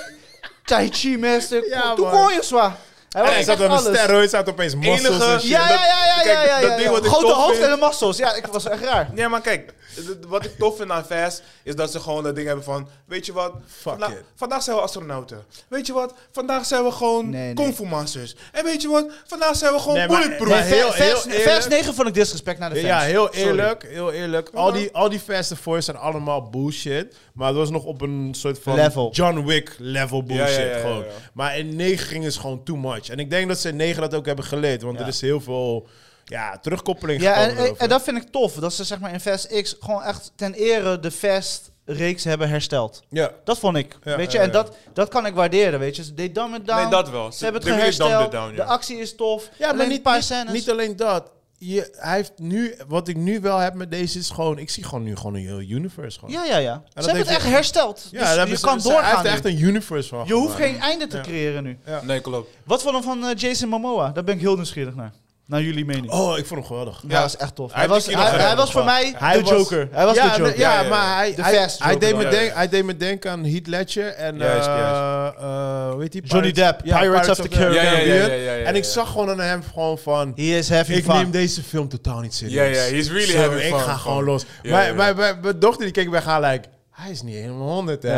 B: Tai Chi Master.
A: Ja,
B: Toen
A: man.
B: kon je zwaar. Hij was
A: Hij
B: echt
A: zat op een
B: alles.
A: steroid, zat opeens muscles
C: Enige-
A: en shit.
B: Ja, ja, ja, ja,
C: Kijk,
B: ja, ja,
C: dat
B: ja,
C: ding
B: ja.
C: wat ik
B: Grote
C: tof
B: hoofd
C: vind-
B: en de muscles. Ja, ik was echt raar.
C: Ja, maar kijk, d- wat ik tof vind aan Fast is dat ze gewoon dat ding hebben van, weet je wat, vanda-
A: it.
C: vandaag zijn we astronauten. Weet je wat, vandaag zijn we gewoon
B: Nee, nee.
C: kung fu masters. En weet je wat, vandaag zijn we gewoon
A: Nee, maar-
C: bulletproof.
A: maar heel-
B: vers, vers,
A: eerlijk-
B: vers 9 vond ik disrespect naar de fans.
A: Ja, heel
B: Sorry.
A: eerlijk, heel eerlijk. Al die, al die Fast and Furious zijn allemaal bullshit. Maar het was nog op een soort van
B: Level.
A: John Wick level bullshit
C: Ja, ja, ja, ja,
A: gewoon.
C: ja.
A: Maar in 9 ging het gewoon too much. En ik denk dat ze in 9 dat ook hebben geleerd. Want
B: Ja.
A: er is heel veel ja, terugkoppeling
B: Ja, en,
A: gekomen
B: en,
A: erover.
B: en dat vind ik tof. Dat ze zeg maar in Fast X gewoon echt ten ere de Fast reeks hebben hersteld.
A: ja.
B: Dat vond ik.
A: Ja,
B: weet je,
A: ja, ja.
B: en dat, dat kan ik waarderen. Weet je, ze deed dumb it down.
C: Nee, dat wel.
B: Ze hebben het
C: They really dumbed
B: gehersteld.
C: it down, ja.
B: De actie is tof.
A: Ja, maar
B: Alleen
A: niet,
B: een paar
A: niet-
B: scènes.
A: niet alleen dat. je, hij heeft nu, wat ik nu wel heb met deze is gewoon, ik zie gewoon nu gewoon een heel universe gewoon.
B: Ja, ja, ja. Ze hebben
A: heeft
B: het echt
A: hij-
B: hersteld.
A: Ja,
B: dus
A: daar
B: je
A: hebben ze-
B: kan
A: ze- Hij
B: doorgaan
A: heeft
B: nu.
A: er echt een universe van
B: Je hoeft
A: gemaakt.
B: geen einde te creëren nu.
C: Nee, klopt.
B: Wat vond je van eh, Jason Momoa? Daar ben ik heel nieuwsgierig naar. Naar jullie mening.
A: Oh, ik vond hem geweldig.
B: ja,
C: ja.
B: dat is echt tof. Hij,
C: Hij heeft
B: was,
C: die kilo
B: hij, hij
C: gereden,
B: was voor
C: man.
B: mij
A: Hij
B: de Joker. hij was
A: ja,
B: de Joker.
A: Ja,
C: Ja, ja,
A: maar hij,
B: De
A: hij,
B: fast
A: hij deed
B: Joker
A: me
C: dan.
A: denk, hij deed me denken aan Heath Ledger en
C: Juist,
A: eh,
C: juist.
A: eh, hoe heet die?
B: Johnny Depp, Pirates of the
C: Ja, ja, ja, ja, ja,
A: Caribbean.
C: ja, ja.
A: En ik zag gewoon aan hem gewoon van,
B: He is having
A: ik
B: fun.
A: neem deze film totaal niet serieus.
C: Ja, ja, he's really
A: Zo,
C: having
A: ik
C: fun.
A: ga gewoon
C: Van-
A: los.
C: Ja,
A: mijn,
C: ja, ja.
A: Mijn, mijn, mijn dochter die keek bij haar like, hij is niet helemaal 100 hè.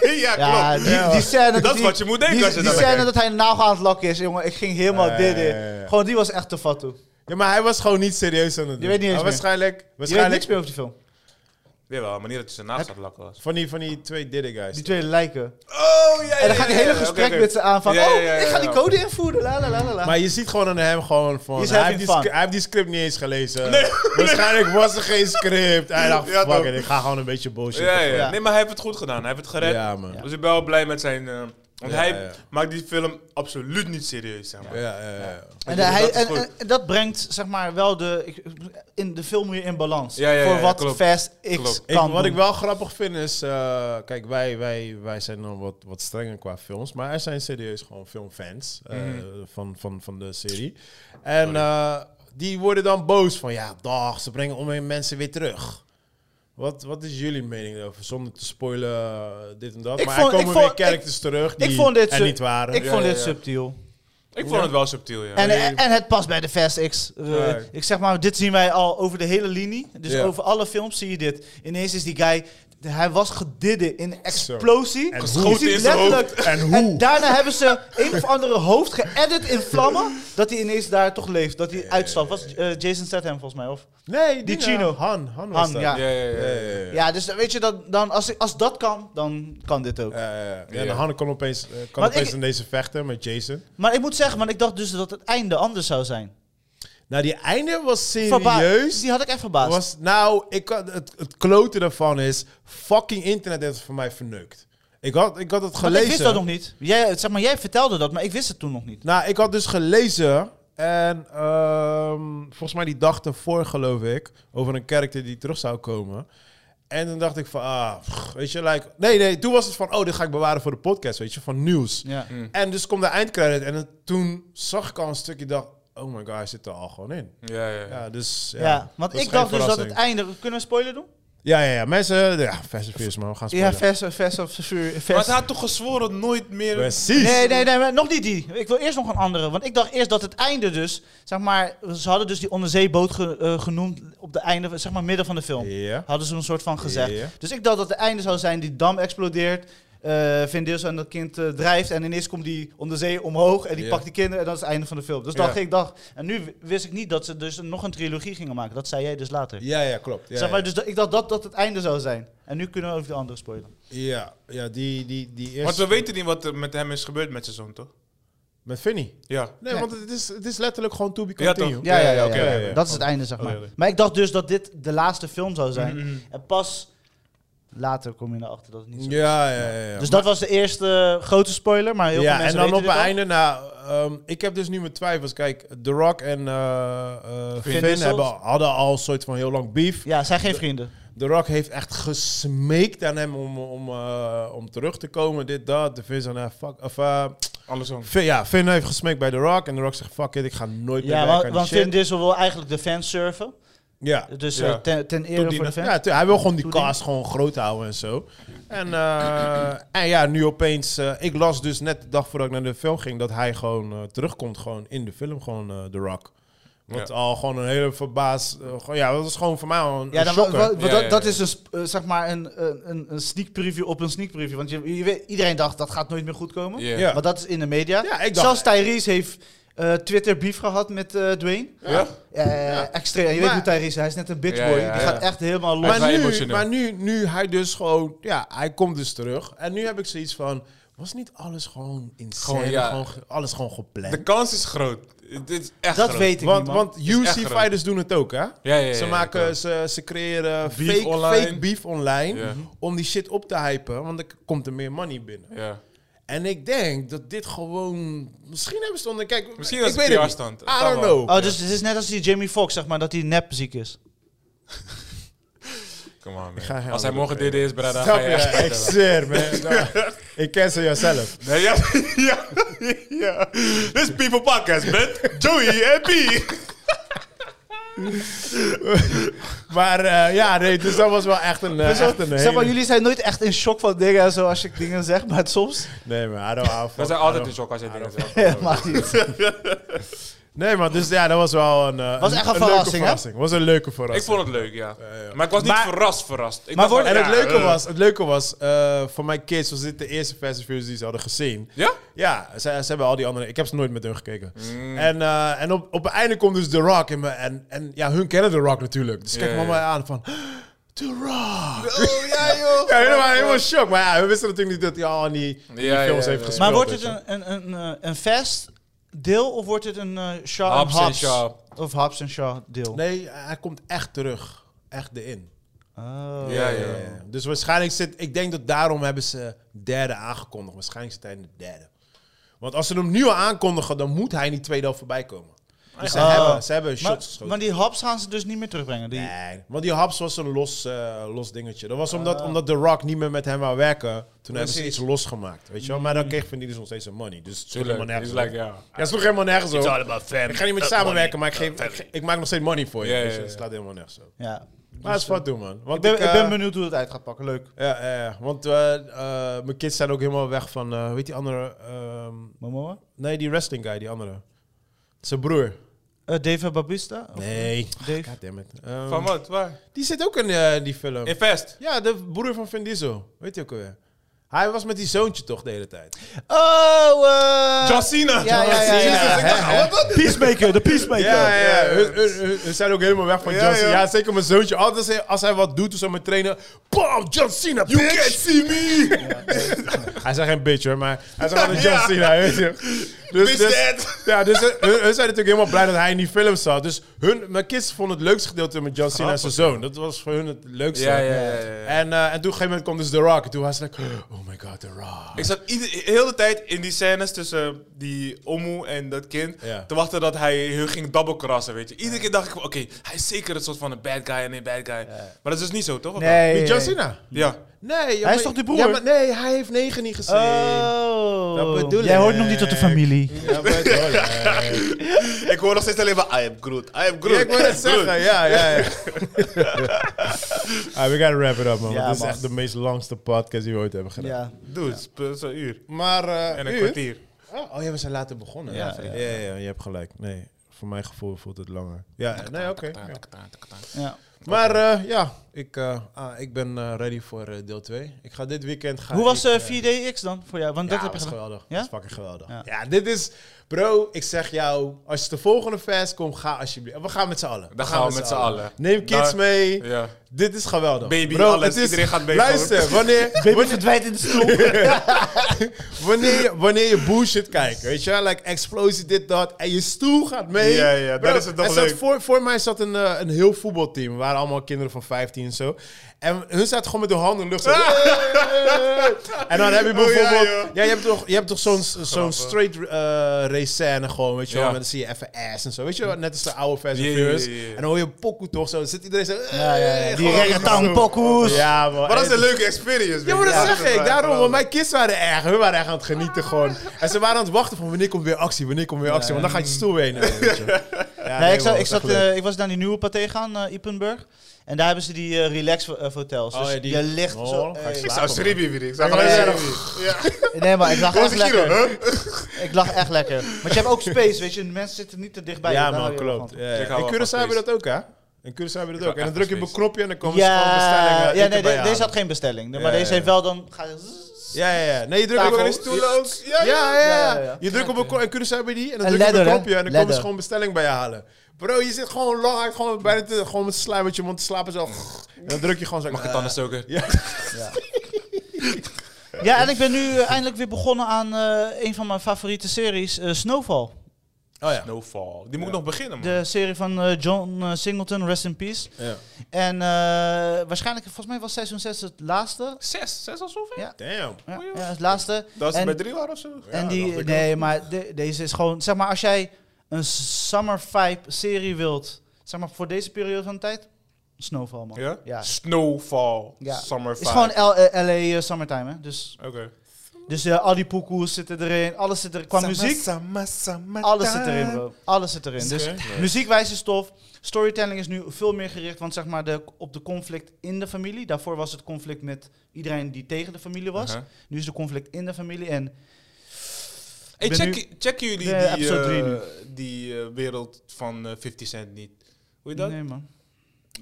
C: ja,
B: ja,
C: klopt.
B: die, die scène
C: Dat is
B: die-
C: wat je moet denken
B: die,
C: als je
B: die
C: dat
B: scène
C: kijkt.
B: dat hij een nagel aan het lakken is, jongen. Ik ging helemaal
A: Ja,
B: dit
A: ja,
B: in.
A: ja, ja.
B: Gewoon, die was echt te fat toe.
A: Ja, maar hij was gewoon niet serieus aan het doen.
B: weet niet eens
A: Maar
B: meer.
A: waarschijnlijk,
B: Je weet niks
A: waarschijnlijk
B: meer over die film.
C: Jawel, maar niet dat hij zijn naam staat lakken was.
A: van die, van die twee didden guys.
B: Die twee lijken.
C: Oh, ja,
B: En dan gaat hij hele gesprek met ze aan van...
C: Ja, ja,
B: oh,
C: ja,
B: ik
C: ja,
B: ga die
C: ja.
B: code invoeren. La, la, la, la, la.
A: Maar je ziet gewoon aan hem gewoon van...
B: He's
A: Hij
B: having
A: heeft, die
B: fun.
A: scri- hij heeft die script niet eens gelezen. Waarschijnlijk was er geen script. Hij dacht,
C: Ja,
A: fuck
C: toch.
A: it, ik ga gewoon een beetje bullshit.
C: Ja, ja.
B: Ja.
C: Nee, maar hij heeft het goed gedaan. Hij heeft het gered.
A: Ja, man.
C: Dus ik ben wel blij met zijn... eh, want
A: Ja,
C: hij
A: ja.
C: maakt die film absoluut niet serieus, zeg maar.
A: Ja, ja, ja.
B: En,
C: Ja,
B: hij,
C: dat is
B: en,
C: goed.
B: en dat brengt zeg maar wel de. ik- In de film moet je in balans.
C: Ja, ja, ja,
B: voor
C: ja,
B: wat
C: klopt.
B: Fast X
C: Klopt.
A: Ik-
B: kan.
A: wat
B: doen.
A: ik wel grappig vind is... eh, kijk, wij, wij, wij zijn dan wat, wat strenger qua films. Maar er zijn serieus gewoon filmfans eh,
B: Mhm.
A: van, van, van de serie. En eh, die worden dan boos van... Ja, dag, ze brengen onweer mensen weer terug. Wat, wat is jullie mening daarover? Zonder te spoilen, eh, dit en dat.
B: Ik
A: maar
B: vond-
A: er
B: ik
A: komen
B: vond-
A: weer characters terug die
B: ik vond dit
A: er
B: sub-
A: niet waren.
B: Ik
C: Ja,
B: vond
C: ja,
B: dit
C: ja.
B: subtiel.
C: Ik vond het wel subtiel, ja.
B: En, eh, en, en het past bij de Fast X. Eh,
A: Ja.
B: Ik zeg maar, dit zien wij al over de hele linie. Dus
A: Ja.
B: over alle films zie je dit. Ineens is die guy. Hij was gedidden in een explosie.
A: En
B: Je
A: geschoten
B: ziet
C: in zijn
B: letterlijk-
A: En hoe?
B: En daarna hebben ze een of andere hoofd geëdit in vlammen. Dat hij ineens daar toch leeft. Dat hij uitstapt. Was eh, Jason Statham volgens mij? Of?
A: Nee,
B: Die
A: eh,
B: Chino.
A: Han, Han was
B: Han,
A: dat.
B: ja.
C: ja, ja, ja,
A: Ja,
C: ja.
A: ja, ja.
B: Ja, dus dan weet je, dan, dan, als, als dat kan, dan kan dit ook.
A: Ja, ja, ja. Ja, en
C: Ja.
A: Han kon opeens, eh, kan
B: Want
A: opeens
B: ik-
A: in deze vechten met Jason.
B: Maar ik moet zeggen, want ik dacht dus dat het einde anders zou zijn.
A: Nou, die einde was
B: Verba-
A: serieus.
B: Die had ik echt verbaasd.
A: Was, nou, ik, kan- het, het klote daarvan is, fucking internet heeft het voor mij verneukt. Ik had, ik had het
B: Want
A: gelezen.
B: Ik wist dat nog niet. Jij, zeg maar, jij vertelde dat, maar ik wist het toen nog niet.
A: Nou, ik had dus gelezen. En ehm, volgens mij die dag ervoor, geloof ik. Over een karakter die terug zou komen. En dan dacht ik van, ah, pff, weet je, like... Nee, nee, toen was het van, oh, dit ga ik bewaren voor de podcast, weet je, van nieuws.
B: Ja.
A: En dus komt de eindcredit en het- toen zag ik al een stukje, dacht, oh my god, hij zit er al gewoon in.
C: Ja, ja, ja.
A: Ja, dus... Ja,
B: Ja, want
A: dat is
B: ik dacht
A: geen
B: dus dat het
A: verrassing.
B: einde... Kunnen we een spoiler doen?
A: Ja, ja, ja, mensen, ja, Fast and Furious, man, we gaan spelen.
B: Ja, vers, vers of vuur.
C: Maar
B: Vers.
C: ze had toch gezworen nooit meer...
A: Precies.
B: Nee, nee, nee, maar nog niet die. Ik wil eerst nog een andere. Want ik dacht eerst dat het einde dus... Zeg maar, ze hadden dus die onderzeeboot ge- eh, genoemd op de einde... Zeg maar, midden van de film.
A: Ja.
B: Hadden ze een soort van gezegd.
A: Ja.
B: Dus ik dacht dat het einde zou zijn, die dam explodeert. eh Vin Diesel en dat kind eh, drijft. En ineens komt die om de zee omhoog. En die
A: Ja.
B: pakt die kinderen. En dat is het einde van de film. Dus
A: Ja.
B: dacht ik, dacht. En nu w- wist ik niet dat ze dus nog een trilogie gingen maken. Dat zei jij dus later.
A: Ja, ja, klopt. Ja,
B: zeg maar,
A: ja.
B: dus dat- ik dacht dat dat het einde zou zijn. En nu kunnen we over de andere spoilen.
A: ja, ja, die, die, die
C: Want
A: eerste...
C: we weten niet wat er met hem is gebeurd met zijn zoon, toch?
A: Met Vinny.
C: Ja.
A: Nee,
B: Nee.
A: want het is, het is letterlijk gewoon to be
C: Ja,
A: continued.
C: toch?
B: Ja, ja, ja.
C: ja, oké,
B: ja.
A: ja, Mm-hmm, ja.
B: Dat is het einde, zeg maar.
C: ja.
B: Maar ik dacht dus dat dit de laatste film zou zijn. En pas later kom je erachter dat het niet zo is.
A: Ja, ja, ja. ja.
B: Dus dat was de eerste eh, grote spoiler. Maar heel
A: ja,
B: veel
A: en
B: mensen
A: dan op
B: weten
A: het
B: dit
A: einde,
B: al.
A: nou, ehm, ik heb dus nu mijn twijfels. Kijk, The Rock en eh, eh, Finn,
B: Diesel.
A: hebben, hadden al een soort van heel lang beef.
B: Ja, zijn geen vrienden.
A: The Rock heeft echt gesmeekt aan hem om, om, eh, om terug te komen, dit, dat. De Finn zei, nou, fuck, of, eh,
C: Andersom.
A: Finn- ja, Finn heeft gesmeekt bij The Rock en The Rock zegt, fuck it, ik ga nooit meer
B: Ja,
A: werken
B: want,
A: aan
B: want
A: die shit.
B: Vin Diesel wil eigenlijk de fans surfen.
A: ja.
B: Dus
C: Ja.
B: eh, ten, ten
A: Tot
B: ere
A: die-
B: voor de fans.
A: ja, tu- hij wil gewoon die
B: Tot die-
A: cast gewoon groot houden en zo. En, eh, en ja, nu opeens... eh, ik las dus net de dag voordat ik naar de film ging... dat hij gewoon eh, terugkomt gewoon in de film, gewoon eh, The Rock. Wat
C: Ja.
A: al gewoon een hele verbaas... eh, gewoon- ja, dat is gewoon voor mij al een,
B: Ja,
A: een
B: dan, wa-
A: shocker.
B: wa- wa-
C: Ja,
B: dat,
C: ja,
B: dat
C: ja.
B: is een, sp- eh, zeg maar een, een, een- een sneak preview op een sneak preview. Want je, je weet, iedereen dacht dat gaat nooit meer goed komen.
C: Ja.
A: Ja.
B: Maar dat is in de media.
A: Ja, ik dacht-
B: Zelfs Tyrese heeft eh, Twitter beef gehad met eh, Dwayne.
C: Ja?
B: Eh, Extreem. Je weet
A: Maar-
B: hoe Tyrese is. Hij is net een bitchboy.
C: Ja, ja, ja,
B: Die
C: ja.
B: gaat echt helemaal los.
C: Maar-
A: maar,
C: vrij
A: nu,
C: emotioneel.
A: maar nu, nu hij dus gewoon... Ja, hij komt dus terug. En nu heb ik zoiets van... Was niet alles gewoon insane? Gewoon,
C: Gewoon, ja.
A: ge- alles gewoon gepland?
C: De kans is groot. Dit is echt
B: dat
C: groot.
B: weet ik
A: want,
B: niet, man.
A: want
C: echt
A: UFC
C: groot.
A: fighters doen het ook, hè?
C: ja, ja,
A: ze,
C: ja,
A: maken,
C: klopt.
A: ze, ze creëren
C: Beef
A: fake,
C: online.
A: fake beef online
C: Ja.
A: om die shit op te hypen, want dan k- komt er meer money binnen.
C: Ja.
A: En ik denk dat dit gewoon... Misschien hebben ze het onder... Kijk,
C: Misschien
A: ik
C: was het
A: weet het niet.
C: PR-stand.
A: I don't know.
B: Oh, dus het is net als die Jamie Foxx, zeg maar, dat hij nepziek is.
C: Come on, man.
A: ga hem
C: Als hij
A: doen,
C: morgen dit is, brada,
A: Snap
C: ga
A: je?
C: je echt
A: Ik zweer, man. Nou, Ik cancel jouzelf.
C: Nee, ja, ja, ja. This is People Podcast met Joey en B.
A: Maar eh, ja, nee, dus dat was wel echt een, eh, echt een
B: Zeg maar,
A: hele-
B: jullie zijn nooit echt in shock van dingen en zo als ik dingen zeg, maar soms
A: Nee, maar I don't hou van-
C: We zijn altijd in shock als je dingen zegt.
B: maakt niet.
A: Nee, maar dus ja, dat was wel een... eh,
B: Was echt een
A: leuke
B: verrassing, hè?
A: was een leuke verrassing.
C: Ik vond het leuk, ja.
A: ja.
C: Maar ik was niet
A: Maar-
C: verrast, verrast. Ik
B: Maar
C: dacht
B: wordt-
A: En
C: wel,
A: het
C: ja,
A: leuke
C: eh,
A: was, het leuke was eh, voor mijn kids was dit de eerste Fast and Furious die ze hadden gezien.
C: Ja?
A: Ja, ze, ze hebben al die andere... Ik heb ze nooit met hun gekeken.
C: Mm.
A: En, eh, en op, op het einde komt dus The Rock in me. En, en ja, hun kennen The Rock natuurlijk. Dus kijk
C: Ja,
A: me
C: ja.
A: maar aan van... The Rock!
C: Oh, ja, joh.
A: Ja, helemaal, helemaal shock. Maar ja, we wisten natuurlijk niet dat hij al in die, in die
C: Ja, ja,
A: films
C: ja,
A: heeft
C: ja.
A: gespeeld.
B: Maar wordt
A: weet
B: het
A: je.
B: een, een, een, eh, een vast deel of wordt het een eh, Shaw
C: Hobbs en
B: en Hobbs?
C: Shaw.
B: Of Hobbs en Shaw deel?
A: Nee, hij komt echt terug. Echt erin.
B: Oh.
C: Ja, ja,
A: Ja,
C: ja.
A: ja. Dus waarschijnlijk zit... Ik denk dat daarom hebben ze derde aangekondigd. Waarschijnlijk zit hij in de derde. Want als ze hem nu al aankondigen, dan moet hij in die tweede helft voorbij komen. Dus ze,
B: Oh.
A: hebben, ze hebben shots
B: Maar,
A: geschoten.
B: maar die Hobbs gaan ze dus niet meer terugbrengen. Die, Ah.
A: Nee, want die Habs was een los, eh, los dingetje. Dat was omdat, omdat The Rock niet meer met hem wou werken. Toen hebben ze
B: Precies. Mm.
A: iets losgemaakt, weet je wel. Maar dan kreeg Vin Diesel nog steeds zijn money. Dus het sloeg
C: Tuurlijk.
A: helemaal nergens
C: He's
A: op.
C: like, ja. Eh,
A: Ja, het sloeg helemaal nergens op.
C: fam.
A: Ik ga niet met je samenwerken, maar ik, geef, ik, ge- ik maak nog steeds money voor je.
C: Ja,
A: weet je.
C: ja, ja.
A: Dus het slaat helemaal nergens op.
B: Ja.
A: Maar dat is wat doen, man. Want
B: Dus, Ik ben, ik
A: eh,
B: ben benieuwd hoe het uit gaat pakken. Leuk.
A: Ja, ja, ja. want eh, eh, mijn kids zijn ook helemaal weg van... eh, weet die andere... ehm,
B: Momoa?
A: nee, die wrestling guy, die andere. Zijn broer.
B: Eh, Dave Babista? Of-
A: Nee.
B: Dave?
A: Goddammit. Ehm,
C: Van wat? Waar?
A: die zit ook in eh, die film.
C: Invest.
A: Ja, de broer van Vin Diesel. Weet je ook alweer. Hij was met die zoontje toch de hele tijd.
B: Oh! eh,
C: John Cena.
B: ja, ja, ja, ja,
C: Jezus,
B: ja.
C: ik dacht,
B: Hè, hè.
C: wat dat?
B: Peacemaker, Oh, de Peacemaker.
A: Hun, hun- hun- hun zijn ook helemaal weg van
C: Ja,
A: John Cena.
C: ja.
A: Ja, zeker mijn zoontje. Altijd als hij, als hij wat doet of zo met trainen. Bam, John Cena,
C: You
A: bitch!
C: can't see me.
A: Hij zei geen bitch hoor, maar hij zei gewoon
C: Ja.
A: John Cena. Weet je. Dus,
C: Bitch
A: dus,
C: dead.
A: ja, dus hun, hun zijn natuurlijk helemaal blij dat hij in die film zat. Dus hun, mijn kids vonden het leukste gedeelte met John Cena en zijn zoon. Dat was voor hun het leukste.
C: Ja, ja, ja, ja, ja.
A: En, eh, en toen op een gegeven moment kwam dus The Rock. En toen was hij like, oh my god, The Rock.
C: Ik zat ieder, heel de tijd in die scènes tussen die Omoe en dat kind
A: Ja.
C: te wachten dat hij hun ging dabbelkrassen, weet je. Iedere keer dacht ik, van, oké, hij is zeker een soort van een bad guy en een bad guy. Maar dat is dus niet zo, toch? Of wel?
B: Nee.
A: Met John Cena.
C: Ja.
A: Nee, ja,
B: Hij is
A: maar-
B: toch die broer?
A: Ja, maar nee, hij heeft negen niet gezien.
B: Oh.
A: Dat bedoel
B: Jij hoort
A: ik.
B: nog niet tot de familie.
A: Ja, maar het-
C: Ik hoor nog steeds alleen maar, I am Groot, I am Groot.
A: Ja, ik wil het
C: Groot.
A: zeggen, ja, ja, ja. Ah, we gotta wrap it up, man.
B: Ja,
A: want dit is
B: man.
A: echt de meest langste podcast die we ooit hebben gedaan.
B: Ja.
C: Dude, het is pas een uur.
A: Maar, eh,
C: En een
A: uur?
C: kwartier.
A: Oh, oh ja, we zijn later begonnen.
B: Ja,
A: ja,
B: ja.
A: ja, ja, je hebt gelijk. Nee, voor mijn gevoel voelt het langer. Ja, nee, oké. ja.
B: ja.
A: Maar eh, ja, ik, eh, ah, ik ben eh, ready voor eh, deel 2. Ik ga dit weekend gaan.
B: Hoe was
A: ik,
B: eh,
A: eh,
B: 4DX dan voor jou? Want
A: Ja,
B: dat heb je
A: was
B: gedaan.
A: geweldig.
B: Ja?
A: Dat is fucking geweldig. Ja.
B: Ja.
A: dit is... Bro, ik zeg jou, als de volgende fest komt, ga alsjeblieft. En We gaan met z'n allen.
C: Dan gaan we met z'n allen.
A: Neem kids
C: Daar-
A: mee.
C: Ja.
A: Dit is geweldig.
C: Baby, alles. Iedereen gaat mee,
A: Luister, wanneer,
B: Baby verdwijnt in de stoel.
A: wanneer, je- wanneer je bullshit kijkt, weet je wel? Like explosie, dit, dat. En je stoel gaat mee.
C: Ja, ja,
A: Bro,
C: dat is het nog
A: er zat
C: leuk.
A: Voor, voor mij zat een, eh, een heel voetbalteam. We waren allemaal kinderen van 15 en zo. En hun zaten gewoon met hun handen in de lucht. zo. en dan heb je
C: Oh, ja,
A: bijvoorbeeld... ja,
C: joh.
A: je hebt toch, je hebt toch zo'n zo'n straight eh, race scène gewoon, weet je wel?
C: Ja.
A: Maar dan zie je even ass en zo. Weet je wel? Net als de oude versie.
C: Ja,
A: van
C: ja, ja,
A: Furious.
C: ja.
A: En dan hoor je pokoe toch zo. Dan zit iedereen zo... eh,
B: Ja, ja, ja. Die
A: gewoon
B: reggaeton
A: zo.
B: pokoes.
A: Ja, man.
C: Maar dat is
A: En-
C: een leuke experience.
A: ja, maar dat
C: weet je.
A: zeg ik. Daarom,
C: Geweldig.
A: want mijn kids waren erg. Hun waren erg aan het genieten gewoon. En ze waren aan het wachten van wanneer komt weer actie, wanneer komt weer actie. Want dan gaat je stoel weer nemen, weet je. Ja,
B: Nee, ik,
A: man, dat
B: zat, ik,
A: is
B: zat,
A: echt leuk.
B: eh, ik was naar die nieuwe paté gaan, eh Ipenburg. En daar hebben ze die eh, relax eh, hotels.
A: Oh,
B: Dus
A: ja, die-
B: je ligt
A: Oh,
B: zo...
A: ga ik
B: eh,
C: Ik
A: Slapen,
C: zou Sribi weer. Ik zou
A: Ja,
C: gelijk
A: ja,
C: Sribi. Ja.
B: nee, maar ik lag
C: Hoe is
B: echt
C: het hier,
B: lekker.
C: hè?
B: Ik lag echt lekker. Want je hebt ook space, weet je. De mensen zitten niet te dichtbij.
A: ja,
B: Daar
A: man,
B: hou je wel
A: klopt.
B: van.
A: Ja, ja.
C: Ik
A: In
C: hou wel
A: Curaçao
C: van
A: hebben we dat ook, hè? In Curaçao hebben we dat
C: hou
A: ook. En dan
C: echt
A: druk je
C: van
A: op een knopje en dan komen ze gewoon
B: Ja,
A: bestellingen.
B: ja
A: eh, erbij
B: nee, de- deze
A: halen.
B: had geen bestelling.
A: Ja,
B: Maar deze
A: ja.
B: heeft wel dan... ga je-
A: Ja, ja, ja. Nee, je drukt ook
B: Tafel.
A: wel in stoelen ook. Ja, ja,
B: Ja, ja,
A: ja.
B: ja.
A: Je drukt op een knop, in Curaçao hebben die en dan
B: En
A: druk je op een
B: ladder, hè?
A: knopje en dan komen ze
B: Ladder.
A: gewoon bestelling bij je halen. Bro, je zit gewoon lang, gewoon bijna te, gewoon met slijm met je mond te slapen zo. En dan druk je gewoon zo.
C: Mag ik het anders ook?
A: Ja.
B: Ja, en ik ben nu eh, eindelijk weer begonnen aan eh, een van mijn favoriete series, eh, Snowfall.
A: Oh ja.
C: Snowfall. Die moet ik nog beginnen, man.
B: De serie van eh, John eh, Singleton, Rest in Peace.
A: ja.
B: En eh, waarschijnlijk, volgens mij was seizoen 6 het laatste.
C: Zes, zes al zoveel?
B: Ja.
A: Damn.
B: Ja,
C: Oei, oei.
B: ja, het laatste.
C: Dat is
B: En-
C: bij drie waren of zo.
A: Ja,
B: en die,
A: dacht ik
B: nee, maar de- deze is gewoon, zeg maar, als jij een summer vibe serie wilt, zeg maar voor deze periode van de tijd, Snowfall man.
C: Ja?
B: Ja.
C: Snowfall,
B: Ja.
C: Summer
B: Het is
C: Vibe.
B: gewoon L- eh, LA eh, summertime, hè? Dus,
C: Oké.
B: dus eh, al die poekoes zitten erin, alles zit er qua muziek. Alles zit erin, bro. Alles zit erin. Dus
A: Oké.
B: muziekwijze stof. Storytelling is nu veel meer gericht want zeg maar de, op de conflict in de familie. Daarvoor was het conflict met iedereen die tegen de familie was.
C: Aha.
B: Nu is de conflict in de familie. En
C: Hey,
B: Ik ben
C: check,
B: nu-
C: checken jullie
B: de
C: die,
B: episode
C: eh,
B: drie nu.
C: die eh, wereld van eh, 50 Cent niet? Hoe je dat?
B: Nee, man.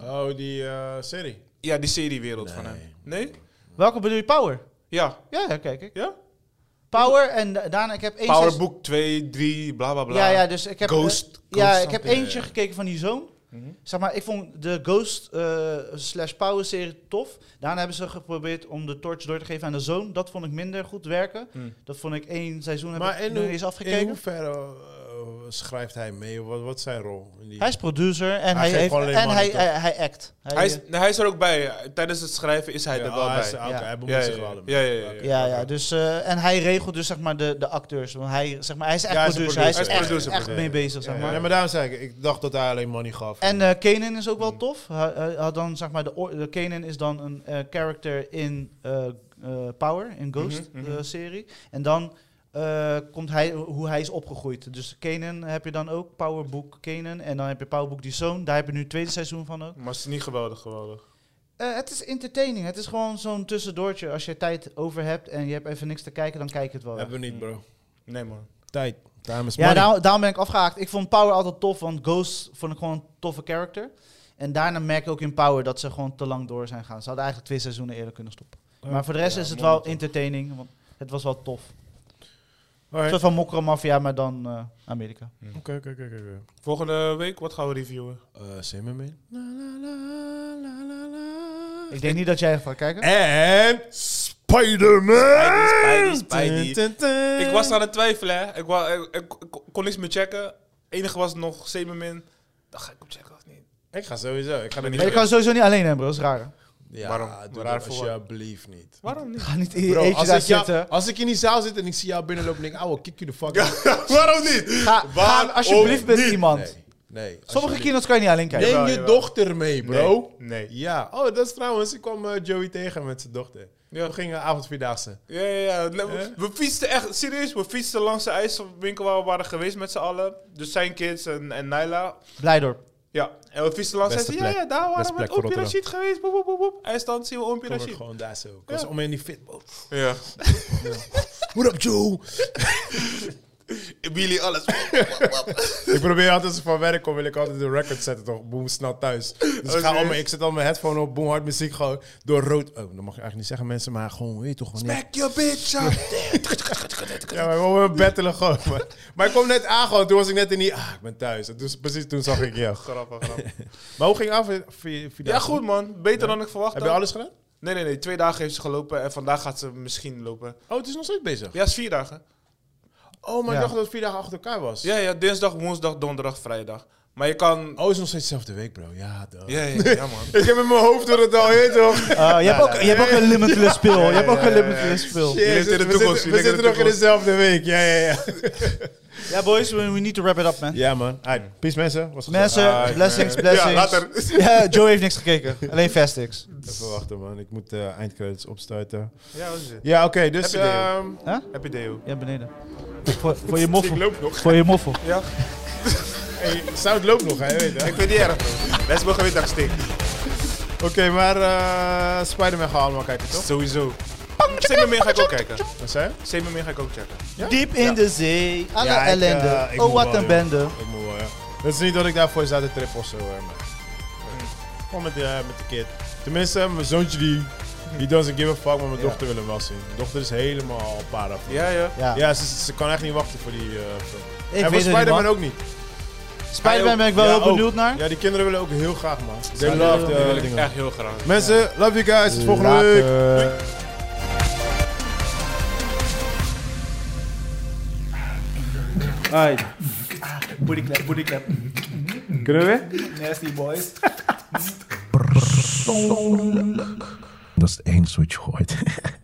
A: Oh, die eh, serie.
C: Ja, die seriewereld van hem.
A: Nee.
C: Nee?
B: Welke bedoel je? Power?
C: Ja.
B: Ja, ja, kijk ik.
C: ja?
B: Power en da- daarna, ik heb één...
C: Power
B: seizoen-
C: Book 2, 3, bla bla bla.
B: Ja, ja, dus ik heb... eh,
C: Ghost.
B: ja,
C: Ghost
B: ik heb
C: something.
B: eentje gekeken van die zoon.
C: Mhm.
B: Zeg maar, ik vond de Ghost eh, slash Power serie tof. Daarna hebben ze geprobeerd om de torch door te geven aan de zoon. Dat vond ik minder goed werken.
C: Hmm.
B: Dat vond ik één seizoen heb
A: Maar
B: ik
A: in,
B: nu
A: hoe,
B: eens afgekeken.
A: in hoeverre eh, schrijft hij mee? Wat, wat is zijn rol? in die-
B: Hij is producer en
A: Hij
B: hij,
A: geeft
B: heeft,
A: gewoon alleen
B: en
A: money,
B: hij,
A: toch?
B: hij, hij act. Hij,
C: Hij is, nee, hij is er ook bij. Tijdens het schrijven is hij
A: Ja,
C: er
A: oh,
C: wel
A: hij
C: bij.
A: is- oké,
B: Ja.
A: hij bemoeit
C: Ja,
A: zich
C: ja,
A: er wel
C: ja,
A: mee.
C: ja, ja, ja.
A: Oké,
B: ja,
A: oké.
B: ja, dus, eh, en hij regelt dus zeg maar de, de acteurs. Want hij, zeg maar, hij is echt
A: Ja, hij is een
B: producer. Hij is,
A: producer,
B: echt,
A: ja, ja, ja.
B: echt mee bezig, zeg
A: Ja,
B: maar.
A: ja, maar daarom zei ik, ik dacht dat hij alleen money gaf.
B: En eh Kanan is ook
C: Mm.
B: wel tof. Hij- hij had dan, zeg maar, de, oor- de Kanan is dan een eh, character in eh, eh, Power, in Ghost,
C: Mhm,
B: de
C: mhm.
B: serie. En dan eh, komt hij, hoe hij is opgegroeid. Dus Kanan heb je dan ook, Powerbook Kanan. En dan heb je Powerbook die zoon. Daar heb je nu het tweede seizoen van ook.
C: Maar het is niet geweldig, geweldig.
B: Eh, het is entertaining. Het is gewoon zo'n tussendoortje. Als je tijd over hebt en je hebt even niks te kijken, dan kijk je het wel.
A: Hebben we niet, bro.
C: Nee, man.
A: Tijd. Time is
B: Ja,
A: money.
B: daarom, daarom ben ik afgehaakt. Ik vond Power altijd tof, want Ghost vond ik gewoon een toffe character. En daarna merk ik ook in Power dat ze gewoon te lang door zijn gaan. Ze hadden eigenlijk twee seizoenen eerder kunnen stoppen. maar voor de rest
C: ja,
B: is het
C: mooi
B: wel
C: toch.
B: entertaining, want het was wel tof. Een
A: Alright.
B: soort van Mokro Mafia, maar dan eh, Amerika.
A: Oké, oké, oké, oké, oké.
C: Volgende week, wat gaan we reviewen?
A: Eh, Zing me mee. La, la, la, la, la, la.
B: Ik denk niet dat jij echt gaat kijken.
C: Eh.
A: En Spider-Man!
C: Spidey, Spidey, Spidey.
A: Dun, dun,
B: Eh.
A: dun.
C: Ik was aan het twijfelen, hè. Ik, wa- ik, ik- ik kon niks meer checken. Het enige was nog Sememin. Dan ga ik hem checken of niet.
A: Ik ga sowieso. Ik ga er niet.
B: Maar je kan het sowieso niet alleen hebben, dat is raar. hè?
A: Ja,
C: Waarom?
A: Doe
C: Waar
A: dat
C: voor?
A: alsjeblieft niet.
C: Waarom niet?
B: Ga niet
A: Bro,
B: eentje
A: als,
B: daar
A: ik jou,
B: zitten.
A: als ik in die zaal zit en ik zie jou binnenlopen, denk ik, ouwe, kick you the fuck out.
C: Waarom niet?
B: Ga, ga
C: Waarom
B: alsjeblieft met iemand.
A: Nee, nee.
B: Sommige
A: alsjeblieft.
B: kinderen kan je niet alleen kijken.
A: Neem
C: Jawel,
A: je
C: jawel.
A: dochter mee, bro.
C: Nee.
A: Ja. Oh, dat is trouwens, ik kwam eh, Joey tegen met zijn dochter.
C: Ja.
A: We gingen avondvierdaagse.
C: Ja, ja, ja. Le- we- We fietsten echt, serieus, we fietsten langs de ijswinkel waar we waren geweest met z'n allen. Dus zijn kids en, en Naila.
B: Blijdorp.
C: Ja, en we fietsten langs en
A: Beste
C: zei, ja,
A: plek.
C: ja, daar
A: Beste
C: waren we
A: plek
C: met
A: van
C: Oompje
A: Rotterdam.
C: Rashid geweest. Boep, boep, boep, boep. IJsland zien we Oompje
A: Kom ik
C: Rashid.
A: gewoon daar zo. Ik
C: Ja.
A: was om in die fitboot.
C: Ja.
A: What up, Joe?
C: Willy, alles.
A: ik probeer altijd als ik van werk kom, wil ik altijd de record zetten, toch? Boom, snel thuis. Dus ik, ga
C: Oké.
A: al mijn, ik zet al mijn headphone op, boom, hard muziek, gewoon door rood. Oh, dat mag ik eigenlijk niet zeggen, mensen, maar gewoon, weet je toch, wanneer...
C: Back your bitch up.
A: Ja, maar we willen battelen gewoon. Maar, maar ik kom net aan gewoon, toen was ik net in die... Ah, ik ben thuis. En dus, precies toen zag ik jou.
C: Grappig, grappig.
A: Maar hoe ging af? Vier- vier
C: Ja,
A: dagen?
C: goed man. Beter dan ik verwacht
A: Heb je alles gedaan?
C: Nee, nee, nee. Twee dagen heeft ze gelopen en vandaag gaat ze misschien lopen.
A: Oh, het is nog steeds bezig.
C: Ja, is vier dagen.
A: Oh, maar
B: Ja.
A: ik dacht dat het vier dagen achter elkaar was.
C: Ja, ja. Dinsdag, woensdag, donderdag, vrijdag. Maar je kan...
A: Oh, het is nog steeds dezelfde week, bro. Ja, duh.
C: Ja, ja, ja man.
A: Ik heb in mijn hoofd door het al, je weet toch?
B: Eh, je, hebt ook, je hebt ook een limitless speel. Je hebt ook een
C: ja, ja, ja.
B: limitless speel.
A: Jezus,
C: Jullie zitten in de
A: we
C: toekomst,
A: zitten-
C: jullie
A: We
C: zitten in
A: zitten nog in dezelfde
C: de
A: week. Ja, ja, ja.
B: Ja, boys, we, we need to wrap it up, man.
A: Ja, man. Alright, Peace, mensen. Was gezellig.
B: Mensen,
A: Ah, ik-
B: blessings, blessings.
C: Ja, later.
B: Ja, Joe heeft niks gekeken. Alleen Fastix.
A: Even wachten, man. Ik moet de eindcredits opstarten.
C: Ja, wat is het?
A: Ja, oké. dus...
C: Happy day.
A: ehm,
C: Happy day, hoor.
B: Ja, beneden. Voor, voor je
C: Ik
B: moffel.
C: loop nog.
B: Voor je moffel.
C: Ja,
A: hey, Sound loopt nog, hè? Je weet, hè?
C: ik vind die erg. Best wel gewin dat ik
A: Oké, maar eh Spider-Man gaan we allemaal kijken, toch?
C: Sowieso. Semermin ga ik ook kijken.
A: Wat zei je?
C: Semermin ga ik ook checken.
B: Diep in de zee. Alle
A: Ja, ik,
B: ellende.
A: eh, ik
B: oh,
A: moet
B: wat
A: wel,
B: een
A: joh.
B: bende.
A: Ik moet wel, ja. Het is niet dat ik daarvoor zat te trip of zo, hè, maar... Gewoon met, de- eh, met de kid. Tenminste, eh, mijn zoontje die... Die doesn't give a fuck, maar mijn dochter wil hem wel zien. Mijn dochter is helemaal para. voor.
C: Ja, ja.
B: Ja,
A: Ja, ze, ze kan echt niet wachten voor die eh, film.
B: ik
A: en
B: weet
A: voor
B: het niet,
A: Spider-Man
B: man.
A: ook niet.
B: Spider-Man ben ik wel
A: Ja,
B: heel
A: ook.
B: benieuwd naar.
A: Ja, die kinderen willen ook heel graag, man. They
C: Die
A: love
C: wil-
A: the
C: die wil ik
A: dingen.
C: echt heel graag.
A: Mensen, love you guys. Tot volgende week.
B: Later.
E: Alright. Booty clap, booty clap.
F: Kunnen we weer?
E: Nasty boys.
G: Dat is het enige wat je gooit.